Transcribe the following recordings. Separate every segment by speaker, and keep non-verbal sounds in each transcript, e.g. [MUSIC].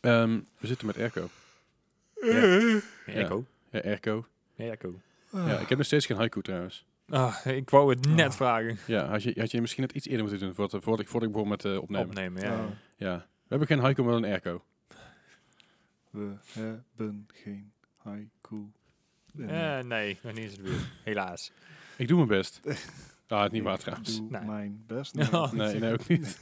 Speaker 1: Ehm, we zitten met airco.
Speaker 2: Ja, ik ook.
Speaker 1: Ja, airco.
Speaker 2: Ja, ik ook.
Speaker 1: Ja, ik heb nog steeds geen haiku trouwens.
Speaker 2: Ah, ik wou het net
Speaker 3: Ah.
Speaker 2: vragen.
Speaker 1: Ja, had je, had je misschien het iets eerder moeten doen voordat, voordat ik, voordat ik begon met eh, opnemen.
Speaker 2: Opnemen, ja.
Speaker 3: Ah,
Speaker 1: Ja. We hebben geen haiku, maar een airco.
Speaker 3: we hebben geen haiku. En
Speaker 2: Eh, nee, nog niet eens in de buurt. Helaas.
Speaker 1: Ik doe mijn best. Ah, het niet
Speaker 3: ik
Speaker 1: waar trouwens.
Speaker 3: doe
Speaker 2: Nee.
Speaker 3: mijn
Speaker 2: [LAUGHS]
Speaker 3: best.
Speaker 2: Nee,
Speaker 1: Nee, nee, ook niet.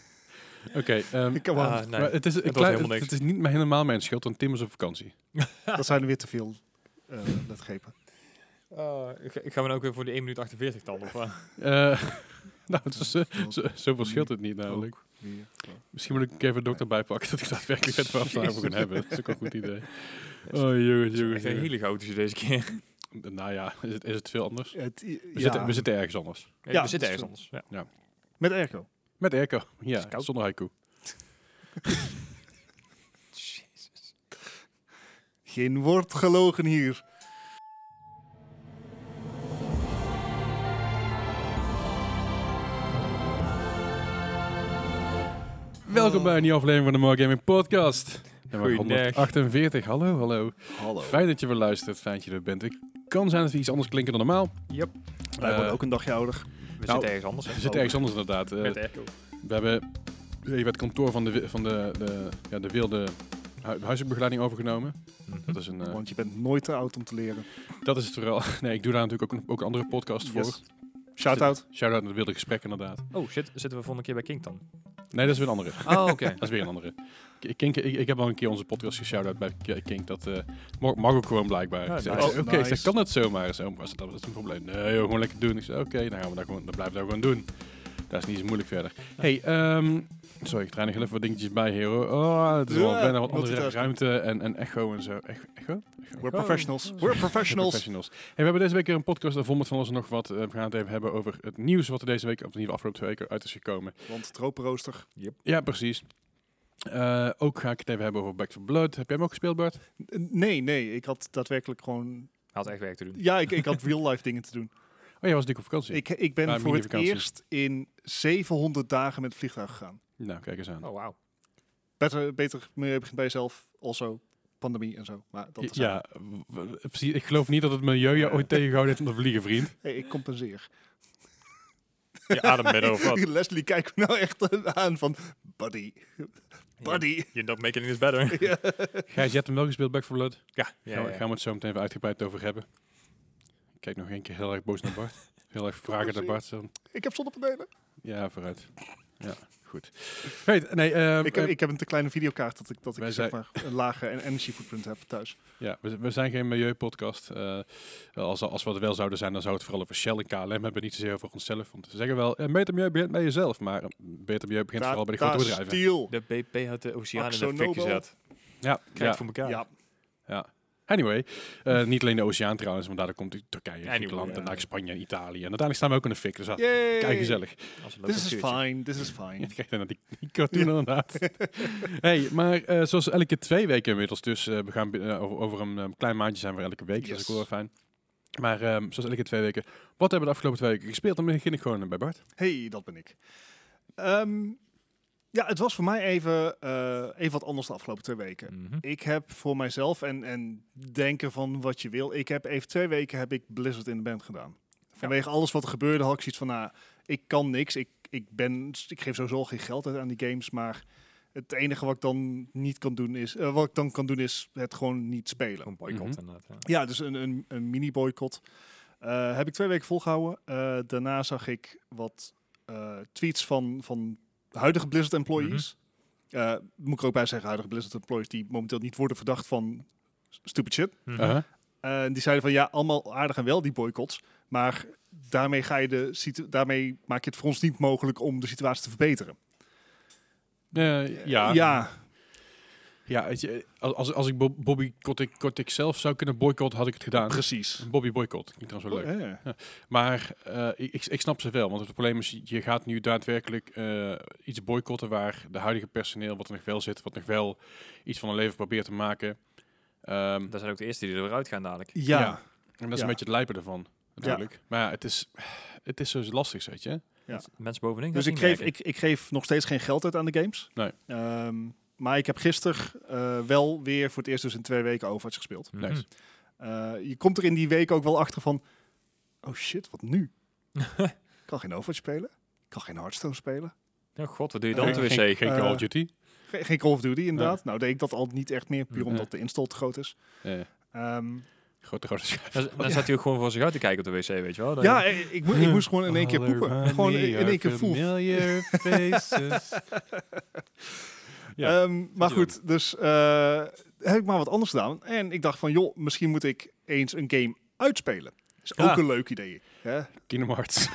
Speaker 1: Oké, ehm,
Speaker 3: Ik kan wel.
Speaker 2: Ah, nee.
Speaker 1: maar het is, een
Speaker 2: was
Speaker 1: klein-
Speaker 2: helemaal
Speaker 1: het, het
Speaker 2: niks.
Speaker 1: is niet mijn- helemaal mijn schuld, want Tim is op vakantie.
Speaker 3: [LAUGHS] Dat zijn er weer te veel eh letgrepen.
Speaker 2: Ah, ga- gaan we nou ook weer voor de 1 minuut 48 dan? Of, wat?
Speaker 1: Eh, [LAUGHS] nou, het is, eh, [LAUGHS] zo, zoveel
Speaker 3: nu
Speaker 1: scheelt het niet namelijk.
Speaker 3: Ook weer. wel.
Speaker 1: Misschien moet ik een keer even de dokter bijpakken dat ik daadwerkelijk weet waar we het daarover
Speaker 3: [LAUGHS]
Speaker 1: gaan hebben. Dat is ook een goed idee.
Speaker 2: Dat is-
Speaker 1: Oh, jongens,
Speaker 2: dat is
Speaker 1: jongens.
Speaker 2: echt een
Speaker 1: jongens.
Speaker 2: hele goudje deze keer.
Speaker 1: Nou ja, is het, is het veel anders?
Speaker 3: Het, i-
Speaker 1: We,
Speaker 3: ja,
Speaker 1: zitten, we zitten ergens anders.
Speaker 2: Ja,
Speaker 3: dat
Speaker 2: we
Speaker 3: is
Speaker 2: zitten ergens
Speaker 3: veel.
Speaker 2: anders. Ja.
Speaker 3: met airco.
Speaker 1: Met airco.
Speaker 2: Is
Speaker 1: Ja,
Speaker 2: het koud?
Speaker 1: zonder haiku.
Speaker 2: Jezus.
Speaker 3: Geen woord gelogen hier.
Speaker 1: Welkom bij een nieuwe aflevering van de More Gaming Podcast. Nummer
Speaker 2: Goeiedag.
Speaker 1: 148. Hallo, hallo.
Speaker 3: Hallo.
Speaker 1: Fijn dat je weer luistert. Fijn dat je er bent. Het kan zijn dat we iets anders klinken dan normaal.
Speaker 2: Yep.
Speaker 3: Wij
Speaker 1: Eh,
Speaker 3: worden ook een dagje ouder.
Speaker 2: We
Speaker 1: Nou,
Speaker 2: zitten ergens anders. hè? Oh,
Speaker 1: We zitten ergens anders inderdaad. Eh,
Speaker 2: Met echo.
Speaker 1: we hebben even het kantoor van de, wi- van de, de, ja, de wilde hu huizenbegeleiding overgenomen.
Speaker 3: Hm.
Speaker 1: Dat is, een, eh,
Speaker 3: Want je bent nooit te oud om te leren.
Speaker 1: dat is het vooral. [LAUGHS] Nee, ik doe daar natuurlijk ook een, ook een andere podcast voor.
Speaker 3: Yes. Shout-out.
Speaker 1: Shout-out naar de wilde gesprekken inderdaad.
Speaker 2: Oh, shit. Zitten we volgende keer bij King dan?
Speaker 1: Nee, dat is weer een andere.
Speaker 2: Oh, oké.
Speaker 1: [LAUGHS] Dat is weer een andere. K- Kink, ik, ik heb al een keer onze podcast geshout-out bij K- Kink. Dat eh, mag, mag ook gewoon blijkbaar.
Speaker 2: Ah,
Speaker 1: Ik zei,
Speaker 2: nice.
Speaker 1: oh, Oké,
Speaker 3: Nice.
Speaker 1: ik zei, kan dat zomaar? Ik zei, oh, was dat, dat is een probleem. Nee, joh, gewoon lekker doen. Ik zei, oké, dan, gaan we dat gewoon, dan blijven we dat gewoon doen. Dat is niet zo moeilijk verder. Hey, ehm, sorry, ik draai nog heel even wat dingetjes bij hier. hoor. Oh, het is wel
Speaker 3: Ja,
Speaker 1: bijna wat andere
Speaker 3: multitasking.
Speaker 1: ruimte en, en echo en zo. Echo? echo? Echo.
Speaker 3: We're
Speaker 2: Oh.
Speaker 3: professionals. We're
Speaker 1: [LAUGHS]
Speaker 3: professionals.
Speaker 1: Professionals. Hey, we hebben deze week weer een podcast en vol met van ons en nog wat. Eh, we gaan het even hebben over het nieuws wat er deze week, of in ieder geval afgelopen twee weken, uit is gekomen.
Speaker 3: Want tropenrooster.
Speaker 1: Ja, precies. Eh, ook ga ik het even hebben over Back to Blood. Heb jij hem ook gespeeld, Bart?
Speaker 3: N- Nee, nee. Ik had daadwerkelijk gewoon...
Speaker 2: Had echt werk te doen.
Speaker 3: Ja, ik, ik had real-life dingen
Speaker 1: [LAUGHS]
Speaker 3: te doen.
Speaker 1: Oh, jij was natuurlijk op vakantie.
Speaker 3: Ik, ik
Speaker 1: Ja,
Speaker 3: ben voor het
Speaker 1: mini-vakantie.
Speaker 3: eerst in 700 dagen met het vliegtuig gegaan.
Speaker 1: Nou, kijk eens aan.
Speaker 2: Oh, wauw.
Speaker 3: Beter, beter milieu begint bij jezelf. Also, pandemie en zo. Maar dat is
Speaker 1: ja, w- w- precies. Ik geloof niet dat het milieu je ooit tegengehouden heeft om te vliegen,
Speaker 3: [LAUGHS]
Speaker 1: vriend.
Speaker 3: Hey, ik compenseer.
Speaker 2: Je adembedden of wat?
Speaker 3: [LAUGHS] Leslie kijkt me nou echt aan van... Buddy, buddy.
Speaker 2: You're not making this better.
Speaker 3: Ja.
Speaker 1: Gijs, je hebt hem wel gespeeld, Back to Blood.
Speaker 2: Ja, ja,
Speaker 1: gaan, we,
Speaker 2: ja.
Speaker 1: gaan we het zo meteen even uitgebreid over hebben. Ik kijk nog één keer heel erg boos naar Bart. Heel erg vragen naar Bart. Zo.
Speaker 3: Ik heb zonnepanelen.
Speaker 1: Ja, vooruit. Ja, goed. Weet, nee, ehm,
Speaker 3: ik, heb,
Speaker 1: ehm,
Speaker 3: ik heb een te kleine videokaart dat ik, dat ik
Speaker 1: Wij
Speaker 3: zeg
Speaker 1: zijn-
Speaker 3: maar een lage en- energy footprint heb thuis.
Speaker 1: Ja, we, we zijn geen milieupodcast. Eh, als, als we het wel zouden zijn, dan zou het vooral over Shell en KLM hebben. Niet zozeer over onszelf. Want ze zeggen wel, eh, beter milieu begint bij jezelf. Maar eh, beter milieu begint vooral bij de grote bedrijven.
Speaker 3: Stiel.
Speaker 2: De BP had de oceaan in de
Speaker 3: Axonobel.
Speaker 2: fik gezet.
Speaker 1: Ja,
Speaker 2: Krijg
Speaker 1: ja,
Speaker 2: voor
Speaker 3: Ja.
Speaker 2: elkaar.
Speaker 1: ja. Anyway, eh, niet alleen de oceaan trouwens, want daardoor komt Turkije,
Speaker 2: Anyway,
Speaker 1: Griekenland,
Speaker 2: ja.
Speaker 1: daarna Spanje en Italië. En uiteindelijk staan we ook in de fik, dus dat is
Speaker 3: Yay.
Speaker 1: kei gezellig.
Speaker 2: Als een leuk
Speaker 3: This is
Speaker 2: natuurtje.
Speaker 3: fine, this is
Speaker 1: Ja, [LAUGHS]
Speaker 3: fine.
Speaker 1: kijk dan naar die, die cartoon inderdaad. hey, maar eh, zoals elke twee weken inmiddels, dus eh, we gaan bin- eh, over, over een eh, klein maandje zijn we er elke week, dus dat is
Speaker 3: Yes.
Speaker 1: ook wel weer fijn. Maar ehm, zoals elke twee weken, wat hebben we de afgelopen twee weken gespeeld? Dan begin ik gewoon eh, bij Bart.
Speaker 3: Hey, dat ben ik. Ehm, ja, het was voor mij even, eh, even wat anders de afgelopen twee weken.
Speaker 2: Mhm.
Speaker 3: Ik heb voor mijzelf, en, en denken van wat je wil, ik heb even twee weken heb ik Blizzard in de band gedaan. Vanwege alles wat er gebeurde had ik zoiets van, nou, ik kan niks. Ik, ik, ben, ik geef sowieso al geen geld uit aan die games, maar het enige wat ik dan niet kan doen is, eh, wat ik dan kan doen is het gewoon niet spelen.
Speaker 2: Gewoon boycott
Speaker 1: Mhm.
Speaker 2: inderdaad. ja.
Speaker 3: Ja, dus een, een, een mini-boycott. Eh, heb ik twee weken volgehouden. Eh, daarna zag ik wat eh, tweets van, van huidige Blizzard-employees.
Speaker 1: Mhm.
Speaker 3: Eh, moet ik er ook bij zeggen, huidige Blizzard-employees die momenteel niet worden verdacht van stupid shit.
Speaker 2: Mhm.
Speaker 1: Uh-huh.
Speaker 3: Eh, die zeiden van ja, allemaal aardig en wel die boycotts. Maar daarmee, ga je de situ- daarmee maak je het voor ons niet mogelijk om de situatie te verbeteren.
Speaker 1: Eh, ja, ja.
Speaker 3: ja
Speaker 1: weet je, als, als- als ik Bo- Bobby Kotick, Kotick zelf zou kunnen boycotten, had ik het gedaan.
Speaker 3: precies.
Speaker 1: Bobby boycott, klinkt trouwens wel leuk.
Speaker 3: Eh,
Speaker 1: Maar eh, ik, ik snap ze wel, want het probleem is, je gaat nu daadwerkelijk eh, iets boycotten waar de huidige personeel, wat er nog wel zit, wat nog wel iets van een leven probeert te maken.
Speaker 3: Hm.
Speaker 1: Ehm,
Speaker 2: Dat zijn ook de eerste die eruit gaan dadelijk.
Speaker 3: ja.
Speaker 1: Ja. en dat is
Speaker 3: Ja.
Speaker 1: een beetje het lijpen ervan, natuurlijk. Maar ja, het is, het is zo lastig, weet je.
Speaker 3: Ja.
Speaker 2: Mensen bovenin.
Speaker 3: Dus
Speaker 2: dat
Speaker 3: ik
Speaker 2: zien
Speaker 3: geef,
Speaker 2: werken.
Speaker 3: ik, ik geef nog steeds geen geld uit aan de games.
Speaker 1: Nee.
Speaker 3: Ehm, Maar ik heb gisteren eh, wel weer voor het eerst dus in twee weken Overwatch gespeeld.
Speaker 2: Mhm.
Speaker 1: Nice.
Speaker 3: Eh, je komt er in die week ook wel achter van... Oh shit, wat nu? ik kan geen Overwatch spelen. Ik kan geen Hearthstone spelen.
Speaker 2: Oh god, wat doe je dan
Speaker 1: Geen-
Speaker 3: Eh,
Speaker 2: op de wc?
Speaker 1: Geen, geen Call
Speaker 3: Eh,
Speaker 1: of Duty.
Speaker 3: Ge- geen Call of Duty inderdaad. Nou deed ik dat al niet echt meer. Puur
Speaker 1: Nee.
Speaker 3: omdat de install te groot is.
Speaker 1: Eh,
Speaker 3: Ehm,
Speaker 1: grote grote schijf.
Speaker 2: Dan, dan zat hij ook gewoon voor zich uit te kijken op de wc, weet je wel. Dan-
Speaker 3: ja, eh, ik, mo- ik moest gewoon in één keer
Speaker 1: All
Speaker 3: poepen.
Speaker 1: around
Speaker 3: Gewoon
Speaker 1: me
Speaker 3: in in
Speaker 1: are
Speaker 3: één keer voel.
Speaker 1: familiar faces. Ja,
Speaker 3: [LAUGHS] Ehm, maar
Speaker 1: natuurlijk.
Speaker 3: goed, dus eh, heb ik maar wat anders gedaan. En ik dacht van, joh, misschien moet ik eens een game uitspelen. Is
Speaker 1: Ja.
Speaker 3: ook een leuk idee. Hè?
Speaker 1: [LAUGHS] Kingdom Hearts.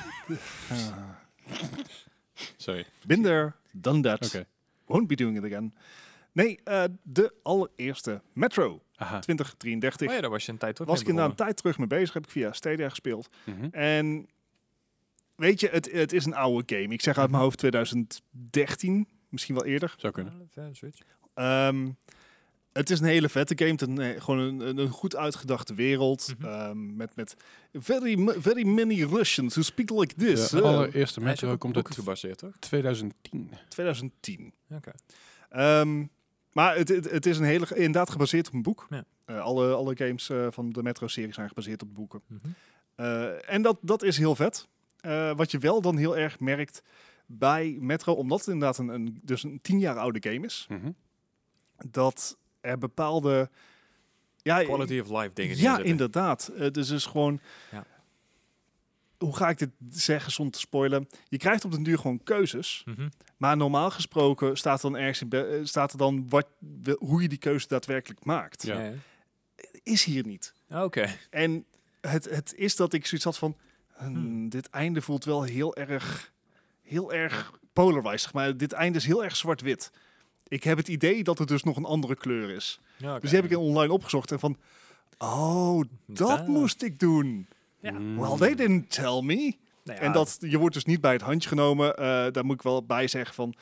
Speaker 1: [LAUGHS] Sorry.
Speaker 3: Been there, done that.
Speaker 1: Oké.
Speaker 3: Won't be doing it again. Nee, eh, de allereerste Metro
Speaker 1: Aha.
Speaker 3: 2033.
Speaker 2: Oh ja, daar was je een tijd terug
Speaker 3: was ik
Speaker 2: mee
Speaker 3: inderdaad een
Speaker 2: begonnen.
Speaker 3: tijd terug mee bezig. Heb ik via Stadia gespeeld.
Speaker 1: Mhm.
Speaker 3: En weet je, het, het is een oude game. Ik zeg uit
Speaker 2: Mhm.
Speaker 3: mijn hoofd 2013, misschien wel eerder.
Speaker 1: Zou kunnen.
Speaker 2: Ja, zoiets.
Speaker 3: Ehm, het is een hele vette game. Het is een, eh, gewoon een, een- een goed uitgedachte wereld.
Speaker 2: Mhm.
Speaker 3: ehm, met met very, mu- very many Russians who speak like this.
Speaker 1: De
Speaker 3: Eh,
Speaker 1: allereerste
Speaker 2: Hij is ook
Speaker 1: Metro
Speaker 2: op
Speaker 1: komt
Speaker 2: boeken
Speaker 1: uit
Speaker 2: gebaseerd, toch?
Speaker 1: 2010.
Speaker 3: 2010.
Speaker 2: Oké.
Speaker 3: Eh, Ehm, maar het, het, het is een hele, inderdaad gebaseerd op een boek.
Speaker 2: Ja.
Speaker 3: Eh, alle, alle games eh, van de Metro-serie zijn gebaseerd op boeken.
Speaker 2: Mhm.
Speaker 3: Eh, en dat, dat is heel vet. Eh, wat je wel dan heel erg merkt bij Metro, omdat het inderdaad een, een, dus een tien jaar oude game is,
Speaker 1: Mhm.
Speaker 3: dat er bepaalde... Ja,
Speaker 2: Quality of life dingen. die
Speaker 3: Ja,
Speaker 2: er zitten.
Speaker 3: inderdaad. Eh, dus het is gewoon...
Speaker 2: Ja.
Speaker 3: Hoe ga ik dit zeggen zonder te spoilen? Je krijgt op den duur gewoon keuzes.
Speaker 2: Mhm.
Speaker 3: Maar normaal gesproken staat er dan ergens in be- eh, staat er dan wat, we- hoe je die keuze daadwerkelijk maakt.
Speaker 1: Ja.
Speaker 2: Ja. ja.
Speaker 3: Is hier niet.
Speaker 2: Ah, Oké.
Speaker 3: En het, het is dat ik zoiets had van... hmm,
Speaker 2: Hmm.
Speaker 3: Dit einde voelt wel heel erg... Heel erg polarized, zeg maar. Dit einde is heel erg zwart-wit. Ik heb het idee dat het dus nog een andere kleur is.
Speaker 2: Ja, oké. Dus
Speaker 3: Dus die heb ik online opgezocht en van... Oh, dat
Speaker 2: Daar.
Speaker 3: moest ik doen.
Speaker 2: Ja.
Speaker 1: Mm.
Speaker 3: Well, they didn't tell me.
Speaker 2: Nou Hmm. ja,
Speaker 3: En dat, je wordt dus niet bij het handje genomen. Eh, daar moet ik wel bij zeggen van...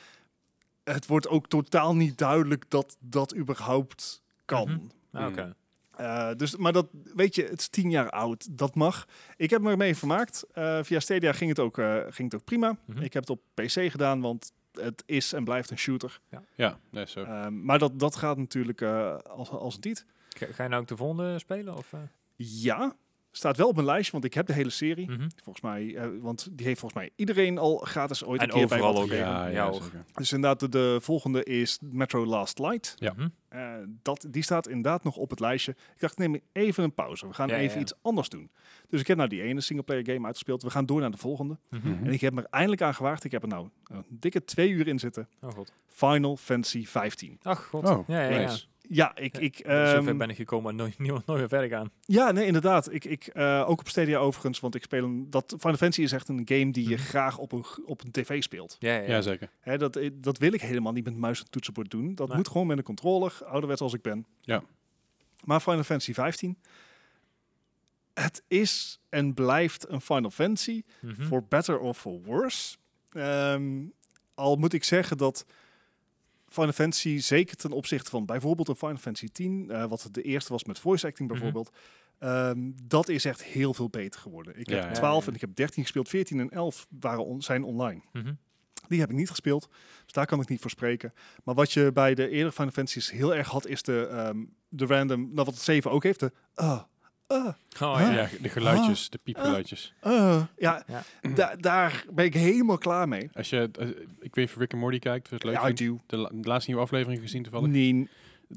Speaker 3: Het wordt ook totaal niet duidelijk dat dat überhaupt kan.
Speaker 2: Mhm. ah, Oké.
Speaker 1: Mm.
Speaker 3: Eh, dus, maar dat, weet je, het is tien jaar oud. Dat mag. Ik heb me ermee vermaakt. Eh, via Stadia ging het ook, eh, ging het ook prima.
Speaker 2: Mhm.
Speaker 3: Ik heb het op PC gedaan, want het is en blijft een shooter.
Speaker 1: Ja, nee, zo.
Speaker 3: Eh, maar dat, dat gaat natuurlijk eh, als, als een tiet.
Speaker 2: Ga, ga je nou ook de volgende spelen? Of, eh?
Speaker 3: Ja, staat wel op mijn lijstje, want ik heb de hele serie.
Speaker 2: Mhm.
Speaker 3: Volgens mij, eh, want die heeft volgens mij iedereen al gratis ooit
Speaker 2: En
Speaker 3: een keer bij
Speaker 2: overal
Speaker 3: wat
Speaker 2: ook,
Speaker 3: gegeven.
Speaker 1: ja,
Speaker 2: Ja,
Speaker 1: ja,
Speaker 2: hoor.
Speaker 1: zeker.
Speaker 3: Dus inderdaad, de, de volgende is Metro Last Light.
Speaker 1: Ja.
Speaker 2: Mhm.
Speaker 3: Eh, dat, die staat inderdaad nog op het lijstje. Ik dacht, neem even een pauze. We gaan
Speaker 2: Ja, ja,
Speaker 3: even
Speaker 2: ja.
Speaker 3: iets anders doen. Dus ik heb nou die ene singleplayer game uitgespeeld. We gaan door naar de volgende.
Speaker 2: Mhm.
Speaker 3: En ik heb me er eindelijk aan gewaagd. Ik heb er nou een dikke twee uur in zitten.
Speaker 2: Oh god.
Speaker 3: Final Fantasy 15.
Speaker 2: Ach god.
Speaker 1: Oh,
Speaker 2: ja, ja, ja.
Speaker 1: nice.
Speaker 3: Ja, ik...
Speaker 2: Ja,
Speaker 3: ik
Speaker 2: Zover
Speaker 3: ehm,
Speaker 2: ben ik gekomen en nooit, [LAUGHS] nooit, nooit meer verder gaan.
Speaker 3: Ja, nee, inderdaad. Ik, ik, eh, ook op Stadia overigens, want ik speel een, dat Final Fantasy is echt een game die je
Speaker 2: Mhm.
Speaker 3: graag op een, g- op een tv speelt.
Speaker 2: Ja, ja, ja.
Speaker 1: Ja, zeker.
Speaker 3: Hè, dat, eh, dat wil ik helemaal niet met muis en toetsenbord doen. Dat
Speaker 2: Nee.
Speaker 3: moet gewoon met een controller, ouderwets als ik ben.
Speaker 1: Ja.
Speaker 3: Maar Final Fantasy 15, het is en blijft een Final Fantasy,
Speaker 2: Mhm.
Speaker 3: for better or for worse. Ehm, al moet ik zeggen dat Final Fantasy, zeker ten opzichte van bijvoorbeeld een Final Fantasy 10, eh, wat de eerste was met voice acting
Speaker 2: Mhm.
Speaker 3: bijvoorbeeld, ehm, dat is echt heel veel beter geworden. Ik
Speaker 1: Ja, ja,
Speaker 3: heb 12
Speaker 2: ja.
Speaker 3: en ik heb 13 gespeeld, 14 en 11 waren on- zijn online.
Speaker 2: Mhm.
Speaker 3: Die heb ik niet gespeeld, dus daar kan ik niet voor spreken. Maar wat je bij de eerdere Final Fantasy's heel erg had, is de, ehm, de random, nou wat het 7 ook heeft, de ah, ah,
Speaker 2: Oh
Speaker 1: Ja,
Speaker 2: ja.
Speaker 1: de geluidjes, de piepgeluidjes.
Speaker 3: ah. Ja,
Speaker 2: Ja.
Speaker 3: da- daar ben ik helemaal klaar mee.
Speaker 1: Als je, eh, ik weet voor Rick en Morty kijkt, was het leuk.
Speaker 3: Ja, I
Speaker 1: vindt.
Speaker 3: do.
Speaker 1: de, la- de laatste nieuwe aflevering gezien toevallig.
Speaker 3: Nee, ik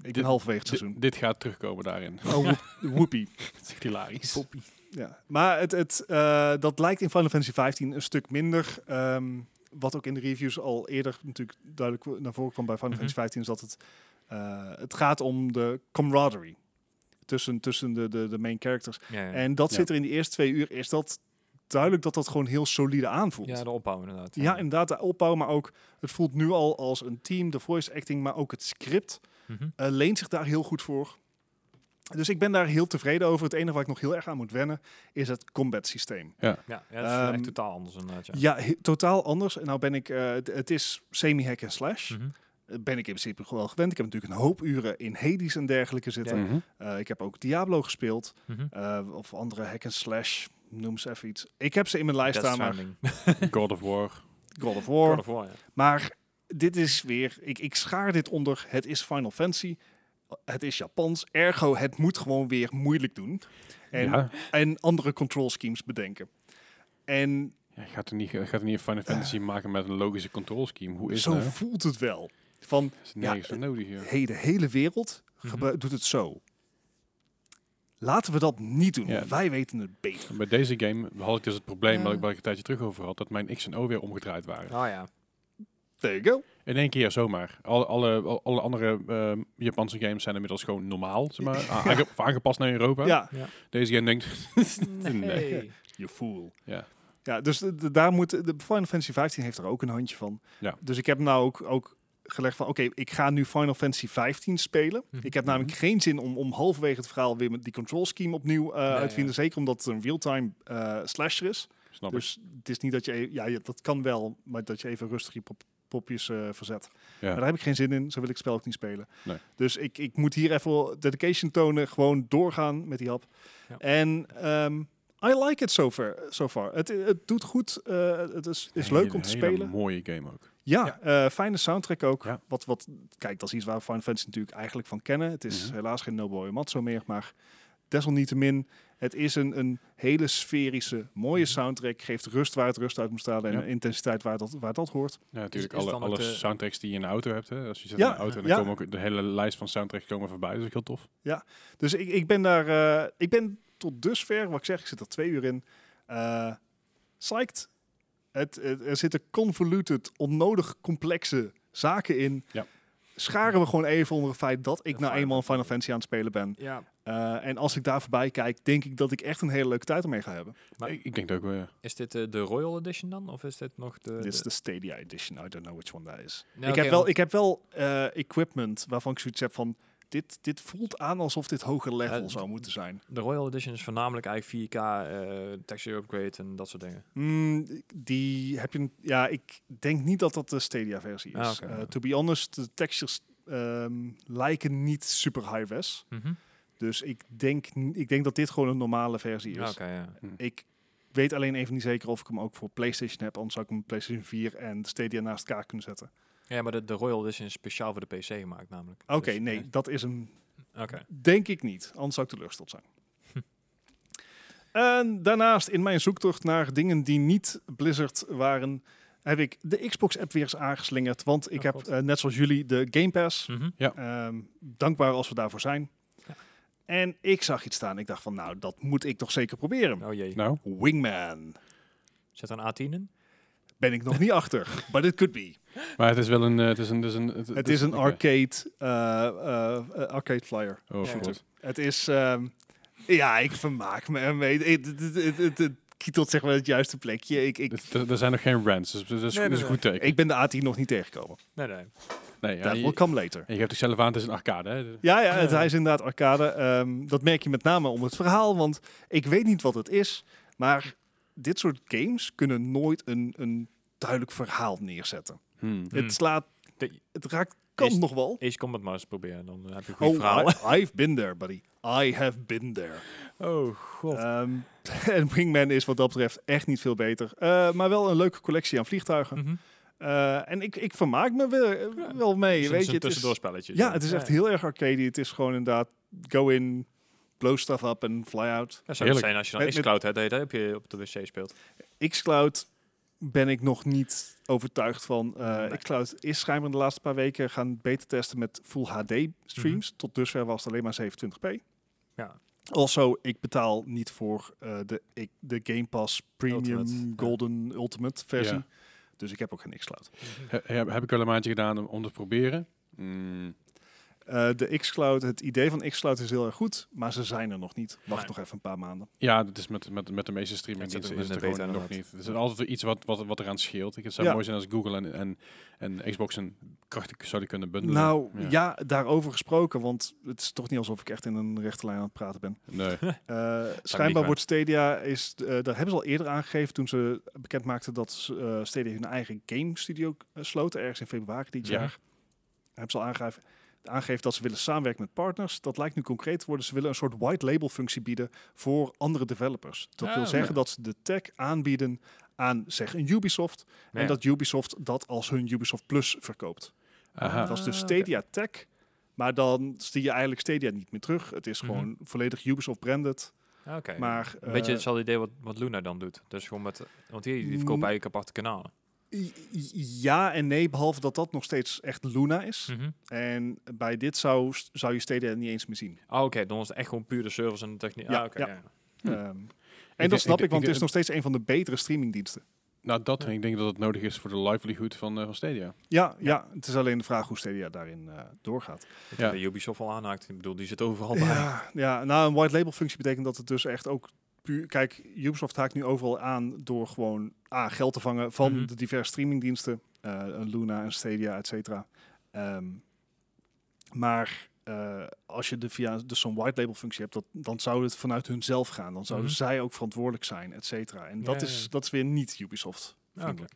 Speaker 1: Dit-
Speaker 3: ben halverwege het
Speaker 1: Di-
Speaker 3: seizoen.
Speaker 1: dit gaat terugkomen daarin.
Speaker 3: Oh, woep- woepie.
Speaker 1: dat is echt hilarisch.
Speaker 2: Poppy.
Speaker 3: Ja. Maar het, het, eh, dat lijkt in Final Fantasy 15 een stuk minder. ehm, wat ook in de reviews al eerder natuurlijk duidelijk naar voren kwam bij Final
Speaker 2: Mhm.
Speaker 3: Fantasy 15 is dat het, eh, het gaat om de camaraderie tussen, tussen de, de, de main characters.
Speaker 2: Ja, ja.
Speaker 3: En dat
Speaker 1: Ja.
Speaker 3: zit er in die eerste twee uur, is dat duidelijk dat dat gewoon heel solide aanvoelt.
Speaker 2: ja, de opbouw inderdaad.
Speaker 3: Ja, inderdaad, de opbouw, maar ook het voelt nu al als een team, de voice acting, maar ook het script.
Speaker 2: Mhm.
Speaker 3: eh, leent zich daar heel goed voor. Dus ik ben daar heel tevreden over. Het enige waar ik nog heel erg aan moet wennen is het combat systeem.
Speaker 2: Ja, ja, dat is
Speaker 3: Ehm,
Speaker 2: echt totaal anders inderdaad. Ja.
Speaker 3: Ja, he- totaal anders. En nou ben ik, eh, d- het is semi-hack en slash.
Speaker 2: Mhm.
Speaker 3: Eh, Ben ik in principe wel gewend. Ik heb natuurlijk een hoop uren in Hades en dergelijke zitten.
Speaker 1: Mhm. [LAUGHS]
Speaker 3: Eh, ik heb ook Diablo gespeeld.
Speaker 2: Mhm.
Speaker 3: eh, of andere hack en slash. Noem ze even iets. Ik heb ze in mijn lijst
Speaker 2: [LAUGHS] Death
Speaker 3: staan, maar
Speaker 2: Stranding.
Speaker 1: God of War.
Speaker 3: God of
Speaker 2: God
Speaker 3: War.
Speaker 2: of War, ja.
Speaker 3: Maar dit is weer, ik, ik schaar dit onder, het is Final Fantasy, het is Japans, ergo het moet gewoon weer moeilijk doen. En,
Speaker 1: ja.
Speaker 3: en andere control schemes bedenken. En
Speaker 1: Ja, gaat er niet, gaat er niet een Final Fantasy maken met een logische control scheme? Hoe is
Speaker 3: Eh.
Speaker 1: nou?
Speaker 3: zo
Speaker 1: dat? hè?
Speaker 3: voelt het wel. Van,
Speaker 1: Is
Speaker 3: ja,
Speaker 1: nergens voor nodig, joh.
Speaker 3: hey, de hele wereld
Speaker 1: Mhm.
Speaker 3: gebru- doet het zo. Laten we dat niet doen,
Speaker 1: Ja.
Speaker 3: want wij weten het beter.
Speaker 1: Bij deze game had ik dus het probleem
Speaker 3: Ja.
Speaker 1: waar, ik, waar ik een tijdje terug over had, dat mijn X en O weer omgedraaid waren.
Speaker 2: Nou
Speaker 3: [LAUGHS]
Speaker 2: ja.
Speaker 3: There you go.
Speaker 1: In één keer zomaar. Alle, alle, al- alle andere ehm, Japanse games zijn inmiddels gewoon normaal, zeg maar, aange- of aangepast naar Europa.
Speaker 3: Ja,
Speaker 1: Deze game denkt,
Speaker 2: Nee.
Speaker 3: you fool.
Speaker 1: ja,
Speaker 3: Ja, dus de- de- daar moet, de Final Fantasy 15 heeft er ook een handje van.
Speaker 1: Ja.
Speaker 3: Dus ik heb nou ook, ook gelegd van, oké, ik ga nu Final Fantasy 15 spelen.
Speaker 2: Mhm.
Speaker 3: Ik heb namelijk geen zin om, om halverwege het verhaal weer met die control scheme opnieuw eh uit te vinden. Zeker omdat het een real-time eh, slasher is.
Speaker 1: snap ik.
Speaker 3: Dus het is niet dat je, e- ja, je- dat kan wel, maar dat je even rustig je pop- popjes eh, verzet. Maar daar heb ik geen zin in, zo wil ik het spel ook niet spelen.
Speaker 1: Nee.
Speaker 3: Dus ik, ik moet hier even wel dedication tonen, gewoon doorgaan met die hap.
Speaker 2: Ja.
Speaker 3: En ehm, I like it so far. So far. Het, het doet goed, eh, het is, is leuk
Speaker 1: Hele-
Speaker 3: om te
Speaker 1: hele
Speaker 3: spelen.
Speaker 1: mooie game ook.
Speaker 3: Ja, eh, fijne soundtrack ook.
Speaker 1: Ja.
Speaker 3: Wat, wat, kijk, dat is iets waar we Final Fantasy natuurlijk eigenlijk van kennen. Het is
Speaker 1: Mhm.
Speaker 3: helaas geen Nobuo Uematsu meer, maar desalniettemin, het is een, een hele sferische, mooie soundtrack. Geeft rust waar het rust uit moet stralen en
Speaker 1: Mhm. Ja.
Speaker 3: intensiteit waar dat, waar dat hoort.
Speaker 1: Ja, natuurlijk
Speaker 2: is het eh,
Speaker 1: alle,
Speaker 2: dan ook
Speaker 1: alle
Speaker 2: de-
Speaker 1: soundtracks die je in de auto hebt. Hè? Als je zit
Speaker 3: Ja,
Speaker 1: in de auto en dan
Speaker 3: ja.
Speaker 1: komen ook de hele lijst van soundtracks komen voorbij. Dat is ook heel tof.
Speaker 3: Dus ik, ik ben daar, eh, ik ben tot dusver, wat ik zeg, ik zit er twee uur in, eh psyched. Het, het- er zitten convoluted, onnodig complexe zaken in.
Speaker 1: Ja.
Speaker 3: Scharen we gewoon even onder het feit dat ik
Speaker 2: Ja,
Speaker 3: nou
Speaker 2: Final
Speaker 3: eenmaal
Speaker 2: Fantasy.
Speaker 3: Final Fantasy aan het spelen ben.
Speaker 2: Ja,
Speaker 3: Eh, en als ik daar voorbij kijk, denk ik dat ik echt een hele leuke tijd ermee ga hebben.
Speaker 2: Maar-
Speaker 1: ik, ik denk dat ook wel. ja.
Speaker 2: is dit eh, de Royal Edition dan? Of is dit nog de...
Speaker 3: Dit is
Speaker 2: de-
Speaker 3: de Stadia Edition. I don't know which one that is.
Speaker 2: Nee,
Speaker 3: ik,
Speaker 2: Eh, oké,
Speaker 3: heb wel,
Speaker 2: want-
Speaker 3: ik heb wel eh, equipment waarvan ik zoiets heb van... Dit, dit voelt aan alsof dit hoger level
Speaker 2: Ja,
Speaker 3: zou moeten zijn.
Speaker 2: De Royal Edition is voornamelijk eigenlijk 4K, eh, texture upgrade en dat soort dingen.
Speaker 3: Mm, die heb je. Ja, ik denk niet dat dat de Stadia-versie is.
Speaker 2: Ah, oké.
Speaker 3: Eh, to be honest, de textures ehm, lijken niet super high-res.
Speaker 2: Mhm.
Speaker 3: Dus ik denk, n- ik denk dat dit gewoon een normale versie is.
Speaker 2: Ja, Ah, Oké, ja.
Speaker 3: Ik weet alleen even niet zeker of ik hem ook voor PlayStation heb. Anders zou ik hem PlayStation 4 en Stadia naast elkaar kunnen zetten.
Speaker 2: Ja, maar de, de Royal Edition is speciaal voor de PC gemaakt namelijk.
Speaker 3: Oké,
Speaker 2: Dus- eh,
Speaker 3: nee, dat is hem
Speaker 2: Oké.
Speaker 3: Denk ik niet, anders zou ik teleurgesteld zijn.
Speaker 2: Hm.
Speaker 3: En daarnaast, in mijn zoektocht naar dingen die niet Blizzard waren, heb ik de Xbox-app weer eens aangeslingerd. Want ik
Speaker 2: Oh,
Speaker 3: heb,
Speaker 2: God.
Speaker 3: eh, net zoals jullie, de Game Pass.
Speaker 2: Mhm.
Speaker 3: Ehm, dankbaar als we daarvoor zijn.
Speaker 2: Ja.
Speaker 3: En ik zag iets staan. Ik dacht van, nou, dat moet ik toch zeker proberen.
Speaker 2: Oh jee.
Speaker 1: Nou,
Speaker 3: Wingman.
Speaker 2: Zet er een A10 in?
Speaker 3: Ben ik nog niet
Speaker 2: [LAUGHS]
Speaker 3: achter, but it could be.
Speaker 1: maar het is wel een... eh, Het is een, het is een, het,
Speaker 3: Het is een
Speaker 1: oké.
Speaker 3: arcade, eh, eh, eh, arcade flyer.
Speaker 1: Oh,
Speaker 2: Ja,
Speaker 1: goed.
Speaker 3: Het is, ehm, ja, ik vermaak me ermee. Het, het, het, het, het- het kietelt zeg maar het juiste plekje. Ik, ik,
Speaker 1: Het- Er er zijn nog geen rants, dus dat is,
Speaker 2: Nee,
Speaker 1: dat is
Speaker 2: nee,
Speaker 1: goed teken.
Speaker 3: ik ben de A10 nog niet tegengekomen.
Speaker 2: Nee, nee.
Speaker 1: nee, ja,
Speaker 3: Dat
Speaker 1: je,
Speaker 3: will come later.
Speaker 1: en je hebt het zelf aan, het is een arcade. Hè?
Speaker 3: Ja, ja het, hij is inderdaad arcade. Ehm, dat merk je met name om het verhaal, want ik weet niet wat het is. Maar dit soort games kunnen nooit een, een duidelijk verhaal neerzetten.
Speaker 1: Hmm.
Speaker 2: Hmm.
Speaker 3: Het slaat,
Speaker 2: De-
Speaker 3: het raakt, kan
Speaker 2: Is-
Speaker 3: nog wel.
Speaker 2: Ace Combat maar eens proberen, dan eh, heb je een goed verhaal.
Speaker 3: Oh, I- I've been there, buddy. I have been there.
Speaker 2: Oh, god.
Speaker 3: Ehm, [LAUGHS] en Wingman is wat dat betreft echt niet veel beter. Eh, maar wel een leuke collectie aan vliegtuigen.
Speaker 2: Mhm.
Speaker 3: Eh, en ik, ik vermaak me wel, eh,
Speaker 2: Ja,
Speaker 3: wel mee.
Speaker 2: Zo'n- zo'n
Speaker 3: weet je, het is-
Speaker 2: tussendoor spelletje.
Speaker 3: ja, het is echt heel erg arcade. Het is gewoon inderdaad go in, blow stuff up en fly out.
Speaker 2: Dat zou het
Speaker 1: Heerlijk.
Speaker 2: zijn als je
Speaker 3: Met-
Speaker 2: dan
Speaker 3: met-
Speaker 2: Xcloud hebt, dat je dat heb je op de wc speelt.
Speaker 3: xCloud ben ik nog niet overtuigd van. Eh,
Speaker 2: Nee.
Speaker 3: xCloud is schijnbaar in de laatste paar weken gaan beta testen met full HD streams.
Speaker 2: Mhm.
Speaker 3: Tot dusver was het alleen maar 27p.
Speaker 2: Ja.
Speaker 3: Also, ik betaal niet voor eh, de, ik, de Game Pass Premium
Speaker 2: Ultimate, ja.
Speaker 3: Golden Ultimate versie.
Speaker 1: Ja.
Speaker 3: Dus ik heb ook geen xCloud.
Speaker 1: He- heb, heb ik wel een maandje gedaan om, om te proberen. Hmm.
Speaker 3: Eh, de xCloud, het idee van xCloud is heel erg goed, maar ze zijn er nog niet. Wacht
Speaker 2: Nee.
Speaker 3: nog even een paar maanden.
Speaker 1: Ja, dat is met, met, met de meeste
Speaker 2: Het
Speaker 1: streamingdiensten is
Speaker 2: zit ook
Speaker 1: het
Speaker 2: in de
Speaker 1: er gewoon
Speaker 2: beta
Speaker 1: nog niet. Er is altijd weer iets wat, wat, wat eraan scheelt. Ik- Het zou
Speaker 3: Ja.
Speaker 1: mooi zijn als Google en, en, en Xbox een krachtig zouden kunnen bundelen.
Speaker 3: Nou ja. daarover gesproken, want het is toch niet alsof ik echt in een rechte lijn aan het praten ben.
Speaker 1: Nee.
Speaker 3: Eh, schijnbaar
Speaker 1: waar.
Speaker 3: wordt Stadia, is, eh, daar hebben ze al eerder aangegeven toen ze bekend maakten dat ze, eh, Stadia hun eigen game studio eh, sloten, ergens in februari dit
Speaker 1: Ja.
Speaker 3: jaar. Hebben ze al aangegeven, aangeeft dat ze willen samenwerken met partners. Dat lijkt nu concreet te worden. Ze willen een soort white label functie bieden voor andere developers. Dat
Speaker 1: Ah,
Speaker 3: wil zeggen
Speaker 1: ja.
Speaker 3: dat ze de tech aanbieden aan zeg een Ubisoft.
Speaker 2: Ja.
Speaker 3: En dat Ubisoft dat als hun Ubisoft Plus verkoopt.
Speaker 1: Aha.
Speaker 3: Dat is dus
Speaker 2: Ah,
Speaker 3: Stadia Tech. Maar dan zie je eigenlijk Stadia niet meer terug. Het is
Speaker 2: Mhm.
Speaker 3: gewoon volledig Ubisoft branded.
Speaker 2: Ah, Oké.
Speaker 3: Maar,
Speaker 2: Een beetje
Speaker 3: eh,
Speaker 2: hetzelfde idee wat, wat Luna dan doet. Dus gewoon met... Want die, die verkopen
Speaker 3: Mm.
Speaker 2: eigenlijk aparte kanalen.
Speaker 3: I- i- Ja en nee, behalve dat dat nog steeds echt Luna is.
Speaker 2: Mhm.
Speaker 3: En bij dit zou, zou je Stadia niet eens meer zien.
Speaker 2: Ah, oké. Dan was het echt gewoon puur de service en de techniek.
Speaker 3: Ja,
Speaker 2: ah, oké.
Speaker 3: ja.
Speaker 2: ja.
Speaker 1: Hm.
Speaker 3: Ehm, en
Speaker 1: denk-
Speaker 3: dat snap
Speaker 1: ik-
Speaker 3: ik,
Speaker 1: ik
Speaker 3: want het
Speaker 1: denk-
Speaker 3: is nog steeds een van de betere streamingdiensten.
Speaker 1: Nou, dat en ik denk dat het nodig is voor de livelihood van, eh, van Stadia.
Speaker 3: Ja, ja. het is alleen de vraag hoe Stadia daarin eh, doorgaat.
Speaker 2: Ik
Speaker 1: Ja.
Speaker 2: heb de Ubisoft al aanhaakt. Ik bedoel, die zit overal bij.
Speaker 3: Ja, ja, nou, een white label functie betekent dat het dus echt ook puur... Kijk, Ubisoft haakt nu overal aan door gewoon A, geld te vangen van
Speaker 2: Mhm.
Speaker 3: de diverse streamingdiensten. eh, een Luna, en Stadia, et cetera. Ehm, maar eh, als je de via dus zo'n white label functie hebt, dat, dan zou het vanuit hunzelf gaan. Dan zouden
Speaker 2: Mhm.
Speaker 3: zij ook verantwoordelijk zijn, et cetera. En
Speaker 2: Ja,
Speaker 3: dat,
Speaker 2: ja,
Speaker 3: is,
Speaker 2: ja.
Speaker 3: dat is weer niet Ubisoft.
Speaker 2: Ah, oké.
Speaker 3: Vriendelijk.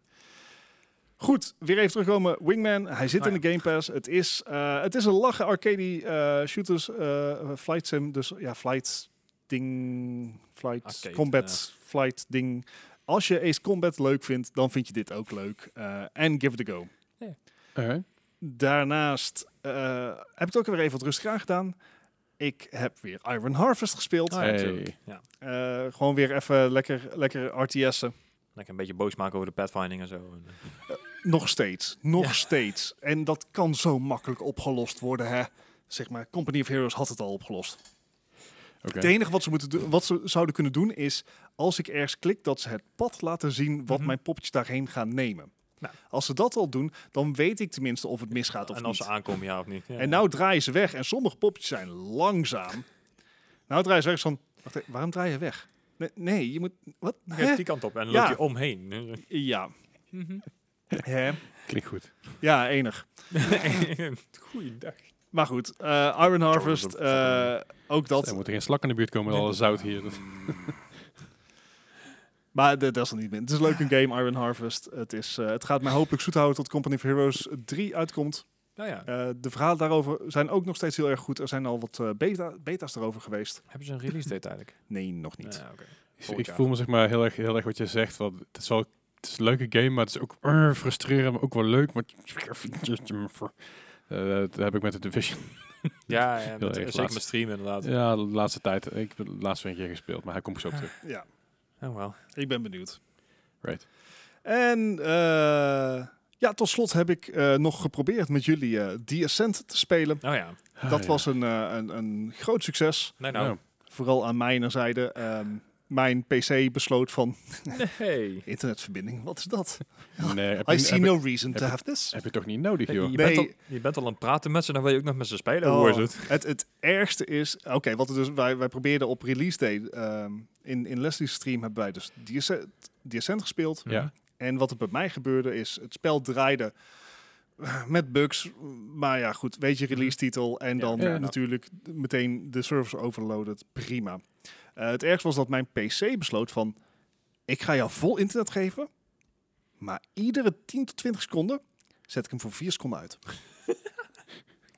Speaker 3: Goed, weer even terugkomen. Wingman, hij zit
Speaker 2: Ah,
Speaker 3: in de Game Pass. Het is, eh, het is een lachen arcade eh, shooters eh, flight sim. Dus ja, flight ding, flight
Speaker 2: Arcade,
Speaker 3: combat, flight ding. Als je Ace Combat leuk vindt, dan vind je dit ook leuk. Eh, En give it a go.
Speaker 1: Oké.
Speaker 3: Daarnaast eh, heb ik het ook weer even wat rustig aan gedaan. Ik heb weer Iron Harvest gespeeld.
Speaker 2: Ah, ja,
Speaker 1: Hey.
Speaker 2: tuurlijk. ja.
Speaker 3: Eh, gewoon weer even lekker, lekker RTS'en.
Speaker 2: Lekker een beetje boos maken over de pathfinding en zo. En, eh,
Speaker 3: Nog steeds, nog
Speaker 2: Ja.
Speaker 3: steeds. En dat kan zo makkelijk opgelost worden, hè. Zeg maar, Company of Heroes had het al opgelost.
Speaker 1: Oké.
Speaker 3: Het enige wat ze, moeten doen, wat ze zouden kunnen doen is... als ik ergens klik, dat ze het pad laten zien... wat
Speaker 2: Mhm.
Speaker 3: mijn poppetjes daarheen gaan nemen.
Speaker 2: Nou.
Speaker 3: Als ze dat al doen, dan weet ik tenminste of het misgaat of
Speaker 2: en als
Speaker 3: niet.
Speaker 2: ze aankomen, ja of niet. Ja.
Speaker 3: En nou draaien ze weg. En sommige poppetjes zijn langzaam. nou draaien ze weg van... Wacht, even, waarom draai je weg? Nee, nee je moet... Wat?
Speaker 2: Je
Speaker 3: Hè?
Speaker 2: gaat die kant op en dan
Speaker 3: Ja.
Speaker 2: loop je omheen.
Speaker 3: Ja.
Speaker 2: Mhm. [LAUGHS]
Speaker 3: Hè?
Speaker 1: Klinkt goed.
Speaker 3: Ja, enig.
Speaker 2: Goeiedag.
Speaker 3: Maar goed, eh, Iron Harvest,
Speaker 2: Jordan, dat-
Speaker 3: eh, ook
Speaker 1: Dat... Er
Speaker 3: dat.
Speaker 1: moet er geen slak in de buurt komen met alle zout hier. Dat-
Speaker 3: Maar de- dat is er niet min. Het is leuk een game, Iron Harvest. Het, is, eh, het gaat mij hopelijk zoet houden tot Company of Heroes 3 uitkomt.
Speaker 2: Nou ja,
Speaker 3: Eh, de verhalen daarover zijn ook nog steeds heel erg goed. Er zijn al wat eh, beta, beta's erover geweest.
Speaker 2: hebben ze een release date eigenlijk?
Speaker 3: Nee, nog niet.
Speaker 2: Ja, oké.
Speaker 1: Ik-
Speaker 2: Volgend
Speaker 1: ik
Speaker 2: jaar.
Speaker 1: voel me zeg maar heel erg, heel erg wat je zegt. Want het is wel het is een leuke game, maar het is ook eh, frustrerend, maar ook wel leuk. Maar Eh, dat heb ik met de Division.
Speaker 2: ja, ja,
Speaker 1: erg
Speaker 2: met, zeker
Speaker 1: laatst.
Speaker 2: met streamen inderdaad.
Speaker 1: Ja, de laatste tijd. Ik heb het laatst weer een keer gespeeld, maar hij komt zo op terug.
Speaker 3: Ja,
Speaker 2: Oh wel.
Speaker 3: ik ben benieuwd.
Speaker 1: Right.
Speaker 3: En eh, ja, tot slot heb ik eh, nog geprobeerd met jullie eh The Ascent te spelen.
Speaker 2: Oh ja.
Speaker 1: Ah,
Speaker 3: dat was een, eh, een, een groot succes.
Speaker 2: Nee,
Speaker 1: Oh,
Speaker 2: nou.
Speaker 3: Vooral aan mijn zijde. Ehm, mijn PC besloot van
Speaker 2: [LAUGHS] Nee.
Speaker 3: internetverbinding. Wat is dat?
Speaker 1: Nee, heb
Speaker 3: I
Speaker 1: je,
Speaker 3: see
Speaker 1: heb je-
Speaker 3: no reason to
Speaker 1: heb-
Speaker 3: have this.
Speaker 1: heb je toch niet nodig,
Speaker 2: Je,
Speaker 1: joh?
Speaker 2: je
Speaker 3: Nee.
Speaker 2: Bent al, je bent al aan het praten met ze, dan wil je ook nog met ze spelen. Hoe is
Speaker 3: Oh,
Speaker 2: het?
Speaker 3: Het, het ergste is, oké, wat er dus, wij, wij probeerden op release day, ehm, in, in Leslie's stream hebben wij dus The Ascent- The Ascent gespeeld.
Speaker 1: Ja.
Speaker 3: En wat er bij mij gebeurde is, het spel draaide eh, met bugs, maar ja goed, weet je, release titel en
Speaker 2: Ja,
Speaker 3: dan
Speaker 1: ja, ja.
Speaker 3: natuurlijk meteen de servers overloaded, prima. Eh, het ergste was dat mijn PC besloot van, ik ga jou vol internet geven, maar iedere 10 tot 20 seconden zet ik hem voor 4 seconden uit.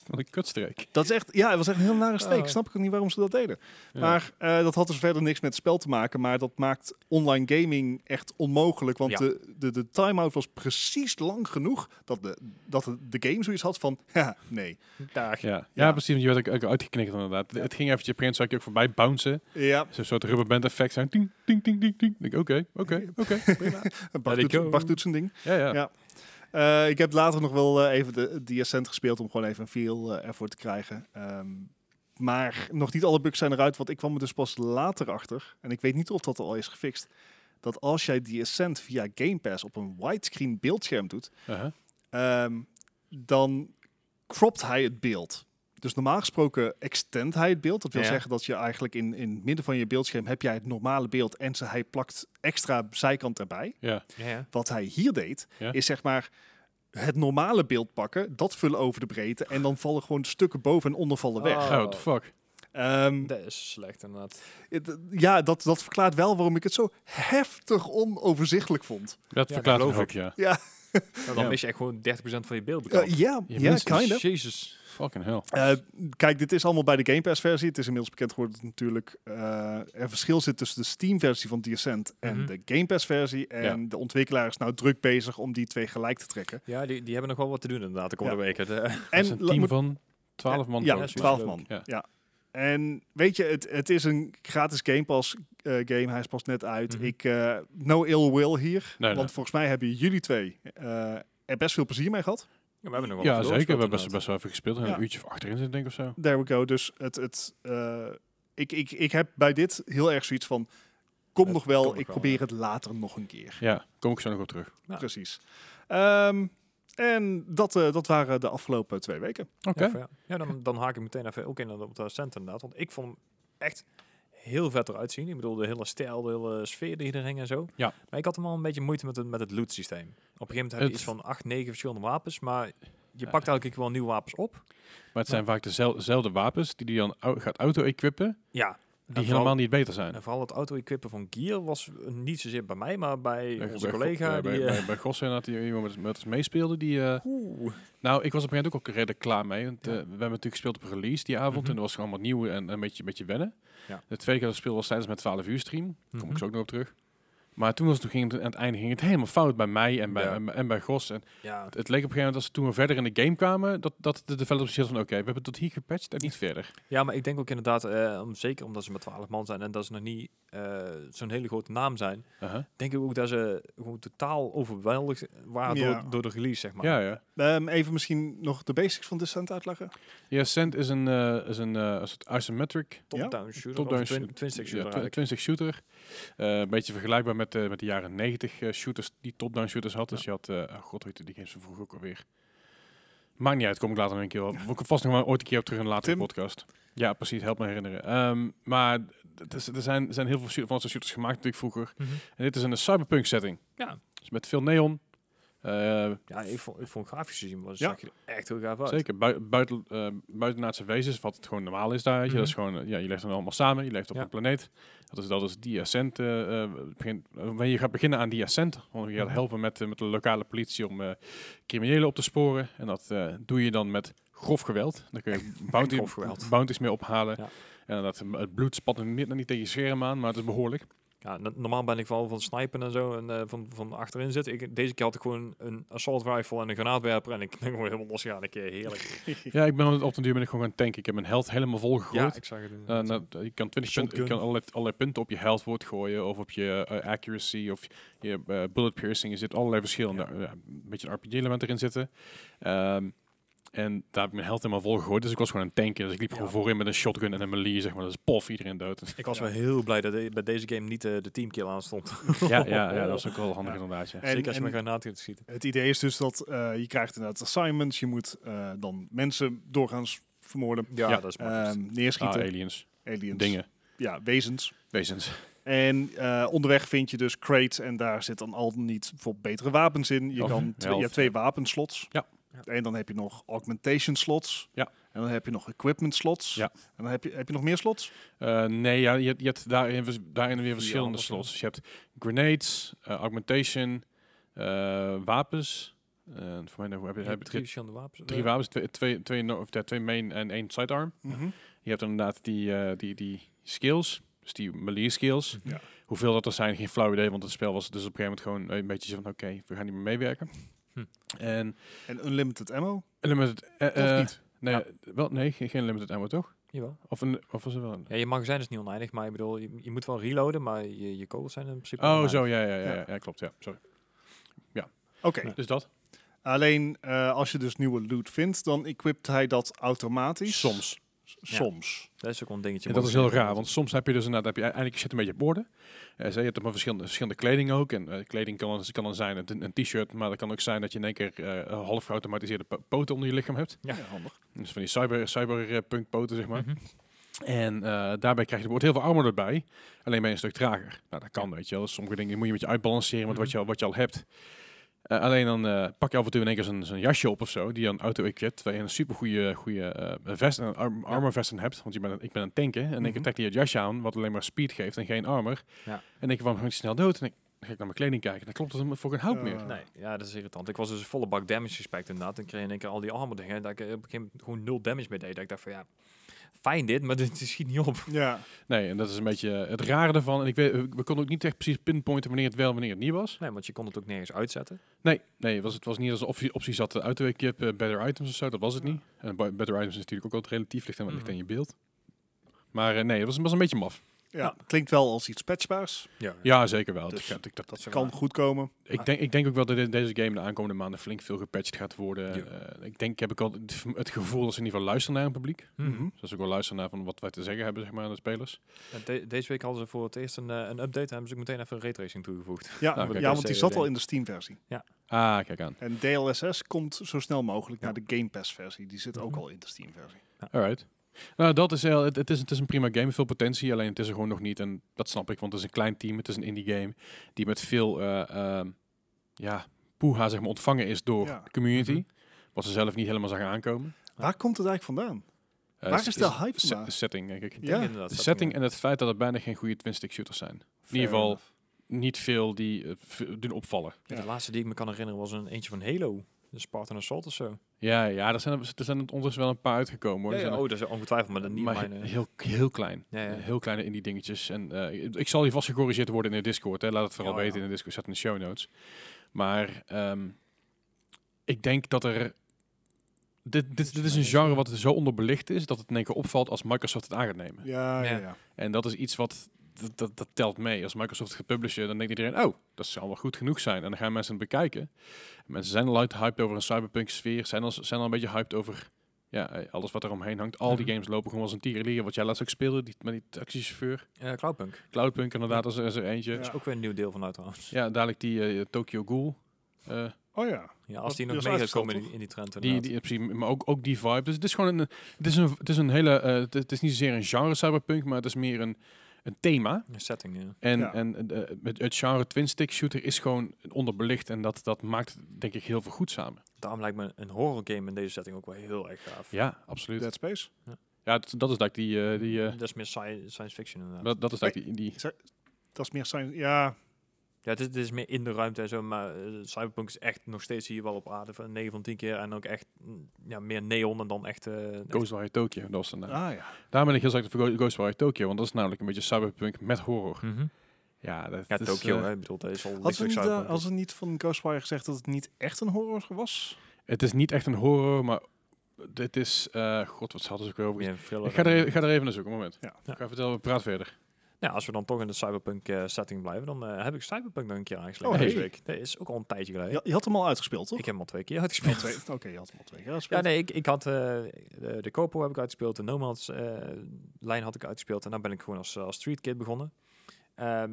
Speaker 1: Wat een kutstreek.
Speaker 3: Dat is echt, ja, het was echt een heel nare steek.
Speaker 2: Oh.
Speaker 3: Snap ik ook niet waarom ze dat deden.
Speaker 1: Ja.
Speaker 3: Maar eh, dat had dus verder niks met het spel te maken. Maar dat maakt online gaming echt onmogelijk. Want
Speaker 2: Ja.
Speaker 3: de, de, de time-out was precies lang genoeg dat de, dat de, de game zoiets had van... [LAUGHS] Ja, nee.
Speaker 2: Dag.
Speaker 1: Ja, ja,
Speaker 3: Ja.
Speaker 1: precies. want Je werd ook, ook uitgeknikt inderdaad. Het ging eventjes, op een gegeven moment zag ik je ook voorbij bouncen.
Speaker 3: Ja,
Speaker 1: Zo'n soort rubberband effect. Zo'n ting, ting, ting, ting, ting. Ik denk, oké, oké, oké. prima.
Speaker 3: Bart
Speaker 2: Let it
Speaker 3: doet,
Speaker 2: go.
Speaker 3: Bart doet zijn ding.
Speaker 1: Ja, ja.
Speaker 3: Ja. Eh, ik heb later nog wel eh, even de, die Ascent gespeeld om gewoon even een feel eh, ervoor te krijgen. Ehm, maar nog niet alle bugs zijn eruit, want ik kwam er dus pas later achter. En ik weet niet of dat al is gefixt. Dat als jij die Ascent via Game Pass op een widescreen beeldscherm doet,
Speaker 1: Aha.
Speaker 3: ehm, dan cropt hij het beeld. Dus normaal gesproken extend hij het beeld. Dat wil
Speaker 2: Ja.
Speaker 3: zeggen dat je eigenlijk in, in het midden van je beeldscherm heb jij het normale beeld en ze, hij plakt extra zijkant erbij
Speaker 1: Ja.
Speaker 2: Ja, ja.
Speaker 3: wat hij hier deed,
Speaker 1: Ja.
Speaker 3: is zeg maar het normale beeld pakken, dat vullen over de breedte en dan vallen gewoon stukken boven en onder vallen weg.
Speaker 2: Oh.
Speaker 1: Oh, what the fuck.
Speaker 3: Ehm,
Speaker 2: Dat is slecht inderdaad.
Speaker 3: het- ja, dat, dat verklaart wel waarom ik het zo heftig onoverzichtelijk vond.
Speaker 1: Dat
Speaker 2: Ja,
Speaker 1: verklaart
Speaker 2: dat
Speaker 1: het ook,
Speaker 2: geloof
Speaker 1: ja.
Speaker 3: Ja,
Speaker 2: Nou,
Speaker 1: Ja.
Speaker 2: dan mis je echt gewoon 30% van je
Speaker 3: Ja,
Speaker 2: beeldbestand.
Speaker 3: Eh, ja,
Speaker 1: Je
Speaker 3: ja,
Speaker 1: mist het.
Speaker 3: kind of.
Speaker 2: Jezus.
Speaker 1: Fucking hell.
Speaker 3: Eh, kijk, dit is allemaal bij de Game Pass versie. Het is inmiddels bekend geworden dat natuurlijk eh, er verschil zit tussen de Steam versie van Descent en
Speaker 2: Mhm.
Speaker 3: de Game Pass versie. En de ontwikkelaar is nou druk bezig om die twee gelijk te trekken.
Speaker 2: Ja, die, die hebben nog wel wat te doen inderdaad de komende weken. De- [LAUGHS]
Speaker 1: En
Speaker 3: En
Speaker 1: is een
Speaker 3: la-
Speaker 1: team van 12 man.
Speaker 3: ja,
Speaker 1: geloof ik.
Speaker 3: 12 man.
Speaker 1: Ja.
Speaker 3: Ja. En weet je, het, het is een gratis Game Pass eh, game. Hij is pas net uit.
Speaker 2: Mhm.
Speaker 3: Ik, eh, no ill will hier.
Speaker 1: Nee, nee.
Speaker 3: Want volgens mij hebben jullie twee eh, er best veel plezier mee gehad.
Speaker 2: Ja, we hebben nog wel
Speaker 1: Ja,
Speaker 2: wat
Speaker 1: zeker. We hebben best,
Speaker 2: doorgespeeld
Speaker 1: best wel even gespeeld. En
Speaker 3: Ja.
Speaker 1: een uurtje of achterin zitten, denk ik, of zo.
Speaker 3: There we go. Dus het, het, eh, ik, ik, ik heb bij dit heel erg zoiets van... Kom
Speaker 2: Het
Speaker 3: nog wel,
Speaker 2: komt nog
Speaker 3: ik
Speaker 2: wel,
Speaker 3: probeer
Speaker 2: ja.
Speaker 3: het later nog een keer.
Speaker 1: Ja, kom ik zo nog op terug.
Speaker 2: Ja.
Speaker 3: Precies. Ehm, en dat, eh, dat waren de afgelopen twee weken.
Speaker 1: Oké.
Speaker 2: Ja, fair. Ja, dan, dan haak ik meteen even ook in op de cent inderdaad. Want ik vond hem echt heel vet eruit zien. Ik bedoel, de hele stijl, de hele sfeer die er hing en zo.
Speaker 1: Ja.
Speaker 2: Maar ik had hem al een beetje moeite met het, met het loot systeem. Op een gegeven moment heb je
Speaker 1: Het-
Speaker 2: iets van acht, negen verschillende wapens. Maar je
Speaker 1: Ja.
Speaker 2: pakt elke keer wel nieuwe wapens op.
Speaker 1: Maar het zijn vaak dezel- dezelfde wapens die die dan au- gaat auto-equippen,
Speaker 2: Ja.
Speaker 1: die helemaal niet beter zijn.
Speaker 2: En vooral Nou, het auto-equippen van Gear was eh, niet zozeer bij mij, maar bij
Speaker 1: Bij-
Speaker 2: onze
Speaker 1: bij Go-
Speaker 2: collega.
Speaker 1: ja,
Speaker 2: die,
Speaker 1: bij,
Speaker 2: eh,
Speaker 1: bij, bij Gossen had die iemand met, met ons meespeelde. Die, eh,
Speaker 2: oeh.
Speaker 1: nou, ik was op een gegeven moment ook al redelijk klaar mee. Want,
Speaker 2: Ja.
Speaker 1: eh, we hebben natuurlijk gespeeld op release die avond.
Speaker 2: Mhm.
Speaker 1: En dat was gewoon wat nieuw en een beetje, een beetje wennen.
Speaker 2: Ja.
Speaker 1: De tweede keer dat we speelden was tijdens mijn 12 uur stream. Daar kom
Speaker 2: Mhm.
Speaker 1: ik zo ook nog op terug. Maar toen, was, toen ging het aan het einde ging het helemaal fout bij mij en bij,
Speaker 2: Ja.
Speaker 1: en, en bij Gos. En
Speaker 2: Ja,
Speaker 1: het leek op een gegeven moment dat ze toen we verder in de game kwamen, dat, dat de developers zeiden van oké, we hebben tot hier gepatcht en niet verder.
Speaker 2: Ja, maar ik denk ook inderdaad, eh, om, zeker omdat ze met 12 man zijn en dat ze nog niet eh, zo'n hele grote naam zijn,
Speaker 1: Uh-huh.
Speaker 2: denk ik ook dat ze gewoon totaal overweldigd waren
Speaker 3: Ja.
Speaker 2: door, door de release, zeg maar.
Speaker 1: Ja, ja.
Speaker 3: Ehm, even misschien nog de basics van Descent uitleggen.
Speaker 1: Ja, Sand is een, eh, is een eh, een soort isometric
Speaker 2: Top-down shooter,
Speaker 1: top-down
Speaker 2: of twin-
Speaker 1: shoot-
Speaker 2: twin-stick shooter
Speaker 1: ja, twi-
Speaker 2: eigenlijk.
Speaker 1: twin-stick shooter. Eh, een beetje vergelijkbaar met, de met de jaren 90 eh, shooters, die top-down shooters had. Dus je had, eh, oh god, hoe heette die games van vroeger ook alweer. Maakt niet uit, kom ik later nog een keer wel. Ik vast nog wel ooit een keer op terug in een latere
Speaker 3: Tim?
Speaker 1: podcast. Ja, precies, help me herinneren. Ehm, maar d- er z- er zijn, zijn heel veel shoot- van dat soort shooters gemaakt natuurlijk vroeger.
Speaker 2: Mhm.
Speaker 1: En dit is in een cyberpunk setting.
Speaker 2: Ja.
Speaker 1: Dus met veel neon. Eh,
Speaker 2: Ja, ik vond, ik vond grafisch gezien, was
Speaker 3: Ja.
Speaker 2: zag je er echt heel gaaf uit.
Speaker 1: Zeker, bui buiten, eh, buitenaardse wezens, wat het gewoon normaal is daar. weet je. Dat is
Speaker 2: Mhm.
Speaker 1: gewoon, eh, ja, je leeft dan allemaal samen, je leeft op
Speaker 2: Ja.
Speaker 1: een planeet. Dat is, dat is die ascent. eh, eh, begin, eh, wanneer je gaat beginnen aan die ascent, want je gaat
Speaker 2: Mhm.
Speaker 1: helpen met, eh, met de lokale politie om eh, criminelen op te sporen. En dat eh, doe je dan met grof geweld. Dan kun
Speaker 2: [LAUGHS]
Speaker 1: je bounty,
Speaker 2: grof geweld.
Speaker 1: bounties mee ophalen.
Speaker 2: Ja.
Speaker 1: En dat, het bloed spat niet, niet tegen je scherm aan, maar het is behoorlijk.
Speaker 2: Ja, no- normaal ben ik vooral van snipen en zo en eh, van, van achterin zitten. Ik, deze keer had ik gewoon een assault rifle en een granaatwerper en ik [LAUGHS] ben gewoon helemaal losgegaan. Ik, eh, heerlijk.
Speaker 1: Ja, ik ben op- op den duur ben ik gewoon gaan tanken. Ik heb mijn health helemaal vol gegooid.
Speaker 2: ik zag het.
Speaker 1: Eh,
Speaker 2: inderdaad.
Speaker 1: nou, je kan 20 punten, je
Speaker 2: Shotgun.
Speaker 1: kan allerlei, allerlei punten op je health woord gooien, of op je eh, accuracy, of je eh, bullet piercing. Er zit allerlei verschillende,
Speaker 2: Ja.
Speaker 1: eh, ja, een beetje een RPG-element erin zitten. Ehm, en daar heb ik mijn health helemaal vol gegooid, dus ik was gewoon een tanker. Dus ik liep
Speaker 2: Ja.
Speaker 1: gewoon voorin met een shotgun en een melee, zeg maar. Dat is pof, iedereen dood.
Speaker 2: ik was
Speaker 3: ja.
Speaker 2: wel heel blij dat de- bij deze game niet eh, de teamkill aan stond.
Speaker 1: ja, ja,
Speaker 2: [LAUGHS]
Speaker 1: ja, dat is ook wel handig
Speaker 3: Ja.
Speaker 1: inderdaad, ja.
Speaker 3: En-
Speaker 2: Zeker als je
Speaker 3: en-
Speaker 2: met granaten gaat schieten.
Speaker 3: Het idee is dus dat eh, je krijgt inderdaad assignments. Je moet eh, dan mensen doorgaans vermoorden,
Speaker 2: Ja,
Speaker 1: Ja.
Speaker 2: dat is mooi.
Speaker 3: ehm,
Speaker 1: Ah,
Speaker 3: neerschieten,
Speaker 1: aliens,
Speaker 3: aliens,
Speaker 1: dingen,
Speaker 3: ja, wezens.
Speaker 1: wezens.
Speaker 3: En eh, onderweg vind je dus crates en daar zit dan al dan niet bijvoorbeeld betere wapens in. Je,
Speaker 1: Of
Speaker 3: kan twee-
Speaker 1: health.
Speaker 3: je hebt twee wapenslots.
Speaker 1: Oh, Ja.
Speaker 2: Ja.
Speaker 3: En dan heb je nog augmentation slots.
Speaker 1: Ja.
Speaker 3: En dan heb je nog equipment slots.
Speaker 1: Ja.
Speaker 3: En dan heb je, heb je nog meer slots.
Speaker 1: Eh, nee, ja, je, hebt- je hebt daarin, vers- daarin weer verschillende
Speaker 2: andere
Speaker 1: slots. Dus je hebt grenades, eh, augmentation, eh, wapens. Eh, voor mij nog, heb je,
Speaker 2: Je
Speaker 1: heb
Speaker 2: hebt
Speaker 1: je
Speaker 2: drie verschillende wapens.
Speaker 1: drie
Speaker 2: wapens.
Speaker 1: wapens, twee, twee, twee, no- of, ja, twee main en één sidearm.
Speaker 3: Mhm.
Speaker 1: Je hebt inderdaad die, eh, die, die skills, dus die melee skills.
Speaker 3: Mhm. Ja.
Speaker 1: Hoeveel dat er zijn, geen flauw idee, want het spel was dus op een gegeven moment gewoon een beetje zo van oké, we gaan niet meer meewerken.
Speaker 2: Hm.
Speaker 1: En
Speaker 3: En unlimited ammo.
Speaker 1: limited, eh,
Speaker 3: Of
Speaker 1: eh,
Speaker 3: niet?
Speaker 1: Nee,
Speaker 2: Ja.
Speaker 1: wel, nee, geen, geen limited ammo toch?
Speaker 2: Jawel.
Speaker 1: Of, een, of was er wel een?
Speaker 2: Ja, je magazijn is niet oneindig, maar ik bedoel, je, je moet wel reloaden, maar je, je kogels zijn in principe
Speaker 1: Oh,
Speaker 2: oneindig.
Speaker 1: zo, ja, ja, ja,
Speaker 3: Ja.
Speaker 1: ja, ja, klopt, ja, sorry.
Speaker 3: Oké.
Speaker 1: Dus dat?
Speaker 3: Alleen eh, als je dus nieuwe loot vindt, dan equipt hij dat automatisch.
Speaker 1: Soms.
Speaker 3: S- Soms.
Speaker 2: Dat is ook wel een dingetje.
Speaker 1: En dat is heel raar, want soms heb je dus inderdaad, heb je eigenlijk je zit een beetje op orde. Eh, zo, je hebt maar verschillende, verschillende kleding ook. En eh, kleding kan, kan dan zijn een, een t-shirt, maar dat kan ook zijn dat je in één keer eh, half geautomatiseerde po- poten onder je lichaam hebt.
Speaker 2: Ja.
Speaker 3: handig.
Speaker 1: Dus van die cyber, cyberpunk poten, zeg maar.
Speaker 2: Mhm.
Speaker 1: En eh, daarbij krijg je er wordt heel veel armor erbij, alleen ben je een stuk trager. Nou, dat kan, weet je wel. Dus sommige dingen moet je een beetje uitbalanceren met wat
Speaker 3: Mhm.
Speaker 1: je, al- wat je al hebt. Eh, alleen dan eh, pak je af en toe in één keer zo'n zo'n jasje op of zo, die je een auto equipt, waar je een super goede goede vest, een arm, armor vest aan hebt, want je bent, een- ik ben een tanker. En in één keer
Speaker 3: Mhm.
Speaker 1: trekt hij het jasje aan, wat alleen maar speed geeft en geen armor.
Speaker 2: Ja.
Speaker 1: En ik kwam gewoon snel dood. En ik, Dan ga ik naar mijn kleding kijken. Dan klopt het hem voor geen hout
Speaker 3: Ja.
Speaker 1: meer.
Speaker 2: Nee, ja, dat is irritant. Ik was dus volle bak damage respect inderdaad. En kreeg in één keer al die armen dingen. Dat ik eh, op een gegeven moment gewoon nul damage mee deed. Dat ik dacht van ja, fijn dit, maar [LAUGHS] dit schiet niet op.
Speaker 3: Ja,
Speaker 1: Nee, en dat is een beetje het rare ervan. En ik weet, we konden ook niet echt precies pinpointen wanneer het wel en wanneer het niet was.
Speaker 2: Nee, want je kon het ook nergens uitzetten.
Speaker 1: Nee, nee was, het was niet als een optie, optie zat eh, uit te weken. Je hebt eh, better items of zo, dat was het
Speaker 3: Ja.
Speaker 1: niet. En bij- better items is natuurlijk ook altijd relatief, ligt aan, ligt
Speaker 2: Mhm.
Speaker 1: aan je beeld. Maar eh, nee, het was, was een beetje maf.
Speaker 3: ja. Nou, klinkt wel als iets patchbaars.
Speaker 1: Ja, zeker wel.
Speaker 3: Dus
Speaker 1: ik, ik, dat,
Speaker 3: Dat kan goed komen.
Speaker 1: ik, denk, ik denk ook wel dat in deze game de aankomende maanden flink veel gepatcht gaat worden.
Speaker 2: Ja.
Speaker 1: Eh, ik denk, heb ik al het- het gevoel dat ze in ieder geval luisteren naar een publiek.
Speaker 2: Mhm.
Speaker 1: Dus als ik wel luisteren naar van wat wij te zeggen hebben zeg maar, aan de spelers.
Speaker 2: En de- deze week hadden ze voor het eerst een, eh, een update. En hebben ze ook meteen even een raytracing toegevoegd. [LAUGHS]
Speaker 3: Ja,
Speaker 1: Nou, kijk,
Speaker 3: ja
Speaker 2: dat
Speaker 3: want die
Speaker 2: is, eh,
Speaker 3: zat al
Speaker 2: ding.
Speaker 3: in de Steam-versie.
Speaker 1: Ah, kijk aan.
Speaker 3: En DLSS komt zo snel mogelijk
Speaker 2: Ja.
Speaker 3: naar de Game Pass-versie. Die zit ook
Speaker 2: Mhm.
Speaker 3: al in de Steam-versie.
Speaker 1: Alright. Nou, dat is, heel- het, het, is, het is een prima game, veel potentie, alleen het is er gewoon nog niet. En dat snap ik, want het is een klein team, het is een indie game die met veel eh, ehm, ja, poeha zeg maar, ontvangen is door
Speaker 3: Ja.
Speaker 1: de community.
Speaker 2: Mhm.
Speaker 1: Wat ze zelf niet helemaal zagen aankomen.
Speaker 3: Waar komt het eigenlijk vandaan?
Speaker 1: Eh,
Speaker 3: Waar
Speaker 1: s-
Speaker 3: is de hype
Speaker 1: se-
Speaker 3: vandaan?
Speaker 1: setting, denk ik.
Speaker 2: Ik denk
Speaker 3: Ja.
Speaker 2: inderdaad,
Speaker 1: De
Speaker 2: dat
Speaker 1: setting
Speaker 2: ging-
Speaker 1: en het feit dat er bijna geen goede twin-stick shooters zijn.
Speaker 3: Fair
Speaker 1: geval-
Speaker 3: enough.
Speaker 1: Niet veel die eh, v- doen opvallen.
Speaker 2: ja, De laatste die ik me kan herinneren was een eentje van Halo. Een Spartan Assault of zo.
Speaker 1: Ja, ja er, zijn er, er zijn er ondertussen wel een paar uitgekomen. Hoor.
Speaker 2: Ja,
Speaker 1: Er
Speaker 2: ja,
Speaker 1: zijn er-
Speaker 2: oh, dat is ongetwijfeld, maar dat niet
Speaker 1: maar
Speaker 2: mijn...
Speaker 1: he-
Speaker 2: eh,
Speaker 1: heel, heel klein.
Speaker 2: Ja, ja.
Speaker 1: Eh, Heel kleine indie dingetjes. En eh, ik- ik zal hier vast gecorrigeerd worden in de Discord. Hè. Laat het vooral
Speaker 2: Ja, ja.
Speaker 1: weten in de Discord. Zet in de show notes. Maar ehm, ik denk dat er... Dit, dit, dit is een genre wat zo onderbelicht is... dat het in één keer opvalt als Microsoft het aan gaat nemen.
Speaker 3: Ja, ja,
Speaker 2: Ja.
Speaker 3: ja.
Speaker 1: En dat is iets wat... Dat, dat, dat telt mee. Als Microsoft het gaat publishen, dan denkt iedereen... oh, dat zal wel goed genoeg zijn. En dan gaan mensen het bekijken. Mensen zijn al hyped over een cyberpunk-sfeer. Zijn al, zijn al een beetje hyped over... Ja, eh, alles wat er omheen hangt. Al die
Speaker 2: Mhm.
Speaker 1: games lopen gewoon als een tierenlier. Wat jij laatst ook speelde die, met die taxichauffeur.
Speaker 2: eh, Cloudpunk.
Speaker 1: Cloudpunk inderdaad, als er, is er eentje.
Speaker 3: Ja.
Speaker 1: Ja.
Speaker 2: Dat is ook weer een nieuw deel van uit trouwens.
Speaker 1: dadelijk die eh, Tokyo Ghoul. eh,
Speaker 3: Oh ja.
Speaker 2: Ja,
Speaker 3: Dat-
Speaker 2: als die
Speaker 3: die
Speaker 2: nog
Speaker 3: is
Speaker 2: mee gaat
Speaker 3: uitgesteld,
Speaker 2: komen in,
Speaker 3: toch?
Speaker 2: die- in die trend
Speaker 1: die,
Speaker 2: inderdaad.
Speaker 1: die, precies, maar ook, ook die vibe. Dus het is gewoon een... Het is, een, het is, een hele, eh, het, het is niet zozeer een genre cyberpunk, maar het is meer een, een thema.
Speaker 2: Een setting, ja.
Speaker 1: En,
Speaker 3: Ja.
Speaker 1: en eh, het, het genre twin-stick shooter is gewoon onderbelicht. En dat, dat maakt het, denk ik heel veel goed samen.
Speaker 2: Daarom lijkt me een horror game in deze setting ook wel heel erg gaaf.
Speaker 1: Ja, absoluut.
Speaker 3: Dead Space.
Speaker 1: Ja, dat, dat is dat die... eh, die eh,
Speaker 2: Dat is meer sci- science fiction inderdaad.
Speaker 1: dat, dat is dat die... die
Speaker 3: Dat is meer science. Ja,
Speaker 2: Ja, dit, dit is meer in de ruimte en zo, maar eh, Cyberpunk is echt nog steeds hier wel op aarde van 9 van 10 keer. En ook echt mm, ja, meer neon en dan echt... eh, echt-
Speaker 1: Ghostwire Tokyo, dat was het nou.
Speaker 3: ah ja.
Speaker 1: Daar ben ik heel sterk voor Ghost- Ghostwire Tokyo, want dat is namelijk een beetje cyberpunk met horror.
Speaker 2: Mhm.
Speaker 1: Ja, dat
Speaker 2: Ja,
Speaker 1: dat is,
Speaker 2: Tokyo,
Speaker 1: eh,
Speaker 2: hè. Ik bedoel, dat is al
Speaker 3: Had ze
Speaker 2: lichtelijk
Speaker 3: niet, eh,
Speaker 2: Cyberpunk.
Speaker 3: had ze niet van Ghostwire gezegd dat het niet echt een horror was?
Speaker 1: het is niet echt een horror, maar dit is... eh, God, wat hadden ze ook weer over?
Speaker 2: Meer een thriller
Speaker 1: Ik ga, er,
Speaker 2: dan-
Speaker 1: even- ik ga er even naar zoeken, moment.
Speaker 3: Ja.
Speaker 1: Ik ga vertellen, we praten verder.
Speaker 2: Nou, als we dan toch in de Cyberpunk eh, setting blijven, dan eh, heb ik Cyberpunk nog een keer aangesloten
Speaker 1: Oh,
Speaker 2: deze
Speaker 3: hey.
Speaker 2: week. Dat is ook al een tijdje geleden.
Speaker 3: Je, je had hem al uitgespeeld, toch?
Speaker 2: Ik heb hem al twee keer
Speaker 3: Al
Speaker 2: uitgespeeld.
Speaker 3: twee- Oké, je had hem al twee keer
Speaker 2: Ja,
Speaker 3: uitgespeeld.
Speaker 2: nee, ik, ik had eh, de, de Kopo heb ik uitgespeeld, de Nomads eh, lijn had ik uitgespeeld en dan ben ik gewoon als, eh, als Street Kid begonnen. Ehm,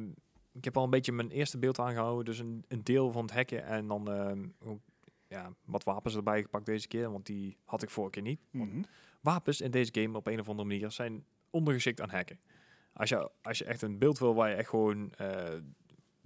Speaker 2: ik heb al een beetje mijn eerste beeld aangehouden, dus een, een deel van het hacken en dan ehm, ook, ja, wat wapens erbij gepakt deze keer, want die had ik vorige keer niet.
Speaker 3: Mhm.
Speaker 2: Wapens in deze game op een of andere manier zijn ondergeschikt aan hacken. Als je, als je echt een beeld wil waar je echt gewoon eh,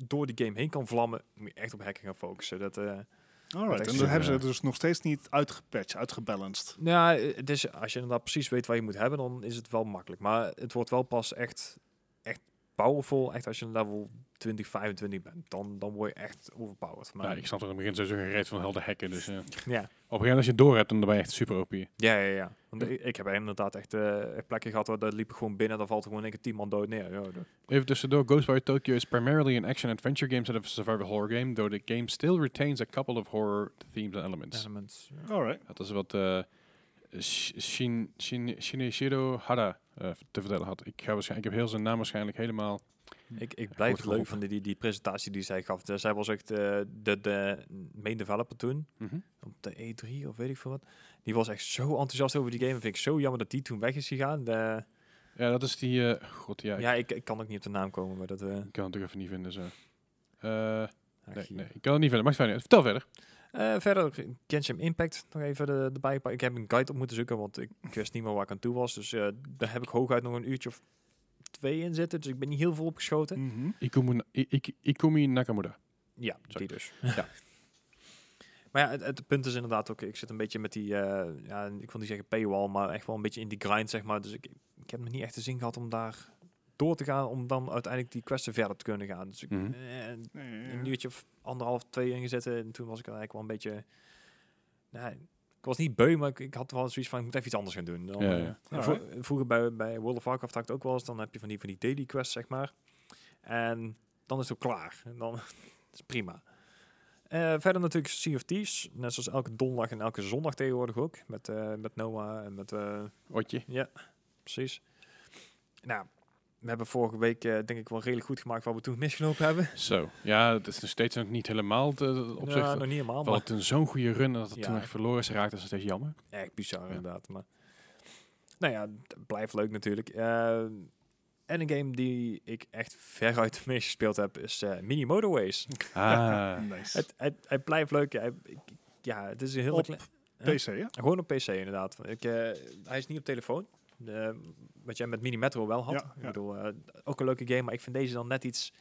Speaker 2: door die game heen kan vlammen, moet je echt op hacken gaan focussen. Dat, eh,
Speaker 3: Alright,
Speaker 2: Dat
Speaker 3: en
Speaker 2: is
Speaker 3: dan
Speaker 1: een,
Speaker 3: hebben ze
Speaker 1: eh,
Speaker 3: het dus nog steeds niet uitgepatcht, uitgebalanced.
Speaker 2: Nou, Ja, het is, als je inderdaad precies weet wat je moet hebben, dan is het wel makkelijk. Maar het wordt wel pas echt, echt powerful, echt als je level 20, 25 bent. Dan, dan word je echt overpowered. Maar,
Speaker 1: Ja, ik snap er in het begin sowieso geen reet van helder hacken. Dus, eh. Op een gegeven
Speaker 2: ja.
Speaker 1: moment als je het door hebt, dan ben je echt super OP.
Speaker 2: ja, ja, ja. Want ik, ik heb inderdaad echt eh, echt plekken gehad waar daar liep ik gewoon binnen. Dan valt er gewoon een keer 10 man dood neer. Ja, dat-
Speaker 1: Even tussendoor, Ghostwire Tokyo is primarily an action-adventure game instead of a survival horror game, though the game still retains a couple of horror themes and elements.
Speaker 2: elements, ja.
Speaker 3: Alright.
Speaker 1: Dat is wat eh, Sh- Shin, Shin, Shinichiro Hara eh, te vertellen had. Ik, ga waarschijnlijk, ik heb heel zijn naam waarschijnlijk helemaal...
Speaker 2: Ik, ik
Speaker 1: wordt
Speaker 2: blijf het leuk
Speaker 1: geholpen.
Speaker 2: van die, die, die presentatie die zij gaf. Zij was echt eh, de, de main developer toen.
Speaker 1: Mhm.
Speaker 2: op de E3 of weet ik veel wat. Die was echt zo enthousiast over die game. Vind ik zo jammer dat die toen weg is gegaan. De-
Speaker 1: Ja, dat is die... eh, God, ja,
Speaker 2: ja, ik, ik kan ook niet op de naam komen, maar dat... eh,
Speaker 1: ik kan het toch even niet vinden zo. Eh,
Speaker 2: ach,
Speaker 1: nee,
Speaker 2: hier.
Speaker 1: nee, ik kan het niet vinden. Maakt het niet uit. Vertel verder.
Speaker 2: Eh, verder, Genshin Impact nog even de, erbij gepakt. Ik heb een guide op moeten zoeken, want ik ik wist niet meer waar ik aan toe was. Dus eh, daar heb ik hooguit nog een uurtje of twee in zitten. Dus ik ben niet heel veel opgeschoten.
Speaker 3: Mhm.
Speaker 1: Ikumu- I- I- Ikumi Nakamura.
Speaker 2: Ja,
Speaker 1: Sorry.
Speaker 2: die dus.
Speaker 1: [LAUGHS] Ja.
Speaker 2: Maar ja, het, het punt is inderdaad ook, ik zit een beetje met die, eh, ja, ik wil niet zeggen paywall, maar echt wel een beetje in die grind, zeg maar. Dus ik, ik heb nog niet echt de zin gehad om daar door te gaan om dan uiteindelijk die questen verder te kunnen gaan. Dus ik,
Speaker 1: Mhm.
Speaker 2: eh, een
Speaker 3: Nee,
Speaker 2: uurtje of anderhalf, twee ingezet en toen was ik er eigenlijk wel een beetje... Nou, ik was niet beu, maar ik, ik had wel zoiets van, ik moet even iets anders gaan doen. Dan,
Speaker 1: Ja,
Speaker 2: eh,
Speaker 1: ja.
Speaker 2: en vro- vroeger bij, bij World of Warcraft had ik het ook wel eens, dan heb je van die, van die daily quests, zeg maar. En dan is het ook klaar. En dan [LAUGHS] is prima. Eh, verder natuurlijk Sea of Thieves, net zoals elke donderdag en elke zondag tegenwoordig ook. Met, eh, met Noah en met... eh,
Speaker 1: Otje.
Speaker 2: Precies. Nou, we hebben vorige week eh, denk ik wel redelijk goed gemaakt waar we toen [LAUGHS] misgelopen hebben.
Speaker 1: Zo. Ja, het is nog steeds nog niet helemaal de, de opzicht.
Speaker 2: Ja,
Speaker 1: Ja,
Speaker 2: nog niet helemaal,
Speaker 1: we
Speaker 2: maar
Speaker 1: hadden zo'n goede run en dat het
Speaker 2: Ja.
Speaker 1: toen echt verloren is geraakt. Dat is steeds jammer.
Speaker 2: echt bizar
Speaker 1: Ja.
Speaker 2: inderdaad. Maar, nou ja, d- blijft leuk natuurlijk. Eh, en een game die ik echt veruit het meest gespeeld heb is eh, Mini Motorways. [LAUGHS]
Speaker 1: Ah.
Speaker 3: nice.
Speaker 2: het, het, het blijft leuk. Hij- ik- ja, het is een heel
Speaker 3: Op
Speaker 2: klein- hè?
Speaker 3: PC, hè?
Speaker 2: Gewoon op PC inderdaad. Want Ik, eh, hij is niet op telefoon. Eh, wat jij met Mini Metro wel had.
Speaker 3: Ja,
Speaker 2: Ik
Speaker 3: ja.
Speaker 2: bedoel, eh, ook een leuke game, maar ik vind deze dan net iets,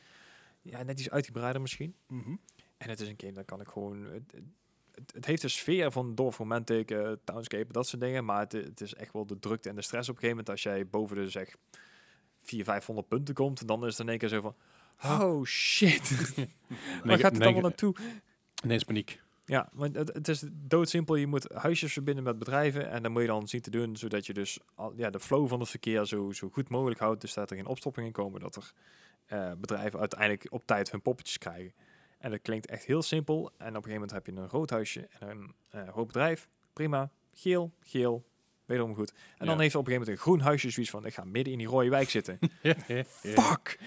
Speaker 2: ja, net iets uitgebreider misschien.
Speaker 3: Mhm.
Speaker 2: En het is een game, dan kan ik gewoon... Het, het, het heeft de sfeer van Dorf Romantic, eh, Townscape, dat soort dingen. Maar het, het is echt wel de drukte en de stress op een gegeven moment. Als jij boven de zeg 400, 500 punten komt, dan is het in één keer zo van...
Speaker 1: [LAUGHS]
Speaker 2: Oh shit, waar
Speaker 1: Neg-
Speaker 2: gaat het allemaal
Speaker 1: neg-
Speaker 2: naartoe?
Speaker 1: Ineens paniek.
Speaker 2: Ja, want het, het is doodsimpel. Je moet huisjes verbinden met bedrijven. En dat moet je dan zien te doen, zodat je dus al, ja, de flow van het verkeer zo, zo goed mogelijk houdt. Dus dat er geen opstoppingen komen. Dat er eh, bedrijven uiteindelijk op tijd hun poppetjes krijgen. En dat klinkt echt heel simpel. En op een gegeven moment heb je een rood huisje en een eh rood bedrijf. Prima. Geel, geel. Wederom goed. En dan
Speaker 1: Ja.
Speaker 2: heeft op een gegeven moment een groen huisje zoiets van... Ik ga midden in die rode wijk zitten. Fuck!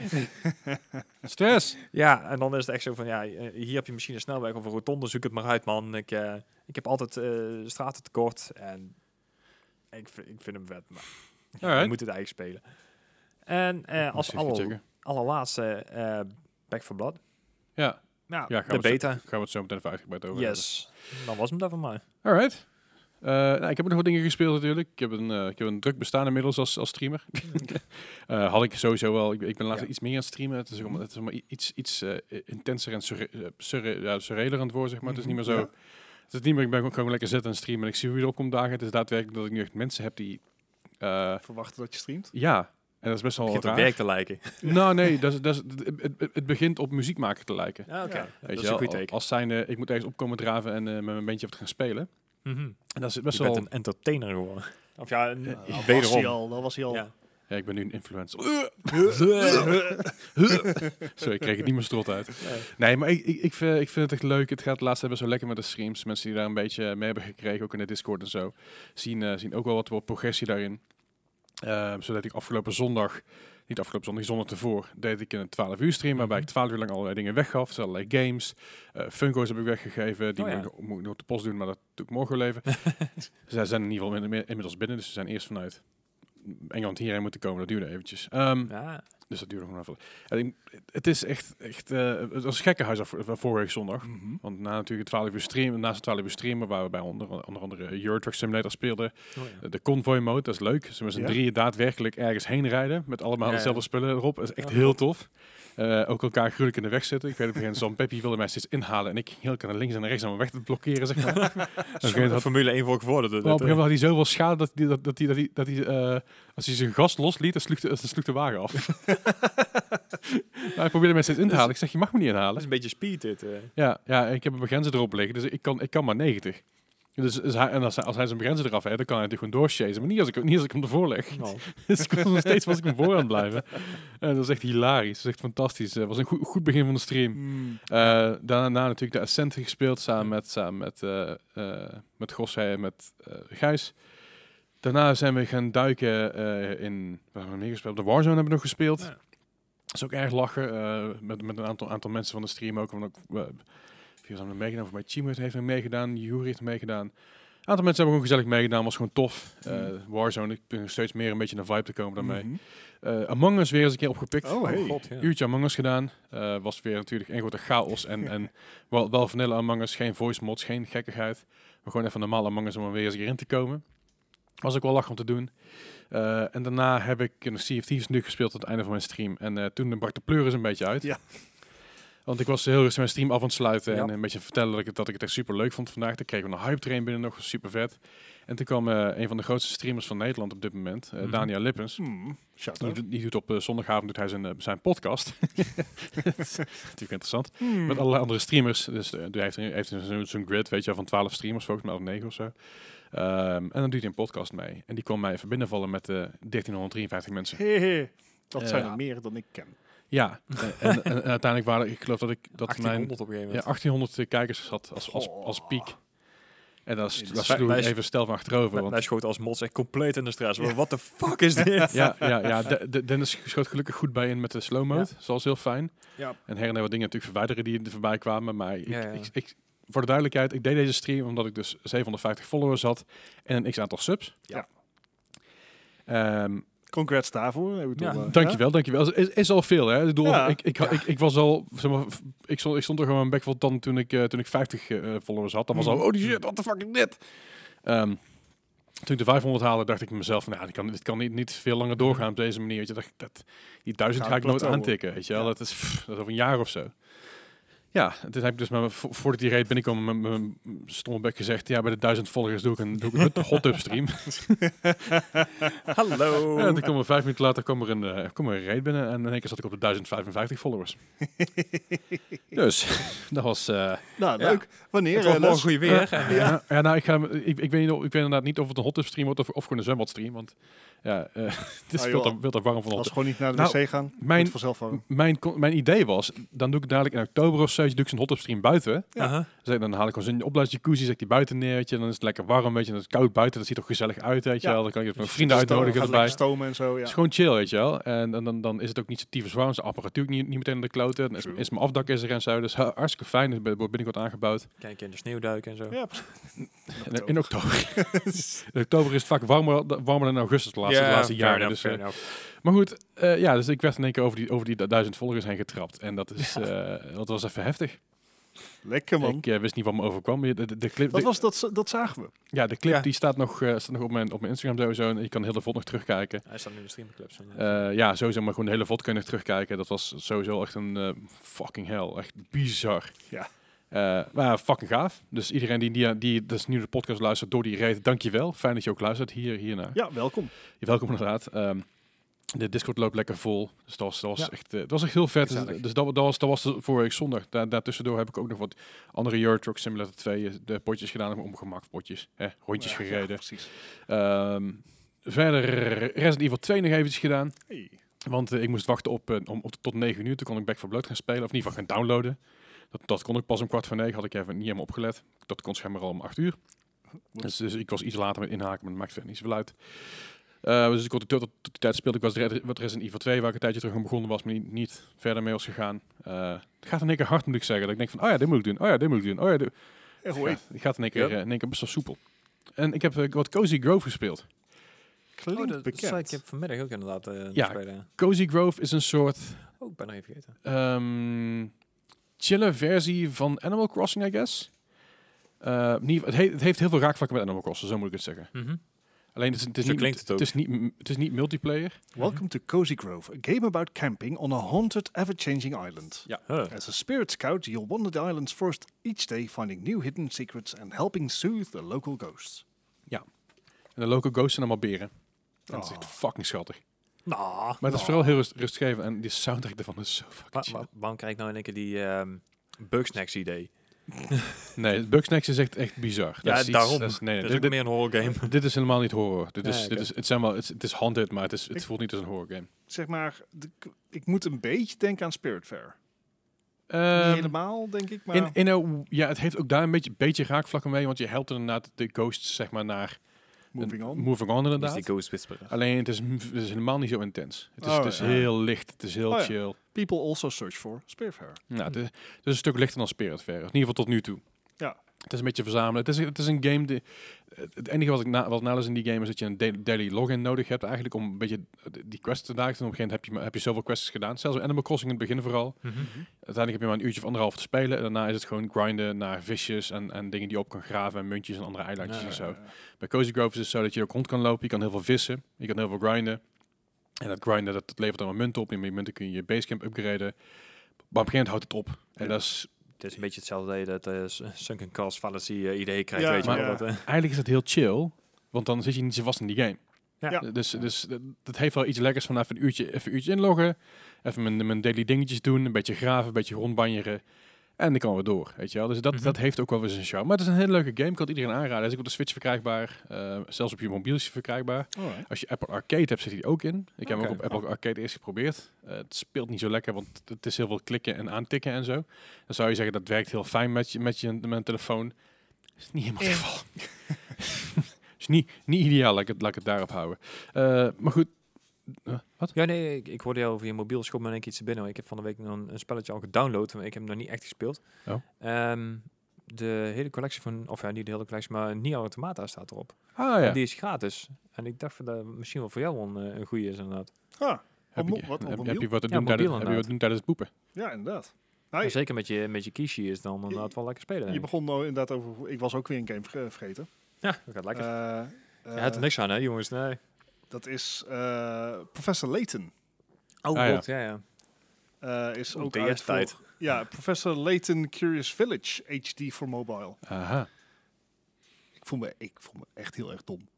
Speaker 1: Stress.
Speaker 2: Ja, en dan is het echt zo van, ja, eh, hier heb je misschien een snelweg of een rotonde, zoek het maar uit, man. Ik, eh, ik heb altijd eh straten tekort en ik, v- ik vind hem vet, maar je
Speaker 1: Alright.
Speaker 2: moet het eigenlijk spelen. En eh, als
Speaker 1: Precies
Speaker 2: aller,
Speaker 1: checken.
Speaker 2: allerlaatste, eh Back for Blood.
Speaker 1: Ja,
Speaker 2: Nou,
Speaker 1: ja gaan,
Speaker 2: de
Speaker 1: we het zo,
Speaker 2: beta.
Speaker 1: gaan we het zo meteen even uitgebreid over hebben. Oh,
Speaker 2: Yes. Dan was hem daar van mij.
Speaker 1: Alright. Eh, nou, ik heb nog wat dingen gespeeld natuurlijk. Ik heb een, eh, ik heb een druk bestaan inmiddels als, als
Speaker 2: [LAUGHS]
Speaker 1: streamer. [LAUGHS] Eh, had ik sowieso wel. Ik, ik ben laatst
Speaker 2: Ja. Mhm.
Speaker 1: iets meer aan het streamen. Het is, ook, het is maar i- iets, iets eh, intenser en surre- eh, surre- ja, surrealer aan het worden, zeg maar. Het is
Speaker 2: Mhm.
Speaker 1: niet meer zo...
Speaker 3: Ja.
Speaker 1: Het is niet meer, ik ben gewoon, gewoon lekker zitten en streamen. En ik zie hoe je erop komt dagen. Het is daadwerkelijk dat ik nu echt mensen heb die... eh,
Speaker 3: Verwachten dat je streamt.
Speaker 1: ja, en dat is best wel
Speaker 2: Begint op
Speaker 1: raar.
Speaker 2: werk te lijken.
Speaker 1: [LAUGHS] Nou nee, dat is, dat is, het, het- het begint op muziek maken te lijken.
Speaker 2: Ah,
Speaker 3: oké.
Speaker 2: Ja, dat
Speaker 1: Weet
Speaker 2: is
Speaker 1: je
Speaker 2: een
Speaker 1: wel,
Speaker 2: goed teken.
Speaker 1: Als zijn, ik moet ergens opkomen draven en eh, met mijn bandje wat gaan spelen.
Speaker 2: Mhm.
Speaker 1: En dat is
Speaker 2: Je
Speaker 1: best
Speaker 2: bent
Speaker 1: wel...
Speaker 2: een entertainer geworden. Of ja, een,
Speaker 1: Eh,
Speaker 3: Nou, dat was hij
Speaker 2: wederom.
Speaker 3: al. Dat was hij al.
Speaker 2: Ja.
Speaker 1: Ja, ik ben nu een influencer.
Speaker 2: Eh,
Speaker 1: Sorry, ik kreeg het niet meer strot uit.
Speaker 2: eh,
Speaker 1: Nee, maar ik, ik, ik, vind, ik vind het echt leuk. Het gaat laatst hebben zo lekker met de streams. Mensen die daar een beetje mee hebben gekregen, ook in de Discord en zo, zien, eh, zien ook wel wat, wat progressie daarin. Ehm, zodat ik afgelopen zondag, niet afgelopen zondag, die zondag ervoor, deed ik een 12 uur stream waarbij ik
Speaker 2: Mhm.
Speaker 1: 12 uur lang allerlei dingen weggaf. Dus allerlei games. Eh, Funko's heb ik weggegeven. Die
Speaker 2: Oh ja.
Speaker 1: moet, ik, nog- moet ik nog op de post doen, maar dat doe ik morgen wel even. Zij zijn in ieder geval inmi- inmiddels binnen, dus ze zijn eerst vanuit Engeland hierheen moeten komen. Dat duurde eventjes. Ehm,
Speaker 2: ja.
Speaker 1: dus dat duurde nog wel even. En ik- het is echt, echt eh, het was een gekke huis af, van vorige week zondag.
Speaker 3: Mhm.
Speaker 1: Want na natuurlijk 12 uur streamen, naast de 12 uur streamen, waar we bij onder, onder andere Euro Truck Simulator speelden,
Speaker 2: Oh ja.
Speaker 1: de convoy mode, dat is leuk. Ze met z'n
Speaker 3: Ja.
Speaker 1: drieën daadwerkelijk ergens heen rijden, met allemaal
Speaker 2: Ja, ja.
Speaker 1: dezelfde spullen erop. Dat is echt
Speaker 2: Ja,
Speaker 1: heel tof. Eh, ook elkaar gruwelijk in de weg zitten. Ik weet op een gegeven moment, Sam Peppi wilde mij steeds inhalen en ik ging heel keer naar links en naar rechts om mijn weg te blokkeren, zeg
Speaker 2: [LAUGHS]
Speaker 1: maar.
Speaker 2: Zo'n
Speaker 1: gegeven had-
Speaker 2: Formule 1 voor dus geworden.
Speaker 1: Maar op een gegeven moment had hij zoveel schade dat hij, dat, dat hij, dat hij, dat hij eh, als hij zijn gas losliet, dan sloeg de, dan sloeg de wagen af. maar hij probeerde mij steeds in te halen. Ik zeg, je mag me niet
Speaker 2: Dat is
Speaker 1: inhalen.
Speaker 2: een beetje speed
Speaker 1: [LAUGHS]
Speaker 2: dit. eh.
Speaker 1: Ja, ja ik heb een begrenzer erop liggen, dus ik kan, ik kan maar 90. Dus, dus hij, en als hij, als hij zijn begrenzer eraf heeft, dan kan hij natuurlijk gewoon doorschasen. Maar niet als ik, niet als ik hem ervoor leg. [LAUGHS]
Speaker 2: Nou,
Speaker 1: dus ik was nog steeds was ik hem voor aan het blijven. En dat is echt hilarisch. Dat is echt fantastisch. Het was een goed, goed begin van de stream.
Speaker 3: Mm.
Speaker 1: Eh, daarna natuurlijk de Ascent gespeeld samen met, samen met, eh eh, met Gosse en met eh, Gijs. Daarna zijn we gaan duiken eh, in... Waar hebben we meer gespeeld? De Warzone hebben we nog gespeeld.
Speaker 2: Ja.
Speaker 1: Dat is ook erg lachen. eh, met, met een aantal, aantal mensen van de stream ook. Want ook uh, vier hebben meegedaan. Voor mij Chimut heeft er meegedaan. Juri heeft er meegedaan. Een aantal mensen hebben gewoon gezellig meegedaan. Was gewoon tof. Eh, Warzone, ik ben steeds meer een beetje in de vibe te komen daarmee.
Speaker 3: Mm. Mhm.
Speaker 1: Eh, Among Us weer eens een keer opgepikt
Speaker 3: Oh, hey.
Speaker 2: god, ja.
Speaker 1: uurtje Among Us gedaan. Eh, was weer natuurlijk een grote chaos en,
Speaker 2: [LAUGHS]
Speaker 1: en wel, wel vanille Among Us, geen voice mods, geen gekkigheid. Maar gewoon even normaal Among Us om er weer eens een keer in te komen. Was ook wel lach om te doen. Eh, en daarna heb ik een Sea of Thieves nu gespeeld tot het einde van mijn stream. En eh, toen brak de pleuris een beetje uit.
Speaker 3: Ja.
Speaker 1: Dat Want ik was heel rustig mijn stream af aan het sluiten en
Speaker 2: Ja.
Speaker 1: een beetje vertellen dat ik, het- dat ik het echt super leuk vond vandaag. Toen kregen we een hype train binnen nog, super vet. En toen kwam eh, een van de grootste streamers van Nederland op dit moment, eh
Speaker 2: Mhm.
Speaker 1: Daniel Lippens.
Speaker 3: Hmm, shout
Speaker 1: Die
Speaker 3: out.
Speaker 1: doet, die doet op eh, zondagavond doet hij zijn, eh, zijn podcast. [LAUGHS] dat is natuurlijk interessant.
Speaker 3: Hmm.
Speaker 1: Met allerlei andere streamers. Dus eh, hij heeft, hij heeft zo'n- zo'n grid, weet je wel, van 12 streamers, volgens mij, of 9 of zo. Ehm, en dan doet hij een podcast mee. En die kwam mij even binnenvallen met eh 1353 mensen.
Speaker 3: Hehe. Dat
Speaker 1: Eh,
Speaker 3: zijn
Speaker 1: ja.
Speaker 3: er meer dan ik ken.
Speaker 2: [LAUGHS]
Speaker 1: Ja, eh, en, en- en uiteindelijk waren ik geloof dat ik dat mijn
Speaker 2: 1800 op een gegeven
Speaker 1: ja,
Speaker 2: moment.
Speaker 1: 1800 kijkers had als, als,
Speaker 3: Goh.
Speaker 1: als piek. En dat is
Speaker 3: Dit is-
Speaker 1: dat
Speaker 2: Oh. wij-
Speaker 1: sloeg
Speaker 2: wij-
Speaker 1: ik even stel van achterover.
Speaker 2: Wij-
Speaker 1: Want,
Speaker 2: Wij schoten als mods echt compleet in de stress. Wat What the fuck
Speaker 1: [LAUGHS]
Speaker 2: is dit?
Speaker 1: ja, ja, ja de, de- Dennis schoot gelukkig goed bij in met de slow mode. Dat was heel fijn.
Speaker 3: Ja.
Speaker 1: En her en der wat dingen natuurlijk verwijderen die er voorbij kwamen. Maar ik,
Speaker 2: Ja, ja.
Speaker 1: Ik, ik- voor de duidelijkheid, ik deed deze stream omdat ik dus 750 followers had en een x-aantal subs.
Speaker 3: Ja.
Speaker 1: Ehm,
Speaker 3: Congrats daarvoor. Ik bedoel,
Speaker 2: Ja.
Speaker 3: eh,
Speaker 1: Dankjewel, dankjewel. Is, is al veel, hè? Ik, bedoel,
Speaker 3: Ja.
Speaker 1: ik, ik,
Speaker 2: Ja.
Speaker 1: ik, ik was al, zeg maar, v- ik stond, ik stond er gewoon een bek vol dan toen ik, eh, toen ik 50 eh, followers had. Dan was al,
Speaker 3: Mm.
Speaker 1: oh die shit, what the fuck is dit? Ehm, toen ik de 500 haalde, dacht ik mezelf, nou, dit kan, dit kan niet, niet veel langer doorgaan op deze manier. Weet je, dat, dat, die duizend
Speaker 3: Gaat
Speaker 1: ga ik nooit
Speaker 3: plateauen.
Speaker 1: aantikken, weet je wel.
Speaker 3: Ja.
Speaker 1: Dat, is, pff, dat is over een jaar of zo. Ja, en toen heb ik dus, met mijn- vo- voordat die reed binnenkwam, met mijn stomme bek gezegd, ja, bij de duizend volgers doe ik een, doe ik een hot-up stream.
Speaker 2: Hallo.
Speaker 1: Ja, toen kwam er vijf minuten later kwam er een, eh, kwam er een raid binnen en in één keer zat ik op de 1055
Speaker 3: [LAUGHS]
Speaker 1: followers. dus dat was. eh,
Speaker 3: Nou,
Speaker 2: Ja.
Speaker 3: leuk. Wanneer?
Speaker 2: Het wordt
Speaker 3: eh,
Speaker 2: morgen
Speaker 3: Les?
Speaker 2: goed weer.
Speaker 1: ja. ja, nou, ik, ga, ik, ik, weet, niet of- ik weet inderdaad niet of het een hot tub stream wordt of, of gewoon een zwembad stream. Want ja, eh, [LAUGHS] het is
Speaker 3: Ah,
Speaker 1: veel,
Speaker 3: joh.
Speaker 1: te, veel te warm van
Speaker 3: Als
Speaker 1: hot
Speaker 3: we gewoon niet naar de
Speaker 1: Nou,
Speaker 3: wc gaan,
Speaker 1: mijn-
Speaker 3: mijn, vanzelf warm.
Speaker 1: mijn, co- mijn idee was, dan doe ik dadelijk in oktober of zo, doe ik zo'n hot tub stream buiten.
Speaker 3: Ja.
Speaker 2: Aha.
Speaker 1: Dus dan haal ik gewoon zo'n opblaas jacuzzi, zet ik die buiten neer, weet je, dan is het lekker warm, weet je, dan is het koud buiten, dat ziet er gezellig uit, weet je
Speaker 3: Ja.
Speaker 1: wel. Dan kan ik even mijn
Speaker 3: Dus
Speaker 1: vrienden
Speaker 3: het is dan-
Speaker 1: uitnodigen
Speaker 3: gaat
Speaker 1: erbij.
Speaker 3: lekker stomen en zo, ja.
Speaker 1: Het is gewoon chill, weet je wel. En, en dan, dan is het ook niet zo tyfus warm. Is de apparatuur ook niet, niet meteen aan de kloten. Dan is,
Speaker 3: True.
Speaker 1: is mijn afdak is er en zo. Dus ha- hartstikke fijn. Het be- wordt binnenkort aangebouwd.
Speaker 2: Kijk in de sneeuwduiken en zo.
Speaker 3: Ja,
Speaker 1: En in oktober. in oktober is het vaak warmer, da- warmer dan in augustus de laatste, de laatste
Speaker 2: fair
Speaker 1: jaren.
Speaker 2: enough,
Speaker 1: Dus,
Speaker 2: fair
Speaker 1: eh,
Speaker 2: enough.
Speaker 1: maar goed, eh, ja, dus ik werd in één keer over die, over die du- duizend volgers heen getrapt. En dat, is, eh, dat was even heftig.
Speaker 3: Lekker man.
Speaker 1: Ik eh, wist niet wat me overkwam. Je- De, de, de clip,
Speaker 3: dat,
Speaker 1: de-
Speaker 3: was, dat, z- dat zagen we.
Speaker 1: ja, de clip
Speaker 2: Ja.
Speaker 1: die staat nog, eh, staat nog op, mijn, op mijn Instagram sowieso. En je kan heel de vod nog terugkijken.
Speaker 2: Hij staat nu in de streamclubs. en, eh,
Speaker 1: Eh, ja, sowieso, maar gewoon de hele VOD kunnen terugkijken. Dat was sowieso echt een eh, fucking hell. Echt bizar.
Speaker 3: Ja.
Speaker 1: Eh, maar ja, fucking gaaf. Dus iedereen die, die, die dus nu de podcast luistert door die reden, dankjewel. Fijn dat je ook luistert hier, hierna.
Speaker 3: Ja, welkom.
Speaker 1: Je Welkom inderdaad. Ehm, de Discord loopt lekker vol. Dus dat was, dat was,
Speaker 2: Ja.
Speaker 1: echt, eh, dat was echt heel vet. Dus,
Speaker 2: Gezellig.
Speaker 1: dus dat, dat was, dat was de vorige week zondag. Daar, daartussendoor heb ik ook nog wat andere Euro Truck Simulator 2 eh, de potjes gedaan. Om gemak potjes. Hè, rondjes
Speaker 3: Ja, ja,
Speaker 1: gereden.
Speaker 3: precies.
Speaker 1: Ehm, verder Resident Evil 2 nog eventjes gedaan.
Speaker 3: Hey.
Speaker 1: Want eh, ik moest wachten op, eh, om, op, tot 9 uur. Toen kon ik Back for Blood gaan spelen. Of in ieder geval gaan downloaden. Dat, dat kon ik pas om kwart voor negen. Had ik even niet helemaal opgelet. Dat kon schijnbaar al om 8 uur. Dus, dus ik was iets later met inhaken. Maar dat maakt verder niet zoveel uit. Eh, dus ik kon tot, tot die tijd speelde ik was Red- wat Resident Evil 2. Waar ik een tijdje terug aan begonnen was. Maar niet, niet verder mee was gegaan. Eh, het gaat in één keer hard moet ik zeggen. Dat ik denk van, oh ja, dit moet ik doen. Oh ja, dit moet ik doen. Oh ja, dit-
Speaker 3: Eh, hoe
Speaker 1: ja,
Speaker 3: heet-
Speaker 1: het gaat in één keer,
Speaker 2: Ja.
Speaker 1: eh, in één keer best wel soepel. En ik heb eh, wat Cozy Grove gespeeld.
Speaker 3: Klinkt
Speaker 2: oh, dat dat zei ik
Speaker 3: bekend.
Speaker 2: heb vanmiddag ook inderdaad eh
Speaker 1: Eh, Ja.
Speaker 2: ja. spelen.
Speaker 1: Cozy Grove is een soort
Speaker 2: Oh, ik ben nog even vergeten.
Speaker 1: ehm chille versie van Animal Crossing, I guess. Eh, niet, het, he- het heeft heel veel raakvlakken met Animal Crossing, zo moet ik het zeggen. Alleen het is, het is,
Speaker 2: Zo
Speaker 1: niet,
Speaker 2: klinkt het ook.
Speaker 1: is niet, m- het is niet multiplayer.
Speaker 3: Welcome to Cozy Grove, a game about camping on a haunted, ever-changing island.
Speaker 2: Huh.
Speaker 3: As a spirit scout, you'll wander the island's forest each day, finding new hidden secrets and helping soothe the local ghosts.
Speaker 1: En de local ghosts zijn allemaal beren. En dat is echt
Speaker 3: Oh.
Speaker 1: fucking schattig.
Speaker 2: Nou,
Speaker 1: Maar het is
Speaker 3: Oh.
Speaker 1: vooral heel rust, rustgevend. En die soundtrack daarvan is zo fucking
Speaker 2: wa-
Speaker 1: chill.
Speaker 2: wa- waarom krijg ik nou in één keer die ehm Bugsnacks idee?
Speaker 1: Nee, Bugsnax is echt, echt bizar. Dat
Speaker 2: Ja,
Speaker 1: is iets-
Speaker 2: daarom.
Speaker 1: dat is- nee, nee,
Speaker 2: Dat is
Speaker 1: dit,
Speaker 2: ook meer een horror game.
Speaker 1: dit- dit is helemaal niet horror. Dit
Speaker 2: Ja,
Speaker 1: is, dit
Speaker 2: oké.
Speaker 1: is, het, zijn wel, het, is- het is haunted, maar het, is, het
Speaker 3: Ik-
Speaker 1: voelt niet als een horror game.
Speaker 3: Zeg maar, de- ik moet een beetje denken aan Spirit Fair. Niet
Speaker 1: Ehm,
Speaker 3: helemaal, denk ik, maar...
Speaker 1: In, in een, ja, het heeft ook daar een beetje, beetje raakvlakken mee, want je helpt inderdaad de ghosts zeg maar naar
Speaker 3: moving on.
Speaker 1: moving on
Speaker 2: Dat is
Speaker 1: inderdaad.
Speaker 2: die Ghost Whisperer.
Speaker 1: Alleen het is, het is helemaal niet zo intens. Het is,
Speaker 3: Oh,
Speaker 1: het is
Speaker 3: ja.
Speaker 1: heel licht, het is heel
Speaker 3: Oh, ja.
Speaker 1: chill.
Speaker 3: People also search for Spirit Fair.
Speaker 1: Nou, het, is, het is een stuk lichter dan Spirit Fair, in ieder geval tot nu toe.
Speaker 3: Ja.
Speaker 1: Het is een beetje verzamelen. Het is, het is een game. Die, het het enige wat ik na, wat nalees in die game is dat je een da- daily login nodig hebt eigenlijk om een beetje die quests te dagen. En op een gegeven moment heb je, maar- heb je zoveel quests gedaan. Zelfs in Animal Crossing in het begin vooral.
Speaker 2: Mhm.
Speaker 1: Uiteindelijk heb je maar een uurtje of anderhalf te spelen. En daarna is het gewoon grinden naar visjes en, en dingen die je op kan graven. En muntjes en andere eilandjes
Speaker 2: Ja,
Speaker 1: en zo.
Speaker 2: ja,
Speaker 1: Bij Cozy Grove is het zo dat je ook rond kan lopen. Je kan heel veel vissen. Je kan heel veel grinden. En dat grinden, dat, dat levert dan wel munten op. En met die munten kun je je basecamp upgraden. Maar op een gegeven moment houdt het op. En
Speaker 2: Ja.
Speaker 1: dat is,
Speaker 2: Het is een beetje hetzelfde idee dat eh, s- sunken cost fallacy eh, idee krijgt,
Speaker 3: Ja,
Speaker 2: weet je wel.
Speaker 1: maar-
Speaker 2: dat, eh,
Speaker 1: eigenlijk is dat heel chill, want dan zit je niet zo vast in die game.
Speaker 2: Ja.
Speaker 3: Ja.
Speaker 1: Dus, dus dat, dat heeft wel iets lekkers van even een uurtje, even een uurtje inloggen, even mijn, mijn daily dingetjes doen, een beetje graven, een beetje rondbanjeren. En dan kan we door, weet je wel. Dus dat,
Speaker 2: Mhm.
Speaker 1: dat heeft ook wel weer zijn charme. Maar het is een hele leuke game, ik kan het iedereen aanraden. Hij is ook op de Switch verkrijgbaar, eh, zelfs op je mobiel is hij verkrijgbaar. Als je Apple Arcade hebt, zit hij ook in. Ik heb hem ook
Speaker 2: Oké.
Speaker 1: op Apple Arcade eerst geprobeerd. Eh, het speelt niet zo lekker, want het is heel veel klikken en aantikken en zo. Dan zou je zeggen, dat werkt heel fijn met je, met je met een telefoon. is niet helemaal het
Speaker 3: Eh.
Speaker 1: geval. [LAUGHS] is niet, niet ideaal, laat ik het, laat ik het daarop houden. Eh, maar goed, eh, wat?
Speaker 2: ja, nee, ik, ik hoorde jou over je mobiel schop me in één keer iets te binnen. hoor. Ik heb van de week nog een, een spelletje al gedownload, maar ik heb hem nog niet echt gespeeld.
Speaker 1: Oh.
Speaker 2: Ehm, de hele collectie van, of ja, niet de hele collectie, maar Nier Automata staat erop.
Speaker 1: Ah ja,
Speaker 2: Die is gratis. En ik dacht van, dat misschien wel voor jou een, eh, een goede is inderdaad.
Speaker 3: Ah,
Speaker 1: heb je,
Speaker 3: op mo- wat, op
Speaker 1: heb- heb
Speaker 3: mobiel?
Speaker 1: je wat te
Speaker 2: Ja,
Speaker 1: doen tijdens-
Speaker 2: mobiel
Speaker 1: heb je wat te doen tijdens het poepen?
Speaker 3: ja, inderdaad.
Speaker 2: Maar
Speaker 3: ja.
Speaker 2: zeker met je, met je Kishi is dan inderdaad wel lekker spelen. denk
Speaker 3: Je
Speaker 2: ik.
Speaker 3: begon nou inderdaad over... Ik was ook weer een game verge- vergeten.
Speaker 2: Ja, dat gaat lekker.
Speaker 3: Eh,
Speaker 2: je hebt er
Speaker 3: eh,
Speaker 2: niks aan, hè, jongens? Nee.
Speaker 3: dat is eh, Professor Layton.
Speaker 2: Oh,
Speaker 1: Ah, ja.
Speaker 2: god, ja, ja.
Speaker 3: eh, is
Speaker 2: Oh,
Speaker 3: ook
Speaker 2: DS
Speaker 3: uit voor-
Speaker 2: tijd.
Speaker 3: Ja, Professor Layton Curious Village HD voor mobile. [LAUGHS]
Speaker 1: Aha.
Speaker 3: Ik voel me, ik voel me echt heel erg dom.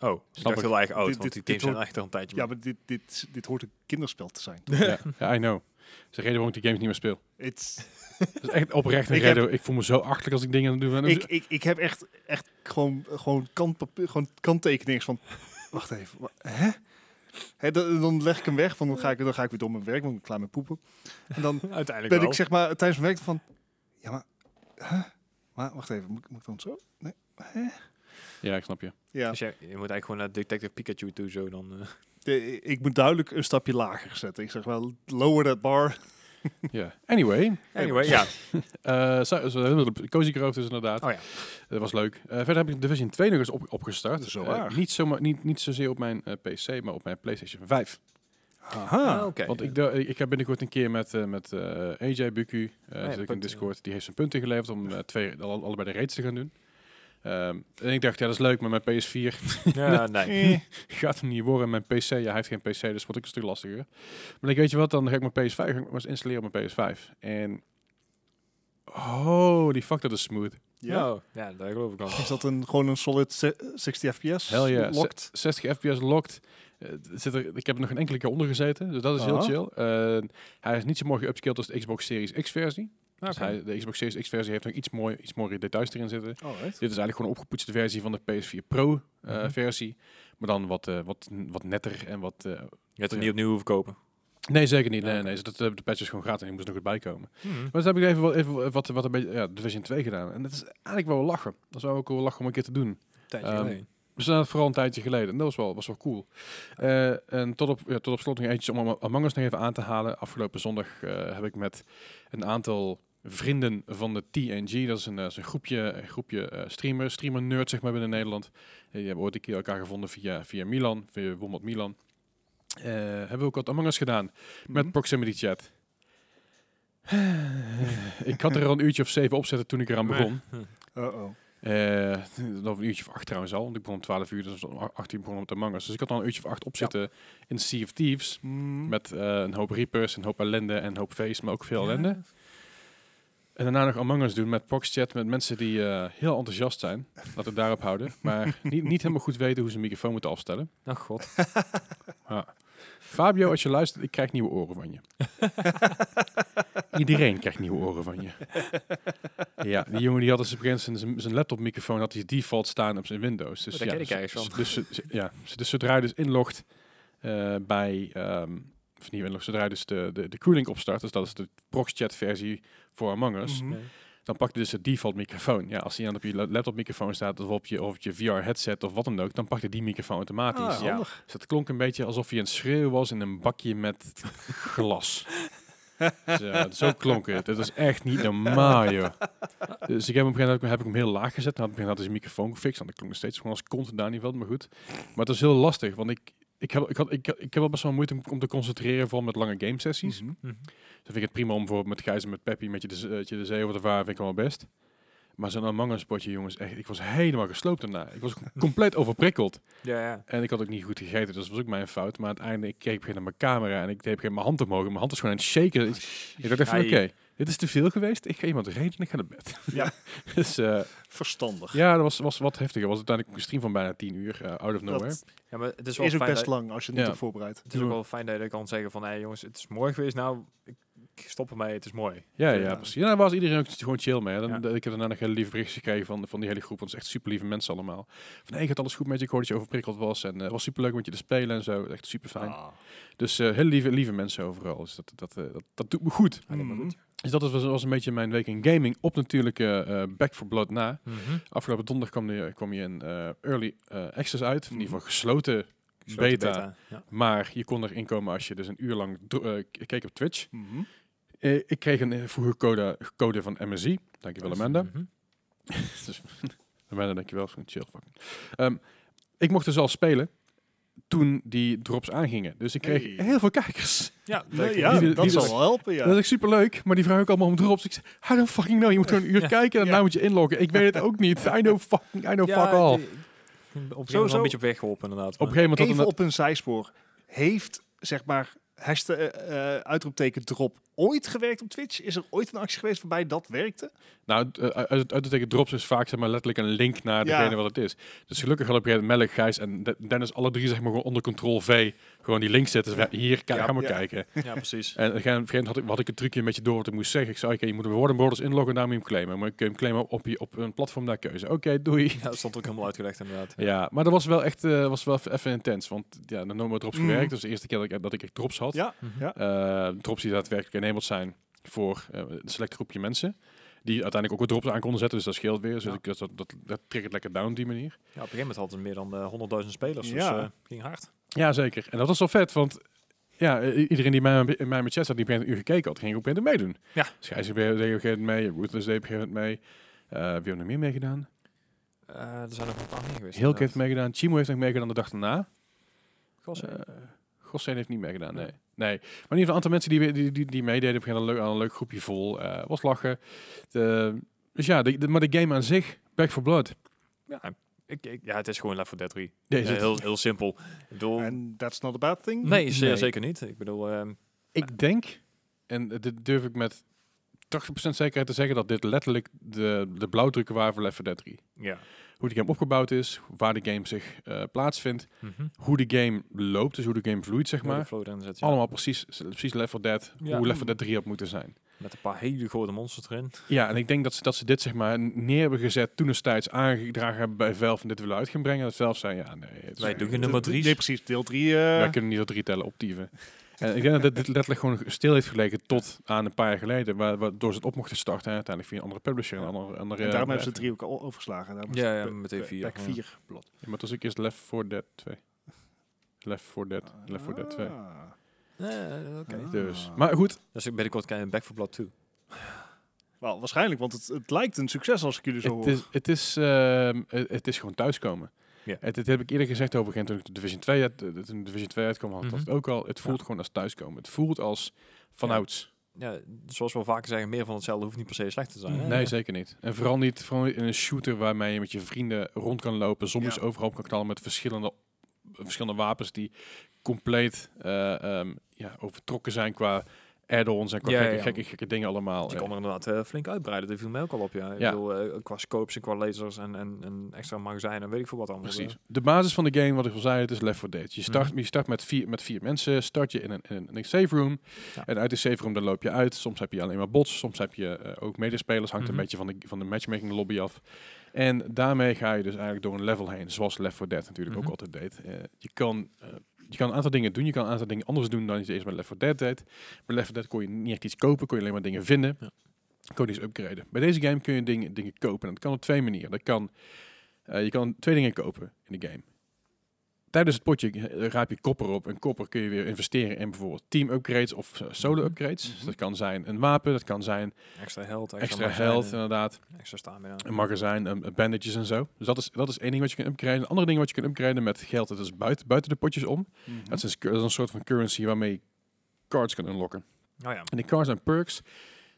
Speaker 2: Oh, ik dacht
Speaker 1: ik.
Speaker 2: heel erg oud,
Speaker 3: Dit-
Speaker 2: want
Speaker 3: dit-
Speaker 2: die games
Speaker 3: dit
Speaker 2: zijn
Speaker 3: wordt-
Speaker 2: echt al een tijdje.
Speaker 3: Ja, maar dit, dit, dit hoort een kinderspel te zijn.
Speaker 1: ja, ja, I know. Dat is de reden waarom ik die games niet meer speel.
Speaker 3: It's,
Speaker 1: Dat is echt oprecht een
Speaker 3: Ik
Speaker 1: reden. Ik voel me zo achterlijk als ik dingen aan het doen ben. Dus
Speaker 3: ik, ik, ik heb echt, echt gewoon, gewoon, kantpapier, gewoon kanttekeningen van... Wacht even, wa- hè? Hè, dan, dan leg ik hem weg, want dan ga ik, dan ga ik weer door mijn werk, want ik ben klaar met poepen. En dan
Speaker 2: Uiteindelijk
Speaker 3: ben
Speaker 2: wel.
Speaker 3: [LAUGHS] ik zeg maar tijdens mijn werk van... Ja, maar... Huh? Maar wacht even, moet, ik- moet ik dan zo? Nee. Hè?
Speaker 1: Ja, ik snap je.
Speaker 3: Ja,
Speaker 2: Dus jij- je, moet eigenlijk gewoon naar Detective Pikachu toe, zo dan. eh.
Speaker 3: de- ik moet duidelijk een stapje lager zetten. Ik zeg wel, lower that bar.
Speaker 1: Ja. Anyway,
Speaker 2: Anyway, ja.
Speaker 1: Eh, zo- zo- Cozy Grove dus inderdaad.
Speaker 2: Oh ja.
Speaker 1: Dat was leuk. Eh, verder heb ik Division 2 nog eens op, opgestart.
Speaker 3: Zo
Speaker 1: Eh,
Speaker 3: waar.
Speaker 1: niet, zomaar, niet, niet zozeer op mijn eh, PC, maar op mijn PlayStation 5.
Speaker 3: Aha.
Speaker 2: Ah, Oké.
Speaker 1: Want ik, da- ik heb binnenkort een keer met, eh, met eh, AJ Buku, eh, zit ik in
Speaker 2: punten.
Speaker 1: Discord, die heeft zijn punten geleverd om eh, twee, alle- allebei de raids te gaan doen. Ehm, en ik dacht, ja, dat is leuk, maar mijn PS4
Speaker 2: Ja, nee.
Speaker 3: Eh.
Speaker 1: [LAUGHS] gaat hem niet worden. Mijn PC, ja, hij heeft geen PC, dus wordt ik een stuk lastiger. Maar ik weet je wat, dan ga ik mijn PS5 ga ik maar eens installeren op mijn PS5. En, oh, die fuck, dat is smooth.
Speaker 3: Ja.
Speaker 2: Oh, ja, daar geloof ik al.
Speaker 3: Is dat een, gewoon een solid se- 60 fps?
Speaker 1: Hell yeah.
Speaker 3: Locked?
Speaker 1: 60 fps locked. Eh, het zit er, ik heb er nog een enkele keer onder gezeten, dus dat is
Speaker 3: Aha.
Speaker 1: heel chill. Eh, hij is niet zo mooi geupscaled als de Xbox Series X versie. Dus
Speaker 2: Oké.
Speaker 1: hij, de Xbox Series X versie heeft nog iets, mooi, iets mooiere details erin zitten.
Speaker 2: Oh,
Speaker 3: Alright.
Speaker 1: Dit is eigenlijk gewoon een opgepoetste versie van de PS4 Pro eh,
Speaker 2: Mhm.
Speaker 1: versie. Maar dan wat, eh, wat, wat netter en wat... eh,
Speaker 2: Je hebt het
Speaker 1: Ja.
Speaker 2: niet opnieuw hoeven kopen.
Speaker 1: nee, zeker niet.
Speaker 2: Ja,
Speaker 1: Nee,
Speaker 2: oké.
Speaker 1: nee, dat, eh, de patch is gewoon gratis en die moest er nog goed bij komen. Maar dan heb ik even, wel- even wat, wat een beetje ja, Division 2 gedaan. En dat is eigenlijk wel lachen. Dat zou ook wel lachen om een keer te doen.
Speaker 2: Tijdje
Speaker 1: Ehm,
Speaker 2: geleden.
Speaker 1: We zijn dat vooral een tijdje geleden. En dat was wel, was wel cool. Eh, en tot op, ja, tot op slot nog eentje om Among Us nog even aan te halen. Afgelopen zondag eh, heb ik met een aantal vrienden van de TNG. Dat is een, eh, is een groepje, een groepje eh streamers, streamer nerd zeg maar binnen Nederland. Eh, die hebben ooit een keer elkaar gevonden via, via Milan, via Wombat Milan. Eh, hebben we ook wat Among Us gedaan
Speaker 3: Mm.
Speaker 1: met Proximity Chat. [SIGHS] ik had er al een uurtje of zeven op zitten toen ik eraan begon.
Speaker 3: Uh-oh.
Speaker 1: Eh, nog een uurtje of acht trouwens al, want ik begon om 12 uur, dus om 18 begon met de mangas. Dus ik had al een uurtje of acht opzitten in Sea of Thieves.
Speaker 3: Mm. [LAUGHS]
Speaker 1: Met eh, een hoop Reapers, een hoop ellende en een hoop feest, maar ook veel ellende. En daarna nog Among Us doen met Proxchat, met mensen die eh, heel enthousiast zijn. Laten we het daarop houden. Maar niet, niet helemaal goed weten hoe ze een microfoon moeten afstellen.
Speaker 2: Nou, god.
Speaker 1: Ja. Fabio, als je luistert, ik krijg nieuwe oren van je. Iedereen krijgt nieuwe oren van je. Ja, die jongen die had dus op een gegeven moment zijn- zijn laptopmicrofoon had hij default staan op zijn Windows. Dus
Speaker 2: Oh, daar
Speaker 1: ja,
Speaker 2: ken ik
Speaker 1: dus-
Speaker 2: ergens van.
Speaker 1: Dus, dus- ja, dus zodra hij dus inlogt eh, bij, ehm of niet inlogt, zodra hij dus de, de, de cooling opstart, dus dat is de proxchat versie voor Among Us,
Speaker 2: Hm?
Speaker 3: Mhm.
Speaker 1: dan pakt hij dus de default microfoon. Ja, als hij dan op je la- laptopmicrofoon staat of op je, of op je VR headset of wat dan ook, dan pakt hij die microfoon automatisch.
Speaker 3: Ah,
Speaker 2: ja.
Speaker 3: handig.
Speaker 1: Dus het klonk een beetje alsof hij een schreeuw was in een bakje met glas. zo, Dus,
Speaker 3: [LAUGHS]
Speaker 1: zo klonk het. Het was echt niet normaal, joh. Dus ik heb hem op een gegeven moment heb ik hem heel laag gezet. Nou, op een gegeven moment had hij zijn microfoon gefixt. En dat klonk nog steeds gewoon als kont daar niet wel, maar goed. Maar het was heel lastig, want ik, ik, heb, ik, had, ik, ik heb wel best wel moeite om, om te concentreren, vooral met lange game sessies.
Speaker 3: Mhm.
Speaker 1: Dus vind ik het prima om bijvoorbeeld met Gijs en met Peppy, met je de, z- eh, je de zee over de vaar, vind ik wel best. Maar zo'n Among Us potje, jongens, echt, ik was helemaal gesloopt daarna. Ik was compleet overprikkeld.
Speaker 2: Ja, ja.
Speaker 1: En ik had ook niet goed gegeten, dus dat was ook mijn fout. Maar uiteindelijk ik keek ik weer naar mijn camera en ik deed geen mijn hand omhoog. en Mijn hand was gewoon aan het shaken. Ik- Ik dacht echt van,
Speaker 2: Ai.
Speaker 1: oké, dit is te veel geweest. Ik ga iemand reden en ik ga naar bed.
Speaker 3: Ja.
Speaker 1: [LAUGHS] dus eh,
Speaker 3: Verstandig.
Speaker 1: ja, dat was, was wat heftiger. was uiteindelijk een stream van bijna 10 uur, eh, out of nowhere.
Speaker 3: Dat
Speaker 2: ja, maar het is wel
Speaker 3: is ook
Speaker 2: fijn
Speaker 3: best
Speaker 2: dat,
Speaker 3: lang als je het niet
Speaker 1: Ja.
Speaker 3: hebt voorbereid.
Speaker 2: het is ook wel fijn dat je kan zeggen van, hé jongens, het is mooi geweest, nou, ik, ik stop ermee, het is mooi.
Speaker 1: Ja,
Speaker 3: Ja.
Speaker 1: ja, precies. Ja, daar was iedereen ook gewoon chill mee. hè. Dan, eh,
Speaker 2: Ja.
Speaker 1: Ik heb daarna nog hele lieve berichtjes gekregen van, van die hele groep. Want het is echt super lieve mensen allemaal. Van, hey, gaat alles goed met je? Ik hoorde dat je overprikkeld was. En eh, het was super leuk met je te spelen en zo. Echt super fijn.
Speaker 3: Ah.
Speaker 1: Dus eh hele lieve, lieve mensen overal. Dus dat, dat, eh, dat, dat doet me goed.
Speaker 2: Alleen maar
Speaker 3: Mhm.
Speaker 2: goed.
Speaker 1: Dus dat was, was een beetje mijn week in gaming. Op natuurlijk eh, eh, Back for Blood na. Afgelopen donderdag kwam, die, kwam je in eh, Early eh, Access uit. Of in ieder geval gesloten.
Speaker 2: Mhm. Gesloten
Speaker 1: Beta.
Speaker 2: Ja.
Speaker 1: Maar je kon erin komen als je dus een uur lang dro- eh, k- keek op Twitch.
Speaker 3: Mhm.
Speaker 1: Eh, ik kreeg een eh, vroege code, code van MSI. Dankjewel Amanda.
Speaker 2: Mhm.
Speaker 1: Dus, Amanda, dankjewel. Zo'n chill fucking. Ehm, ik mocht dus al spelen toen die drops aangingen. Dus ik kreeg
Speaker 3: Hey.
Speaker 1: heel veel kijkers.
Speaker 2: Ja,
Speaker 3: Nee,
Speaker 2: leuk.
Speaker 3: ja,
Speaker 1: Die- die-
Speaker 3: dat
Speaker 1: die-
Speaker 3: zal wel helpen, ja.
Speaker 1: Dat is echt superleuk, maar die vragen ook allemaal om drops. Ik zei, I don't fucking know. Je moet gewoon een uur
Speaker 2: Ja.
Speaker 1: kijken en daarna
Speaker 3: Ja.
Speaker 1: moet je inloggen. Ik weet het ook niet. I know fucking, I know
Speaker 2: Ja,
Speaker 1: fuck all.
Speaker 2: die- ik ben Op een gegeven moment wel
Speaker 3: Sowieso-
Speaker 2: een beetje op weg geholpen inderdaad.
Speaker 1: Op een
Speaker 2: maar-
Speaker 1: gegeven moment had nou-
Speaker 3: Even
Speaker 1: inderdaad-
Speaker 3: op een zijspoor. Heeft, zeg maar, hashtag, eh, eh, uitroepteken drop ooit gewerkt op Twitch? Is er ooit een actie geweest waarbij dat werkte?
Speaker 1: Nou, eh, uit, uit uit de teken drops is vaak zeg maar letterlijk een link naar
Speaker 3: Ja.
Speaker 1: degene wat het is. Dus gelukkig had op een gegeven moment Melk, Gijs en De- Dennis alle drie zeg maar gewoon onder control V gewoon die link zetten. Dus we- hier, kijk,
Speaker 2: Ja.
Speaker 1: ga maar
Speaker 3: Ja.
Speaker 1: kijken.
Speaker 2: Ja,
Speaker 1: [LAUGHS]
Speaker 2: precies.
Speaker 1: En op een gegeven moment had ik, had ik het trucje een beetje door wat ik moest zeggen. Ik zei, oké, je moet bij Warden Borders inloggen en daar moet je hem claimen. Maar kun je hem claimen op, je, op een platform naar keuze. Oké, doei. [LAUGHS]
Speaker 2: Ja, dat stond ook helemaal uitgelegd inderdaad.
Speaker 1: Ja, maar dat was wel echt eh, was wel even intens. Want ja, dan hebben we drops
Speaker 3: Mm.
Speaker 1: gewerkt. Dat is de eerste keer dat ik, dat ik echt drops had.
Speaker 3: Ja.
Speaker 2: Mhm.
Speaker 3: Ja.
Speaker 1: Eh, drops die daadwerkelijk enabled zijn voor eh, een select groepje mensen. Die uiteindelijk ook wat drops aan konden zetten, dus dat scheelt weer. Dus
Speaker 2: Ja.
Speaker 1: ik- dat, dat, dat, dat triggert lekker down op die manier.
Speaker 2: Ja, op een gegeven moment hadden ze meer dan eh, 100.000 spelers. Dus
Speaker 3: Ja.
Speaker 2: eh, ging hard.
Speaker 1: Ja, zeker. En dat was wel vet, want ja, i- iedereen die mij, in mijn chat zat, die op een gegeven moment een uur gekeken had, ging ook op een gegeven moment meedoen. Dus
Speaker 2: Ja.
Speaker 1: Schijs deed op een gegeven moment mee, Ruthless deed op een gegeven moment mee. Eh, wie heeft er nog meer meegedaan?
Speaker 2: Eh, er zijn nog een paar meer geweest.
Speaker 1: Hilke heeft
Speaker 2: inderdaad.
Speaker 1: meegedaan, Chimo heeft nog meegedaan de dag daarna.
Speaker 2: Gos, hè?
Speaker 1: Eh, Gossen heeft niet meegedaan, nee.
Speaker 2: Nee.
Speaker 1: Nee, maar in ieder geval een aantal mensen die, die, die, die meededen, beginnen een leuk, aan een leuk groepje vol. eh, was lachen. De- dus ja, de, de- maar de game aan zich, Back for Blood.
Speaker 2: ja, ik, ik- ja, het is gewoon Left 4 Dead 3.
Speaker 1: Nee, is
Speaker 2: Ja,
Speaker 1: het-
Speaker 2: heel, heel simpel. Ik bedoel,
Speaker 3: And that's not a bad thing.
Speaker 2: nee, zeer
Speaker 1: nee.
Speaker 2: zeker niet. Ik bedoel, ehm,
Speaker 1: ik denk, en eh, dit durf ik met 80% zekerheid te zeggen, dat dit letterlijk de, de blauwdrukken waren voor Left 4 Dead 3.
Speaker 2: ja.
Speaker 1: Hoe de game opgebouwd is, waar de game zich eh, plaatsvindt,
Speaker 2: Mhm.
Speaker 1: hoe de game loopt, dus hoe de game vloeit, zeg
Speaker 2: Hoe de
Speaker 1: maar.
Speaker 2: flow erin zit, ja.
Speaker 1: Allemaal precies, precies Left 4 Dead,
Speaker 2: Ja.
Speaker 1: hoe Left 4 Dead 3 had moeten zijn.
Speaker 2: Met een paar hele grote monsters erin.
Speaker 1: Ja, en ik denk dat ze, dat ze dit zeg maar neer hebben gezet toen destijds aangedragen hebben bij Valve en dit willen uit gaan brengen. Dat Valve zei, ja nee, het is-
Speaker 2: Wij doen
Speaker 1: wij
Speaker 2: geen nummer
Speaker 3: drie. eh,
Speaker 2: drie.
Speaker 3: Nee, precies. Deel 3.
Speaker 1: kunnen niet op drie tellen optieven. en ik denk dat dit dit letterlijk gewoon stil heeft gelegen tot aan een paar jaar geleden, waar, waardoor ze het op mochten starten en uiteindelijk via een andere publisher. Een
Speaker 3: Ja.
Speaker 1: andere, andere,
Speaker 3: en daarom
Speaker 1: eh,
Speaker 3: hebben ze 3 ook al overgeslagen. Daarom is
Speaker 2: Ja,
Speaker 3: het
Speaker 2: ja,
Speaker 3: pa-
Speaker 2: meteen
Speaker 3: pa-
Speaker 2: vier,
Speaker 3: Pack
Speaker 2: ja.
Speaker 3: 4 blad.
Speaker 1: Ja, maar het was ook eerst Left 4 Dead 2. Left 4 Dead, Left 4 Dead 2.
Speaker 3: Ah.
Speaker 2: Eh, Oké.
Speaker 3: Ah.
Speaker 1: Dus, maar goed,
Speaker 2: Dus ik binnenkort krijg je een Back 4 Blood 2.
Speaker 3: Wel, waarschijnlijk, want het, het lijkt een succes als ik jullie zo
Speaker 1: het
Speaker 3: hoor.
Speaker 1: is, het, is, ehm, het, het is gewoon thuiskomen.
Speaker 2: Ja.
Speaker 1: Het, het heb ik eerder gezegd over toen ik de Division 2, uit, eh, toen Division 2 uitkwam, had ik dat
Speaker 2: Mhm.
Speaker 1: ook al. Het voelt gewoon als thuiskomen. Het voelt als vanouds.
Speaker 2: Ja, zoals we al vaker zeggen, meer van hetzelfde hoeft niet per se slecht te zijn. hè?
Speaker 1: Nee, zeker niet. En vooral niet, vooral niet in een shooter waarmee je met je vrienden rond kan lopen, zombies
Speaker 3: Ja.
Speaker 1: overhoop kan knallen met verschillende, verschillende wapens die compleet eh, ehm, ja, overtrokken zijn qua add-ons en qua
Speaker 2: Ja, ja,
Speaker 1: gekke,
Speaker 2: ja.
Speaker 1: gekke, gekke dingen allemaal.
Speaker 2: Je
Speaker 1: Eh,
Speaker 2: kon er inderdaad eh, flink uitbreiden. Dat viel mij ook al op, ja. Ik
Speaker 1: Ja.
Speaker 2: bedoel, eh, qua scopes en qua lasers en, en, en extra magazijnen en weet ik veel wat allemaal.
Speaker 1: Precies. De basis van de game, wat ik al zei, het is Left 4 Dead. Je start,
Speaker 2: eh, Mhm.
Speaker 1: je start met, vier, met vier mensen, start je in een, in een safe room.
Speaker 2: Ja.
Speaker 1: En uit die safe room dan loop je uit. Soms heb je alleen maar bots, soms heb je eh, ook medespelers. Hangt
Speaker 2: Mhm.
Speaker 1: een beetje van de, van de matchmaking lobby af. En daarmee ga je dus eigenlijk door een level heen, zoals Left 4 Dead natuurlijk
Speaker 2: Mhm.
Speaker 1: ook altijd deed. Eh, je, kan, eh, je kan een aantal dingen doen, je kan een aantal dingen anders doen dan je eerst met Left 4 Dead deed. Bij Left 4 Dead kon je niet echt iets kopen, kon je alleen maar dingen vinden.
Speaker 2: Ja.
Speaker 1: Kon je iets upgraden. Bij deze game kun je dingen, dingen kopen. En dat kan op twee manieren. Dat kan, eh, je kan twee dingen kopen in de game. Tijdens het potje eh, raap je kopper op. En kopper kun je weer investeren in bijvoorbeeld team upgrades of eh, solo upgrades. Dus
Speaker 3: Mhm.
Speaker 1: dat kan zijn een wapen, dat kan zijn
Speaker 2: eh. Extra held, extra,
Speaker 1: extra
Speaker 2: magazijnen,
Speaker 1: geld inderdages,
Speaker 2: Extra stamina.
Speaker 1: een magazijn, een, een bandages en zo. Dus dat is, dat is één ding wat je kan upgraden. Een andere ding wat je kan upgraden met geld, dat is buiten, buiten de potjes om.
Speaker 3: Mhm.
Speaker 1: Dat, is, een- dat is een soort van currency waarmee je cards kan unlocken.
Speaker 2: Oh ja.
Speaker 1: En die cards en perks.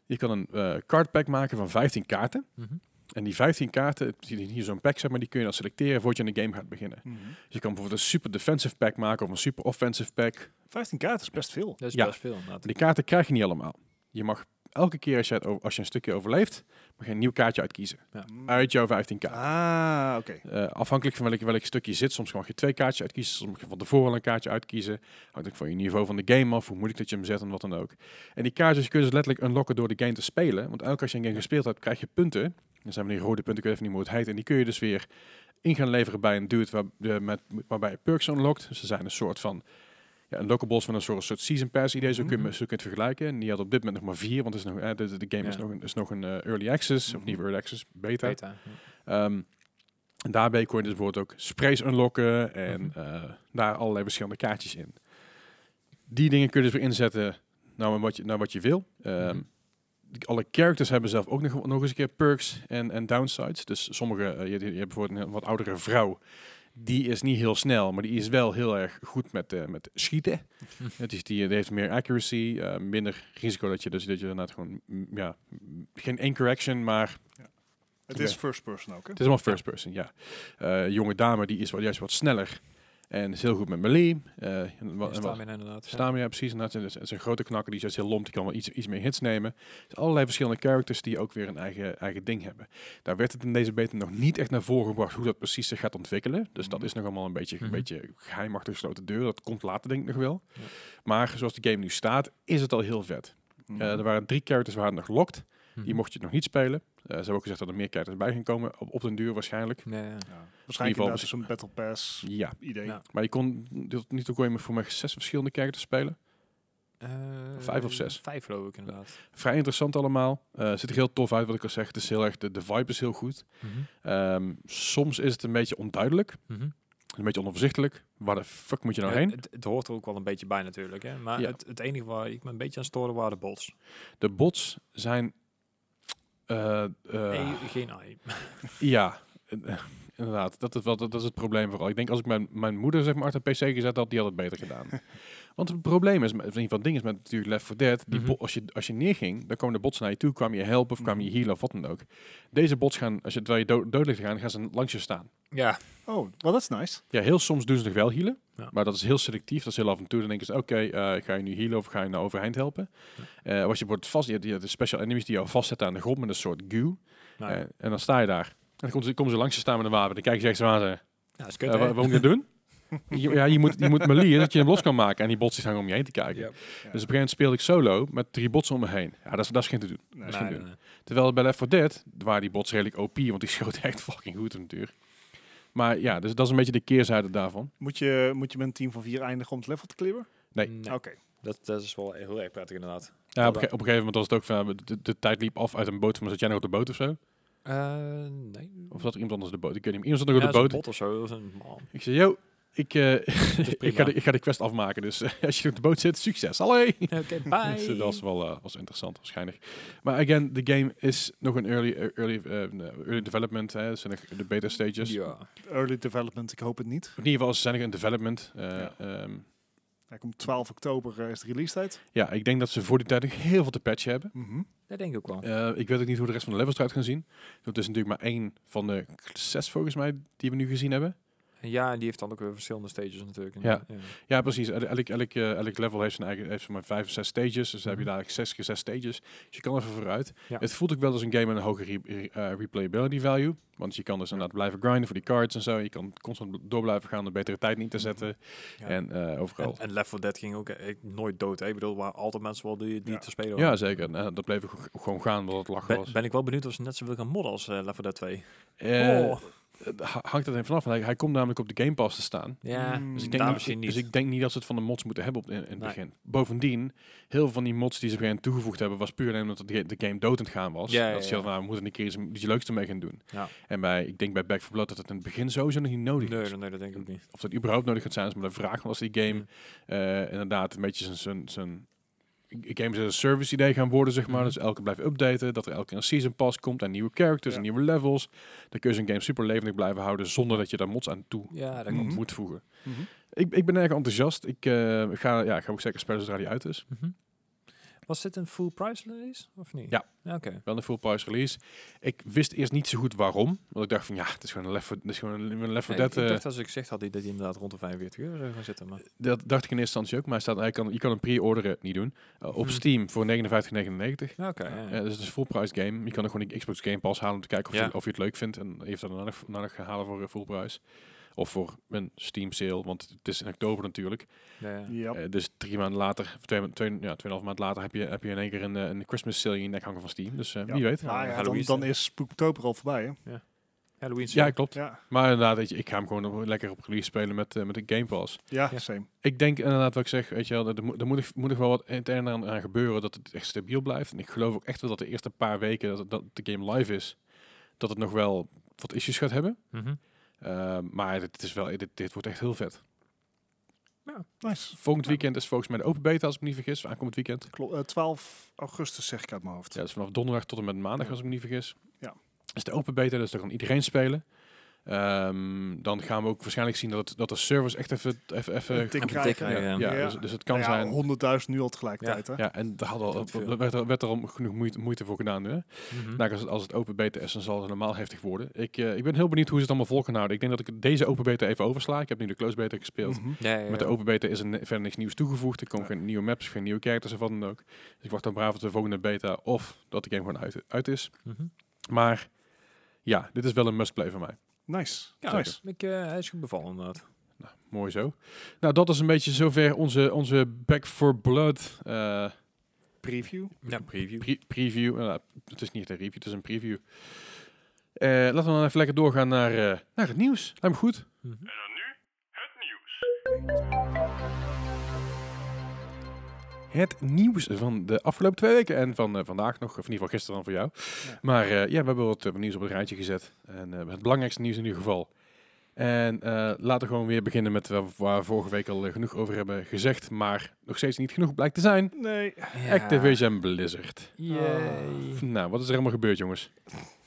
Speaker 1: Je kan een eh card pack maken van 15 kaarten.
Speaker 2: Mhm.
Speaker 1: En die 15 kaarten, die hier zo'n pack zeg maar, die kun je dan selecteren voordat je in de game gaat beginnen.
Speaker 3: Mhm.
Speaker 1: Dus je kan bijvoorbeeld een super defensive pack maken of een super offensive pack.
Speaker 3: 15 kaarten is best veel.
Speaker 2: Dat is
Speaker 1: Ja.
Speaker 2: best veel. inderdaad.
Speaker 1: Die kaarten krijg je niet allemaal. Je mag elke keer als je, het o- als je een stukje overleeft, mag je een nieuw kaartje uitkiezen.
Speaker 3: Mm.
Speaker 1: Uit jouw 15 kaarten.
Speaker 3: Ah, oké.
Speaker 1: Eh, afhankelijk van welk, welk stuk je zit, soms mag je twee kaartjes uitkiezen, soms mag je van tevoren al een kaartje uitkiezen. Hangt ook van je niveau van de game af, hoe moeilijk dat je hem zet en wat dan ook. En die kaartjes kun je dus letterlijk unlocken door de game te spelen. Want elke als je een game gespeeld hebt, krijg je punten. Dan zijn we die rode punten, ik weet even niet hoe het heet. En die kun je dus weer in gaan leveren bij een dude waar, de- met, waarbij je perks unlockt. Dus ze zijn een soort van ja, unlockables van een soort, soort season pass idee, zo kun je,
Speaker 2: Mhm.
Speaker 1: me- zo kun je het vergelijken. En die had op dit moment nog maar vier, want het is nog, eh, de, de game is
Speaker 2: Ja.
Speaker 1: nog een, is nog een eh, early access, of
Speaker 3: Mhm.
Speaker 1: niet early access, beta.
Speaker 2: Beta, ja.
Speaker 1: Ehm, en daarbij kon je dus bijvoorbeeld ook sprays unlocken en eh, daar allerlei verschillende kaartjes in. Die dingen kun je dus weer inzetten naar wat je, naar wat je wil. Ehm,
Speaker 2: Mhm.
Speaker 1: die- Alle characters hebben zelf ook nog, nog eens een keer perks en, en downsides. Dus sommige, eh, je, je hebt bijvoorbeeld een wat oudere vrouw. Die is niet heel snel, maar die is wel heel erg goed met, eh, met schieten.
Speaker 2: Mhm.
Speaker 1: Het is die, die heeft meer accuracy, eh, minder risico dat je dus dat je inderdaad gewoon, mm, ja, mm, geen anchor action, maar
Speaker 3: Het is
Speaker 1: Oké.
Speaker 3: first person ook, hè?
Speaker 1: het is allemaal first person, ja. Eh, jonge dame, die is wel juist wat sneller. En is heel goed met melee. eh en, wa-
Speaker 2: Ja,
Speaker 1: en wat,
Speaker 2: stamina inderdaad. ja.
Speaker 1: stamina, ja, precies. En dat is een grote knakker, die is juist heel lomp. Die kan wel iets, iets meer hits nemen. Dus allerlei verschillende characters die ook weer een eigen, eigen ding hebben. Daar werd het in deze beta nog niet echt naar voren gebracht hoe dat precies zich gaat ontwikkelen. Dus dat
Speaker 3: Mhm.
Speaker 1: is nog allemaal een beetje, een
Speaker 2: Mhm.
Speaker 1: beetje geheim achter gesloten deur. Dat komt later denk ik nog wel.
Speaker 2: Ja.
Speaker 1: Maar zoals de game nu staat, is het al heel vet.
Speaker 3: Mhm.
Speaker 1: Eh, er waren drie characters waar het nog lokt.
Speaker 2: Mhm.
Speaker 1: Die mocht je nog niet spelen. Eh, ze hebben ook gezegd dat er meer characters bij gaan komen. Op, op den duur waarschijnlijk.
Speaker 2: Ja, ja.
Speaker 3: Ja.
Speaker 1: geval
Speaker 3: Waarschijnlijk inderdaad zo'n Battle Pass
Speaker 1: Ja,
Speaker 3: idee.
Speaker 2: Ja.
Speaker 1: maar je kon tot nu toe kon je met voor mij zes verschillende characters spelen.
Speaker 2: Eh,
Speaker 1: Vijf of zes?
Speaker 2: Vijf geloof ik inderdaad.
Speaker 1: Vrij interessant allemaal. Eh, ziet er heel tof uit wat ik al zeg. Het is heel erg, de, de vibe is heel goed.
Speaker 2: Mhm.
Speaker 1: Ehm, soms is het een beetje onduidelijk,
Speaker 2: Mhm.
Speaker 1: een beetje onoverzichtelijk. Waar de fuck moet je nou
Speaker 2: Ja,
Speaker 1: heen?
Speaker 2: Het, het hoort er ook wel een beetje bij natuurlijk. Hè? Maar
Speaker 1: Ja.
Speaker 2: het, het enige waar ik me een beetje aan stoorde waren de bots.
Speaker 1: De bots zijn... eh, eh,
Speaker 2: E, geen AI.
Speaker 1: Ja, eh, inderdaad. Dat is, wel, dat is het probleem vooral. Ik denk als ik mijn, mijn moeder zeg maar achter een PC gezet had, die had het beter gedaan. Want het probleem is, met- in ieder geval het ding is met natuurlijk Left 4 Dead, die
Speaker 2: Mhm.
Speaker 1: bo- als, je, als je neerging, dan komen de bots naar je toe, kwamen je helpen of kwamen je healen of wat dan ook. Deze bots gaan, als je, terwijl je dood, dood ligt te gaan, gaan ze langs je staan.
Speaker 2: [LAUGHS] Ja.
Speaker 3: Oh, well, that's nice.
Speaker 1: Ja, heel soms doen ze nog wel healen,
Speaker 2: Ja.
Speaker 1: maar dat is heel selectief. Dat is heel af en toe. Dan denken ze, oké, eh, ik ga je nu healen of ga je nou overeind helpen? Eh als je wordt vast, je hebt- je hebt de special enemies die jou vastzetten aan de grond met een soort goo.
Speaker 2: Nou,
Speaker 1: Eh, en dan sta je daar. En dan komen ze, komen ze langs je staan met een wapen. Dan kijken ze echt zo aan. Ze,
Speaker 2: ja, is
Speaker 1: eh,
Speaker 2: kut,
Speaker 1: wa-
Speaker 2: hè?
Speaker 1: wat moet ik dit
Speaker 2: [LAUGHS]
Speaker 1: doen? Je- ja, je moet, je moet melieën dat je hem los kan maken. En die bots die staan om je heen te kijken.
Speaker 2: Ja.
Speaker 1: Dus op een gegeven moment speelde ik solo met drie bots om me heen. Ja, dat is, dat is geen te doen.
Speaker 3: Nee.
Speaker 1: Misschien
Speaker 2: Nee,
Speaker 1: doen.
Speaker 2: nee, nee.
Speaker 1: Terwijl bij Left 4 Dead waren die bots redelijk OP. Want die schoten [LAUGHS] echt fucking goed natuurlijk. Maar ja, dus dat is een beetje de keerzijde daarvan.
Speaker 3: Moet, je, moet je met een team van vier eindigen om het level te klimmen?
Speaker 1: Nee.
Speaker 2: Nee,
Speaker 3: Oké.
Speaker 2: Nou, Dat, dat is wel heel erg prettig inderdaad.
Speaker 1: Ja, op, een ge- op een gegeven moment was het ook van... ja, De, de tijd liep af uit een boot. Maar zat jij nog op de boot of zo?
Speaker 2: Eh, nee.
Speaker 1: Of zat er iemand anders op de boot? Ik weet niet. meer. Iemand zat nog op
Speaker 2: Ja,
Speaker 1: de
Speaker 2: zo'n
Speaker 1: boot.
Speaker 2: bot of zo. dat is een- man.
Speaker 1: [LAUGHS] Ik zei, yo, ik, eh, [LAUGHS] ik,
Speaker 2: prima.
Speaker 1: ga de, ik ga de quest afmaken. Dus eh, [LAUGHS] als je op de boot zit, succes. Allee!
Speaker 2: Oké,
Speaker 1: [LAUGHS] Dus,
Speaker 2: bye.
Speaker 1: eh, dat was wel eh, was interessant waarschijnlijk. Maar again, de game is nog een early, eh, early, eh, early development. Hè. Er zijn nog de beta stages.
Speaker 2: Ja.
Speaker 3: Early development, ik hoop het niet.
Speaker 1: In ieder geval, ze zijn nog in development. Eh, ehm,
Speaker 3: Ja.
Speaker 1: ja.
Speaker 3: Hij komt 12 oktober, eh, is de release tijd. Mhm.
Speaker 1: ik denk dat ze voor die tijd nog heel veel te patchen hebben.
Speaker 2: Dat denk ik ook wel.
Speaker 1: Eh, ik weet ook niet hoe de rest van de levels eruit gaan zien. Dat is natuurlijk maar één van de zes volgens mij die we nu gezien hebben.
Speaker 2: Ja, en die heeft dan ook weer verschillende stages natuurlijk.
Speaker 1: Ja.
Speaker 2: ja.
Speaker 1: Ja, precies. El- Elk, elk, eh, elk level heeft zijn eigen heeft zijn maar vijf of zes stages. Dus dan heb je
Speaker 2: Mhm.
Speaker 1: dadelijk zes keer zes stages. Dus je kan even vooruit.
Speaker 2: Ja.
Speaker 1: Het voelt ook wel als een game met een hoge re- re- eh, replayability value. Want je kan dus inderdaad blijven grinden voor die cards en zo. Je kan constant door blijven gaan om betere tijd in te zetten.
Speaker 2: Ja.
Speaker 1: En eh, overal.
Speaker 2: En, en Left 4 Dead ging ook eh, nooit dood. Hè? Ik bedoel, er waren altijd mensen wel die, die
Speaker 3: Ja.
Speaker 2: te spelen
Speaker 1: ja,
Speaker 2: waren.
Speaker 1: zeker. Nou, dat bleef ik g- gewoon gaan, omdat het lachen was.
Speaker 2: ben, ben ik wel benieuwd of ze net zoveel gaan modden als eh, Left 4 Dead 2.
Speaker 1: Eh,
Speaker 2: oh.
Speaker 1: het ha- hangt er even vanaf. want Hij, hij komt namelijk op de Game Pass te staan.
Speaker 2: Ja,
Speaker 3: Mm.
Speaker 1: Dus ik,
Speaker 2: Hmm. daar
Speaker 1: denk niet,
Speaker 2: misschien niet.
Speaker 1: dus ik denk niet dat ze het van de mods moeten hebben op, in, in het
Speaker 2: Nee.
Speaker 1: begin. Bovendien, heel veel van die mods die ze weer toegevoegd hebben, was puur alleen omdat de, ga- de game dood aan het gaan was.
Speaker 2: Ja, ja,
Speaker 1: dat ze hadden,
Speaker 2: ja.
Speaker 1: nou, we moeten een keer iets, iets leuks ermee gaan doen.
Speaker 2: Ja.
Speaker 1: En bij, ik denk bij Back 4 Blood dat het in het begin sowieso nog niet nodig
Speaker 2: nee,
Speaker 1: is.
Speaker 2: nee, nee, dat denk ik ook niet.
Speaker 1: Of dat überhaupt nodig gaat zijn, is maar de vraag. Want als die game
Speaker 2: Hmm.
Speaker 1: eh, inderdaad een beetje zijn- zijn... zijn Games as a service idee gaan worden, zeg maar.
Speaker 2: Mhm.
Speaker 1: Dus elke keer blijven updaten. Dat er elke keer een season pass komt en nieuwe characters en
Speaker 3: Ja.
Speaker 1: nieuwe levels. Dan kun je zo'n game super levendig blijven houden zonder dat je daar mods aan toe
Speaker 2: Ja, dat
Speaker 3: Mhm.
Speaker 2: komt.
Speaker 1: moet voegen.
Speaker 3: Mhm.
Speaker 1: Ik, ik ben erg enthousiast. Ik eh, ga, ja, ik ga ook zeker spelen zodra die uit is.
Speaker 2: Was dit een full price release of niet?
Speaker 1: Ja.
Speaker 2: Oké.
Speaker 1: Wel een full price release. Ik wist eerst niet zo goed waarom. Want ik dacht van ja, het is gewoon een Left 4 dit is gewoon een- een Left 4
Speaker 2: Nee,
Speaker 1: Dead.
Speaker 2: ik, ik
Speaker 1: eh,
Speaker 2: dacht als ik gezegd had dat hij inderdaad rond de 45 euro zou gaan zitten. Maar
Speaker 1: dat dacht ik in eerste instantie ook. Maar hij staat, hij kan, je kan een pre-orderen niet doen. eh, op
Speaker 2: Hmm.
Speaker 1: Steam voor 59,99.
Speaker 2: Ja, oké. ja,
Speaker 1: Eh,
Speaker 2: ja.
Speaker 1: dus het is een full price game. Je kan er gewoon die Xbox Game Pass halen om te kijken of,
Speaker 2: Ja.
Speaker 1: je, of je het leuk vindt. En heeft dat dan nog, daarna nog gaan halen voor eh, full price. Of voor een Steam sale, want het is in oktober natuurlijk.
Speaker 2: Ja, ja.
Speaker 3: Ja.
Speaker 1: Eh, dus drie maanden later, of twee, ma- twee, ja, tweeënhalf maand later, heb je, heb je in één keer een, eh, een Christmas sale in je nek hangen van Steam. Dus eh,
Speaker 3: Ja.
Speaker 1: wie weet.
Speaker 2: Ja,
Speaker 3: Nou ja, dan,
Speaker 2: Halloween
Speaker 3: dan
Speaker 2: sale.
Speaker 3: is Spooktober al voorbij, hè?
Speaker 2: Halloween
Speaker 1: Ja,
Speaker 2: sale.
Speaker 1: klopt.
Speaker 3: Ja,
Speaker 1: Maar inderdaad, weet je, ik ga hem gewoon op- lekker op release spelen met, eh, met de Game Pass.
Speaker 3: ja,
Speaker 2: Ja.
Speaker 3: same.
Speaker 1: Ik denk inderdaad wat ik zeg, weet je wel, er, moet- er moet, nog- moet nog wel wat het een en ander aan gebeuren dat het echt stabiel blijft. En ik geloof ook echt wel dat de eerste paar weken dat, het- dat de game live is, dat het nog wel wat issues gaat hebben.
Speaker 2: Mhm.
Speaker 1: Eh, maar dit, is wel, dit, dit wordt echt heel vet.
Speaker 3: Nice.
Speaker 1: Volgend weekend is volgens mij de open beta, als ik me niet vergis. Aankomend weekend.
Speaker 3: Klopt. eh, 12 augustus zeg ik uit mijn hoofd.
Speaker 1: Ja, dus vanaf donderdag tot en met maandag, als ik me niet vergis.
Speaker 3: Ja.
Speaker 1: Is de open beta, dus dan kan iedereen spelen. Ehm, dan gaan we ook waarschijnlijk zien dat, het- dat de servers echt even... even, even
Speaker 3: Een tik
Speaker 1: gaan-
Speaker 3: krijgen.
Speaker 2: tik krijgen,
Speaker 1: Ja,
Speaker 2: ja.
Speaker 1: ja,
Speaker 3: Ja.
Speaker 1: Dus, dus het kan
Speaker 3: Nou ja,
Speaker 1: zijn...
Speaker 3: 100.000 nu al tegelijkertijd, hè?
Speaker 1: Ja, en daar had al,
Speaker 3: Dat veel.
Speaker 1: er werd, er, werd er al genoeg moeite, moeite voor gedaan. Hè?
Speaker 2: Mhm.
Speaker 1: Nou, als, het, als het open beta is, dan zal het normaal heftig worden. Ik, eh, ik ben heel benieuwd hoe ze het allemaal vol gaan houden. Ik denk dat ik deze open beta even oversla. Ik heb nu de close beta gespeeld.
Speaker 3: Mhm.
Speaker 2: Ja, ja, ja.
Speaker 1: Met de open beta is er ni- verder niks nieuws toegevoegd. Er komen
Speaker 3: Ja.
Speaker 1: geen nieuwe maps, geen nieuwe characters of wat dan ook. Dus ik wacht dan braaf op de volgende beta of dat de game gewoon uit, uit is.
Speaker 2: Mhm.
Speaker 1: Maar ja, dit is wel een must-play voor mij.
Speaker 3: Nice.
Speaker 2: Ja,
Speaker 3: nice.
Speaker 2: ik, eh, hij is goed bevallen inderdaad.
Speaker 1: Nou, mooi zo. Nou, dat is een beetje zover onze, onze Back for Blood eh,
Speaker 3: Preview.
Speaker 2: Ja, preview.
Speaker 1: pre- preview. Nou, het is niet echt een review, het is een preview. Eh, laten we dan even lekker doorgaan naar, eh, naar het nieuws. Lijkt me goed.
Speaker 2: Mhm.
Speaker 1: Het nieuws van de afgelopen twee weken en van eh, vandaag nog, of in ieder geval gisteren dan voor jou.
Speaker 3: Ja.
Speaker 1: Maar eh, ja, we hebben wat eh, nieuws op het rijtje gezet. En eh, het belangrijkste nieuws in ieder geval. En eh, laten we gewoon weer beginnen met waar, waar we vorige week al eh, genoeg over hebben gezegd, maar nog steeds niet genoeg blijkt te zijn.
Speaker 3: Nee.
Speaker 1: Activision Blizzard.
Speaker 2: Yay.
Speaker 1: Nou, wat is er allemaal gebeurd, jongens?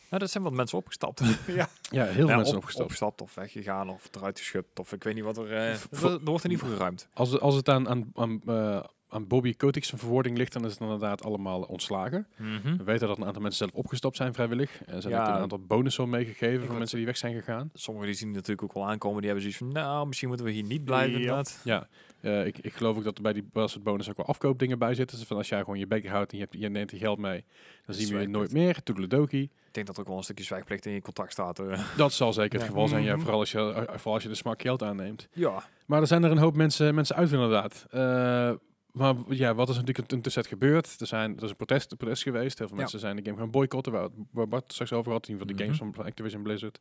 Speaker 2: Nou, dat zijn wat mensen
Speaker 1: [LAUGHS]
Speaker 2: opgestapt.
Speaker 1: Ja, heel veel
Speaker 2: Ja,
Speaker 1: mensen
Speaker 2: op-
Speaker 1: opgestapt.
Speaker 2: of weggegaan of eruit geschupt of ik weet niet wat er... eh,
Speaker 1: V-
Speaker 2: er er wordt er niet voor geruimd.
Speaker 1: Als, als het aan, aan, aan, eh, aan Bobby Kotick's verwoording ligt, dan is het inderdaad allemaal ontslagen.
Speaker 3: Mhm.
Speaker 1: We weten dat een aantal mensen zelf opgestapt zijn vrijwillig. En ze hebben
Speaker 2: Ja.
Speaker 1: ook een aantal bonussen meegegeven
Speaker 2: wou
Speaker 1: voor mensen die weg zijn gegaan.
Speaker 2: Sommigen die zien natuurlijk ook wel aankomen, die hebben zoiets van, nou, misschien moeten we hier niet blijven
Speaker 3: Ja.
Speaker 2: inderdaad.
Speaker 1: Ja, eh, ik, ik geloof ook dat er bij die Blizzard bonus ook wel afkoopdingen bij zitten. Dus van als jij gewoon je bek houdt en je, hebt, je neemt je geld mee, dan
Speaker 2: is
Speaker 1: zien we je
Speaker 2: werkt
Speaker 1: nooit meer. Toedeledokie.
Speaker 2: Ik denk dat er ook wel een stukje zwijgplicht in je contract staat. eh. [LAUGHS]
Speaker 1: Dat zal zeker het
Speaker 2: Ja.
Speaker 1: geval zijn, ja,
Speaker 3: Mhm.
Speaker 1: vooral, als je, eh, vooral als je de smak geld aanneemt.
Speaker 2: Ja.
Speaker 1: Maar er zijn er een hoop mensen, mensen uit inderdaad. Eh, maar w- ja, wat is er natuurlijk intussen gebeurd? Er, zijn, er is een protest, een protest geweest. Heel veel
Speaker 2: Ja.
Speaker 1: mensen zijn de game gaan boycotten. Waar, waar Bart het straks over had, in ieder geval de
Speaker 2: Mhm.
Speaker 1: games van Activision Blizzard.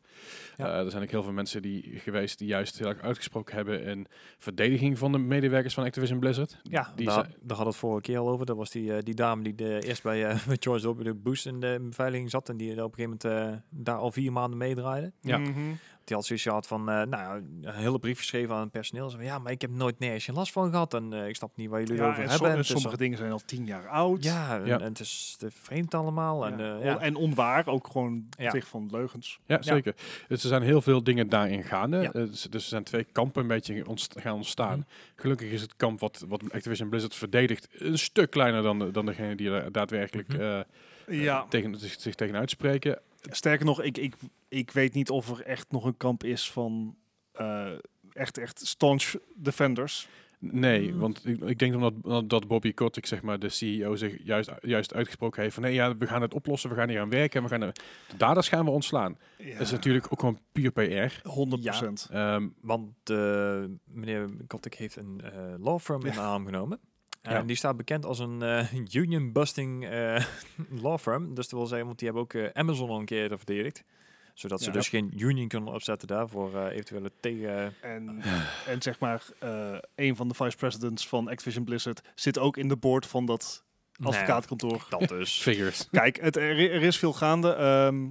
Speaker 2: Ja.
Speaker 1: Eh, er zijn ook heel veel mensen die geweest die juist heel erg uitgesproken hebben in verdediging van de medewerkers van Activision Blizzard.
Speaker 2: Ja,
Speaker 1: Die
Speaker 2: daar,
Speaker 1: zijn-
Speaker 2: daar hadden we het vorige keer al over. Dat was die, eh, die dame die de, eerst bij, eh, [LAUGHS] bij George W. Bush in de beveiliging zat. En die er op een gegeven moment eh, daar al vier maanden meedraaide.
Speaker 1: Ja.
Speaker 3: Mhm.
Speaker 2: Die had zoiets gehad van, eh, nou, een hele brief geschreven aan het personeel. Zo van, ja, maar ik heb nooit nergens geen last van gehad. En eh, ik snap niet waar jullie
Speaker 3: Ja,
Speaker 2: het over
Speaker 3: en,
Speaker 2: hebben.
Speaker 3: som-
Speaker 2: En
Speaker 3: en
Speaker 2: het is
Speaker 3: sommige
Speaker 2: al-
Speaker 3: dingen zijn al tien jaar oud.
Speaker 2: ja, en,
Speaker 1: Ja.
Speaker 2: en het is te vreemd allemaal. En,
Speaker 3: Ja.
Speaker 2: eh,
Speaker 3: On-
Speaker 2: ja.
Speaker 3: en onwaar, ook gewoon
Speaker 2: Ja.
Speaker 3: tegen van leugens.
Speaker 1: Ja, zeker. Dus er zijn heel veel dingen daarin gaande.
Speaker 2: Ja. Mhm.
Speaker 1: Eh, dus, dus er zijn twee kampen een beetje ontst- gaan ontstaan. Gelukkig is het kamp wat, wat Activision Blizzard verdedigt een stuk kleiner dan, de- dan degene die er daadwerkelijk
Speaker 2: Mhm.
Speaker 1: eh, eh,
Speaker 3: Ja.
Speaker 1: tegen, zich, zich tegen uitspreken.
Speaker 3: Sterker nog, ik, ik, ik weet niet of er echt nog een kamp is van eh, echt, echt staunch defenders.
Speaker 1: Nee,
Speaker 2: Mm.
Speaker 1: want ik, ik denk omdat, omdat dat Bobby Kotick, zeg maar, de CEO, zich juist, juist uitgesproken heeft van nee, ja, we gaan het oplossen, we gaan hier aan werken, en we gaan de, de daders gaan we ontslaan.
Speaker 3: Ja.
Speaker 1: Dat is natuurlijk ook gewoon puur PR.
Speaker 3: 100 procent.
Speaker 1: Ehm,
Speaker 2: Want eh, meneer Kotick heeft een eh, law firm in de arm genomen. En
Speaker 1: Ja.
Speaker 2: die staat bekend als een eh, union-busting eh, [LAUGHS] law firm. Dus dat wil zeggen, want die hebben ook eh, Amazon al een keer verdedigd. Zodat ze
Speaker 3: Ja.
Speaker 2: dus geen union kunnen opzetten daarvoor eh, eventuele tegen...
Speaker 3: En, en zeg maar, eh, een van de vice presidents van Activision Blizzard zit ook in de board van dat advocaatkantoor.
Speaker 2: Nee, dat [LAUGHS] dus.
Speaker 1: figures.
Speaker 3: Kijk, het, er, er is veel gaande. Ehm,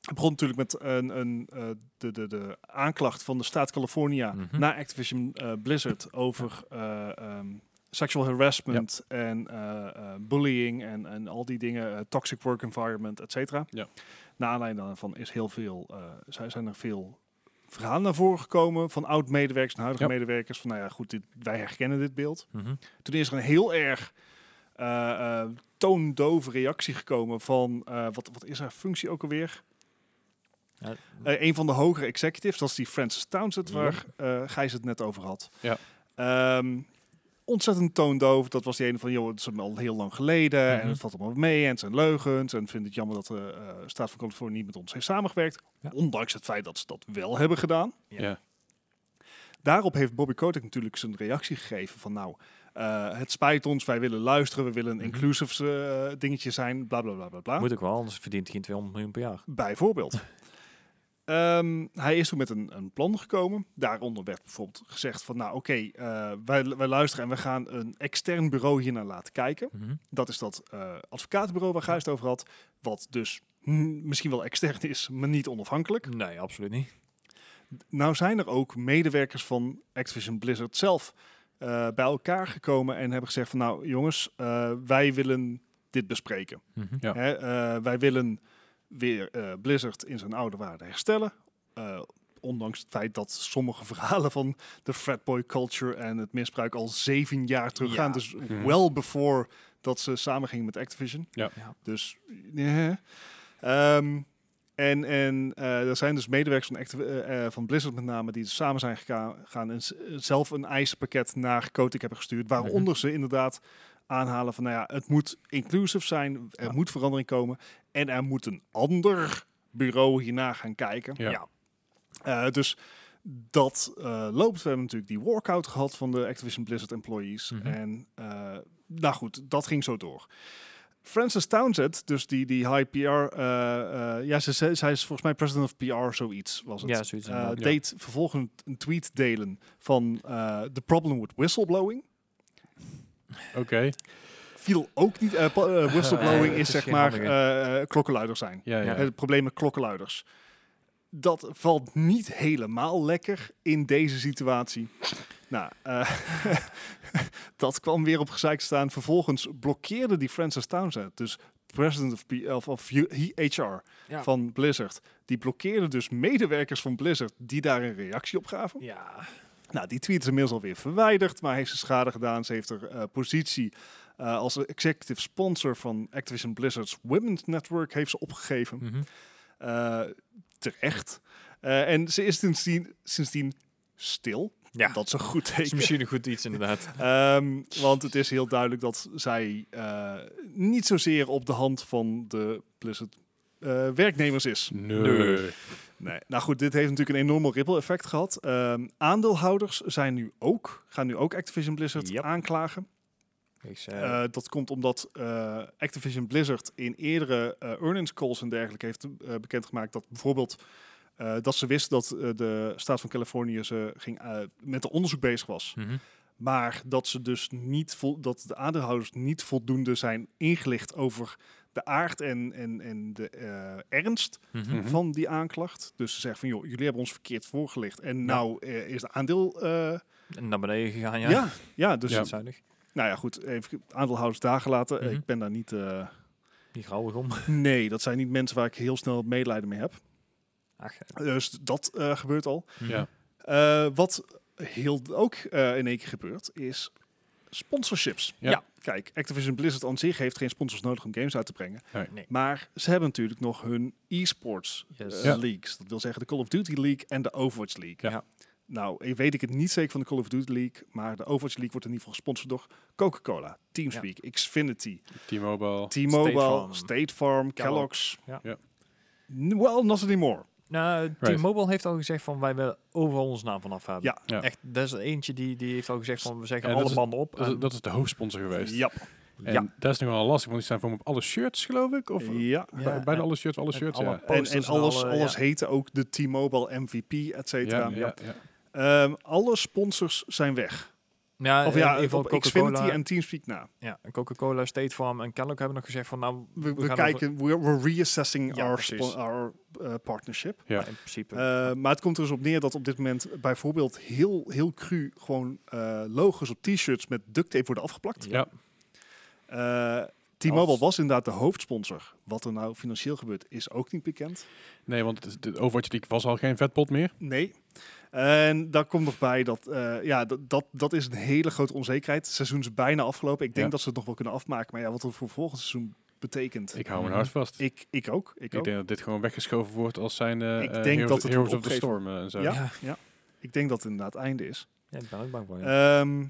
Speaker 3: het begon natuurlijk met een, een, eh, de, de, de aanklacht van de staat California
Speaker 2: Mhm.
Speaker 3: naar Activision eh, Blizzard over eh, ehm, sexual harassment en eh, eh, bullying en, en al die dingen, eh, toxic work environment, et cetera.
Speaker 1: Ja.
Speaker 3: Naar aanleiding daarvan is heel veel, eh, zijn, zijn er veel verhalen naar voren gekomen van oud-medewerkers en huidige
Speaker 1: Ja.
Speaker 3: medewerkers. Van nou ja, goed, dit, wij herkennen dit beeld.
Speaker 2: Mhm.
Speaker 3: Toen is er een heel erg eh, eh, toondove reactie gekomen van, eh, wat, wat is haar functie ook alweer?
Speaker 2: Ja,
Speaker 3: Eh, een van de hogere executives, dat is die Francis Townsend,
Speaker 2: Hm. Ja.
Speaker 3: waar eh Gijs het net over had.
Speaker 1: Ja.
Speaker 3: Ehm, ontzettend toondoof. Dat was die ene van, joh, het is al heel lang geleden
Speaker 2: Mhm.
Speaker 3: en het valt allemaal mee en het zijn leugens en vindt het jammer dat de eh, staat van Californië niet met ons heeft samengewerkt.
Speaker 2: Ja.
Speaker 3: Ondanks het feit dat ze dat wel hebben gedaan.
Speaker 2: Ja.
Speaker 1: Ja.
Speaker 3: Daarop heeft Bobby Kotick natuurlijk zijn reactie gegeven van, nou, eh, het spijt ons, wij willen luisteren, we willen een
Speaker 2: Mhm.
Speaker 3: inclusive eh, dingetje zijn, bla bla bla bla bla.
Speaker 2: Moet ook wel, anders verdient hij geen 200 miljoen per jaar. [LAUGHS]
Speaker 3: Bijvoorbeeld. Ehm, hij is toen met een, een plan gekomen. Daaronder werd bijvoorbeeld gezegd van, nou oké, eh, wij, wij luisteren en we gaan een extern bureau hiernaar laten kijken.
Speaker 2: Mhm.
Speaker 3: Dat is dat eh, advocatenbureau waar Gijs het over had, wat dus hm, misschien wel extern is, maar niet onafhankelijk.
Speaker 2: Nee, absoluut niet.
Speaker 3: Nou zijn er ook medewerkers van Activision Blizzard zelf eh, bij elkaar gekomen en hebben gezegd van, nou jongens, eh, wij willen dit bespreken.
Speaker 2: Mhm.
Speaker 1: Ja.
Speaker 3: Hè, eh, wij willen weer eh, Blizzard in zijn oude waarde herstellen. Eh, ondanks het feit dat sommige [LAUGHS] verhalen van de fratboy culture en het misbruik al zeven jaar terug gaan.
Speaker 2: Ja.
Speaker 3: Dus
Speaker 1: Mhm.
Speaker 3: well before dat ze samen gingen met Activision.
Speaker 1: Ja.
Speaker 2: Ja.
Speaker 3: Dus, eh. Ehm, en en eh, er zijn dus medewerkers van, Activ- eh, eh, van Blizzard met name die dus samen zijn geka- gegaan en z- zelf een eisenpakket naar Kotick hebben gestuurd. Waaronder ze inderdaad aanhalen van, nou ja, het moet inclusive zijn, er
Speaker 2: Ja.
Speaker 3: moet verandering komen en er moet een ander bureau hierna gaan kijken.
Speaker 1: Ja.
Speaker 2: Ja.
Speaker 3: Eh, dus dat eh, loopt. We hebben natuurlijk die walkout gehad van de Activision Blizzard employees.
Speaker 2: Mhm.
Speaker 3: En eh, nou goed, dat ging zo door. Frances Townsend, dus die, die high PR, eh, eh, ja, ze, ze- zij is volgens mij president of PR, zoiets was het.
Speaker 2: Ja, zoiets
Speaker 3: Eh,
Speaker 2: inderdaad,
Speaker 1: ja.
Speaker 3: deed vervolgens een tweet delen van eh The Problem with Whistleblowing.
Speaker 1: Oké.
Speaker 3: Viel ook niet. eh, pa-
Speaker 2: [LAUGHS]
Speaker 3: eh, whistleblowing
Speaker 2: Eh, het
Speaker 3: is
Speaker 2: is
Speaker 3: zeg
Speaker 2: geen
Speaker 3: maar
Speaker 2: handige.
Speaker 3: eh, eh, klokkenluider zijn.
Speaker 1: Ja, ja.
Speaker 2: Ja.
Speaker 3: Het probleem met Eh, klokkenluiders. Dat valt niet helemaal lekker in deze situatie. Nou, eh, [LAUGHS] dat kwam weer op gezeik te staan. Vervolgens blokkeerde die Francis Townsend, dus president of, P- of, of U- HR
Speaker 2: Ja.
Speaker 3: van Blizzard. Die blokkeerde dus medewerkers van Blizzard die daar een reactie op gaven.
Speaker 2: Ja.
Speaker 3: Nou, die tweet is inmiddels alweer verwijderd, maar heeft ze schade gedaan. Ze heeft haar eh, positie eh, als executive sponsor van Activision Blizzard's Women's Network heeft ze opgegeven.
Speaker 2: Mhm.
Speaker 3: Eh, terecht. Eh, en ze is sindsdien, sindsdien stil.
Speaker 2: Ja.
Speaker 3: Dat is een goed
Speaker 2: Dat is
Speaker 3: teken.
Speaker 2: misschien een goed iets, inderdaad.
Speaker 3: Ehm, want het is heel duidelijk dat zij eh, niet zozeer op de hand van de Blizzard eh, werknemers is.
Speaker 1: Nee.
Speaker 2: Nee.
Speaker 3: Nee. Nou goed, dit heeft natuurlijk een enorm ripple effect gehad. Ehm, aandeelhouders zijn nu ook, gaan nu ook Activision Blizzard
Speaker 2: Yep.
Speaker 3: aanklagen.
Speaker 2: Ik zei,
Speaker 3: Eh, dat komt omdat eh, Activision Blizzard in eerdere eh, earnings calls en dergelijke heeft eh, bekendgemaakt dat bijvoorbeeld eh, dat ze wist dat eh, de staat van Californië ze ging, eh, met een onderzoek bezig was.
Speaker 2: mhm.
Speaker 3: Maar dat ze dus niet vol- dat de aandeelhouders niet voldoende zijn ingelicht over de aard en, en, en de eh, ernst
Speaker 2: Mhm.
Speaker 1: Mhm.
Speaker 3: van die aanklacht. Dus ze zeggen van joh, jullie hebben ons verkeerd voorgelicht. En nou eh, is de aandeel. eh,
Speaker 2: En naar beneden gegaan, ja.
Speaker 3: ja. Ja, dus
Speaker 1: Ja.
Speaker 2: Dat is zuinig.
Speaker 3: nou ja, goed, even aandeelhouders daar gelaten.
Speaker 2: Mhm.
Speaker 3: Ik ben daar niet. eh,
Speaker 2: Niet grauwig om.
Speaker 3: Nee, dat zijn niet mensen waar ik heel snel medelijden mee heb.
Speaker 2: [LAUGHS] Ach, eh,
Speaker 3: Dus dat eh, gebeurt al.
Speaker 1: Ja.
Speaker 3: Eh, wat heel ook eh, in één keer gebeurt, is sponsorships.
Speaker 1: Ja.
Speaker 3: Kijk, Activision Blizzard aan zich heeft geen sponsors nodig om games uit te brengen.
Speaker 1: Nee.
Speaker 2: Nee.
Speaker 3: Maar ze hebben natuurlijk nog hun e-sports
Speaker 2: Yes.
Speaker 3: eh,
Speaker 1: Ja.
Speaker 3: leagues. Dat wil zeggen de Call of Duty League en de Overwatch
Speaker 1: Ja.
Speaker 3: League.
Speaker 2: Ja.
Speaker 3: Nou, ik weet ik het niet zeker van de Call of Duty League, maar de Overwatch League wordt in ieder geval gesponsord door Coca-Cola, Teamspeak, Xfinity,
Speaker 1: T-Mobile.
Speaker 3: T-Mobile,
Speaker 2: Farm.
Speaker 3: State Farm, Kellogg's.
Speaker 2: Ja.
Speaker 1: Ja.
Speaker 3: N- Well, not anymore.
Speaker 2: Nou,
Speaker 1: Right.
Speaker 2: T-Mobile heeft al gezegd van wij willen overal ons naam vanaf hebben.
Speaker 3: Ja.
Speaker 1: Ja.
Speaker 2: Echt, dat is er eentje die, die heeft al gezegd van we zeggen
Speaker 1: En dat
Speaker 2: alle
Speaker 1: is-
Speaker 2: banden op.
Speaker 1: Dat, is-
Speaker 2: en-
Speaker 1: dat is de hoofdsponsor geweest.
Speaker 3: Ja.
Speaker 1: En
Speaker 2: ja.
Speaker 1: dat is nog wel lastig, want die staan voor me op alle shirts, geloof ik. Of
Speaker 3: ja.
Speaker 2: Ja,
Speaker 1: bij, bijna
Speaker 2: en-
Speaker 1: alle shirts, alle
Speaker 2: en
Speaker 1: shirts,
Speaker 2: alle
Speaker 1: ja.
Speaker 3: En,
Speaker 2: eh, posters
Speaker 3: en alles,
Speaker 2: alle-
Speaker 3: alles
Speaker 2: ja.
Speaker 3: heette ook de T-Mobile MVP, et cetera.
Speaker 1: Ja, ja, ja.
Speaker 3: Ehm, alle sponsors zijn weg.
Speaker 2: Ja,
Speaker 3: Of
Speaker 2: in
Speaker 3: ja,
Speaker 2: ieder geval
Speaker 3: op Xfinity
Speaker 2: Coca-Cola-
Speaker 3: en Teamspeak na.
Speaker 2: Ja, Coca-Cola, State Farm en Kellogg hebben nog gezegd van nou,
Speaker 3: We, we,
Speaker 2: gaan
Speaker 3: kijken, we're, we're reassessing
Speaker 2: Ja,
Speaker 3: our,
Speaker 2: precies.
Speaker 3: spo- our eh, partnership.
Speaker 1: Ja.
Speaker 2: in principe.
Speaker 3: Eh, maar het komt er dus op neer dat op dit moment bijvoorbeeld heel, heel cru gewoon eh, logos op t-shirts met duct tape worden afgeplakt.
Speaker 1: Ja.
Speaker 3: Eh, T-Mobile
Speaker 2: Als-
Speaker 3: was inderdaad de hoofdsponsor. Wat er nou financieel gebeurt, is ook niet bekend.
Speaker 1: Nee, want het- de Overwatch League was al geen vetpot meer.
Speaker 3: Nee. En daar komt nog bij dat, eh, ja, dat, dat, dat is een hele grote onzekerheid. Het seizoen is bijna afgelopen. Ik denk
Speaker 1: Ja.
Speaker 3: dat ze het nog wel kunnen afmaken. Maar ja, wat het voor volgend seizoen betekent. Ik,
Speaker 1: Ik hou mijn
Speaker 2: Mhm.
Speaker 1: hart vast. Ik,
Speaker 3: ik, ook. Ik, ook.
Speaker 1: denk dat dit gewoon weggeschoven wordt als zijn eh
Speaker 3: Ik
Speaker 1: eh,
Speaker 3: denk
Speaker 1: Heroes,
Speaker 3: dat het
Speaker 1: Heroes
Speaker 3: wordt
Speaker 1: of the
Speaker 3: opgegeven.
Speaker 1: Storm eh, en zo.
Speaker 3: Ja.
Speaker 2: ja.
Speaker 3: ik denk dat het inderdaad het einde is.
Speaker 2: Ja, ik ben ook bang voor. Ja.
Speaker 3: Ehm,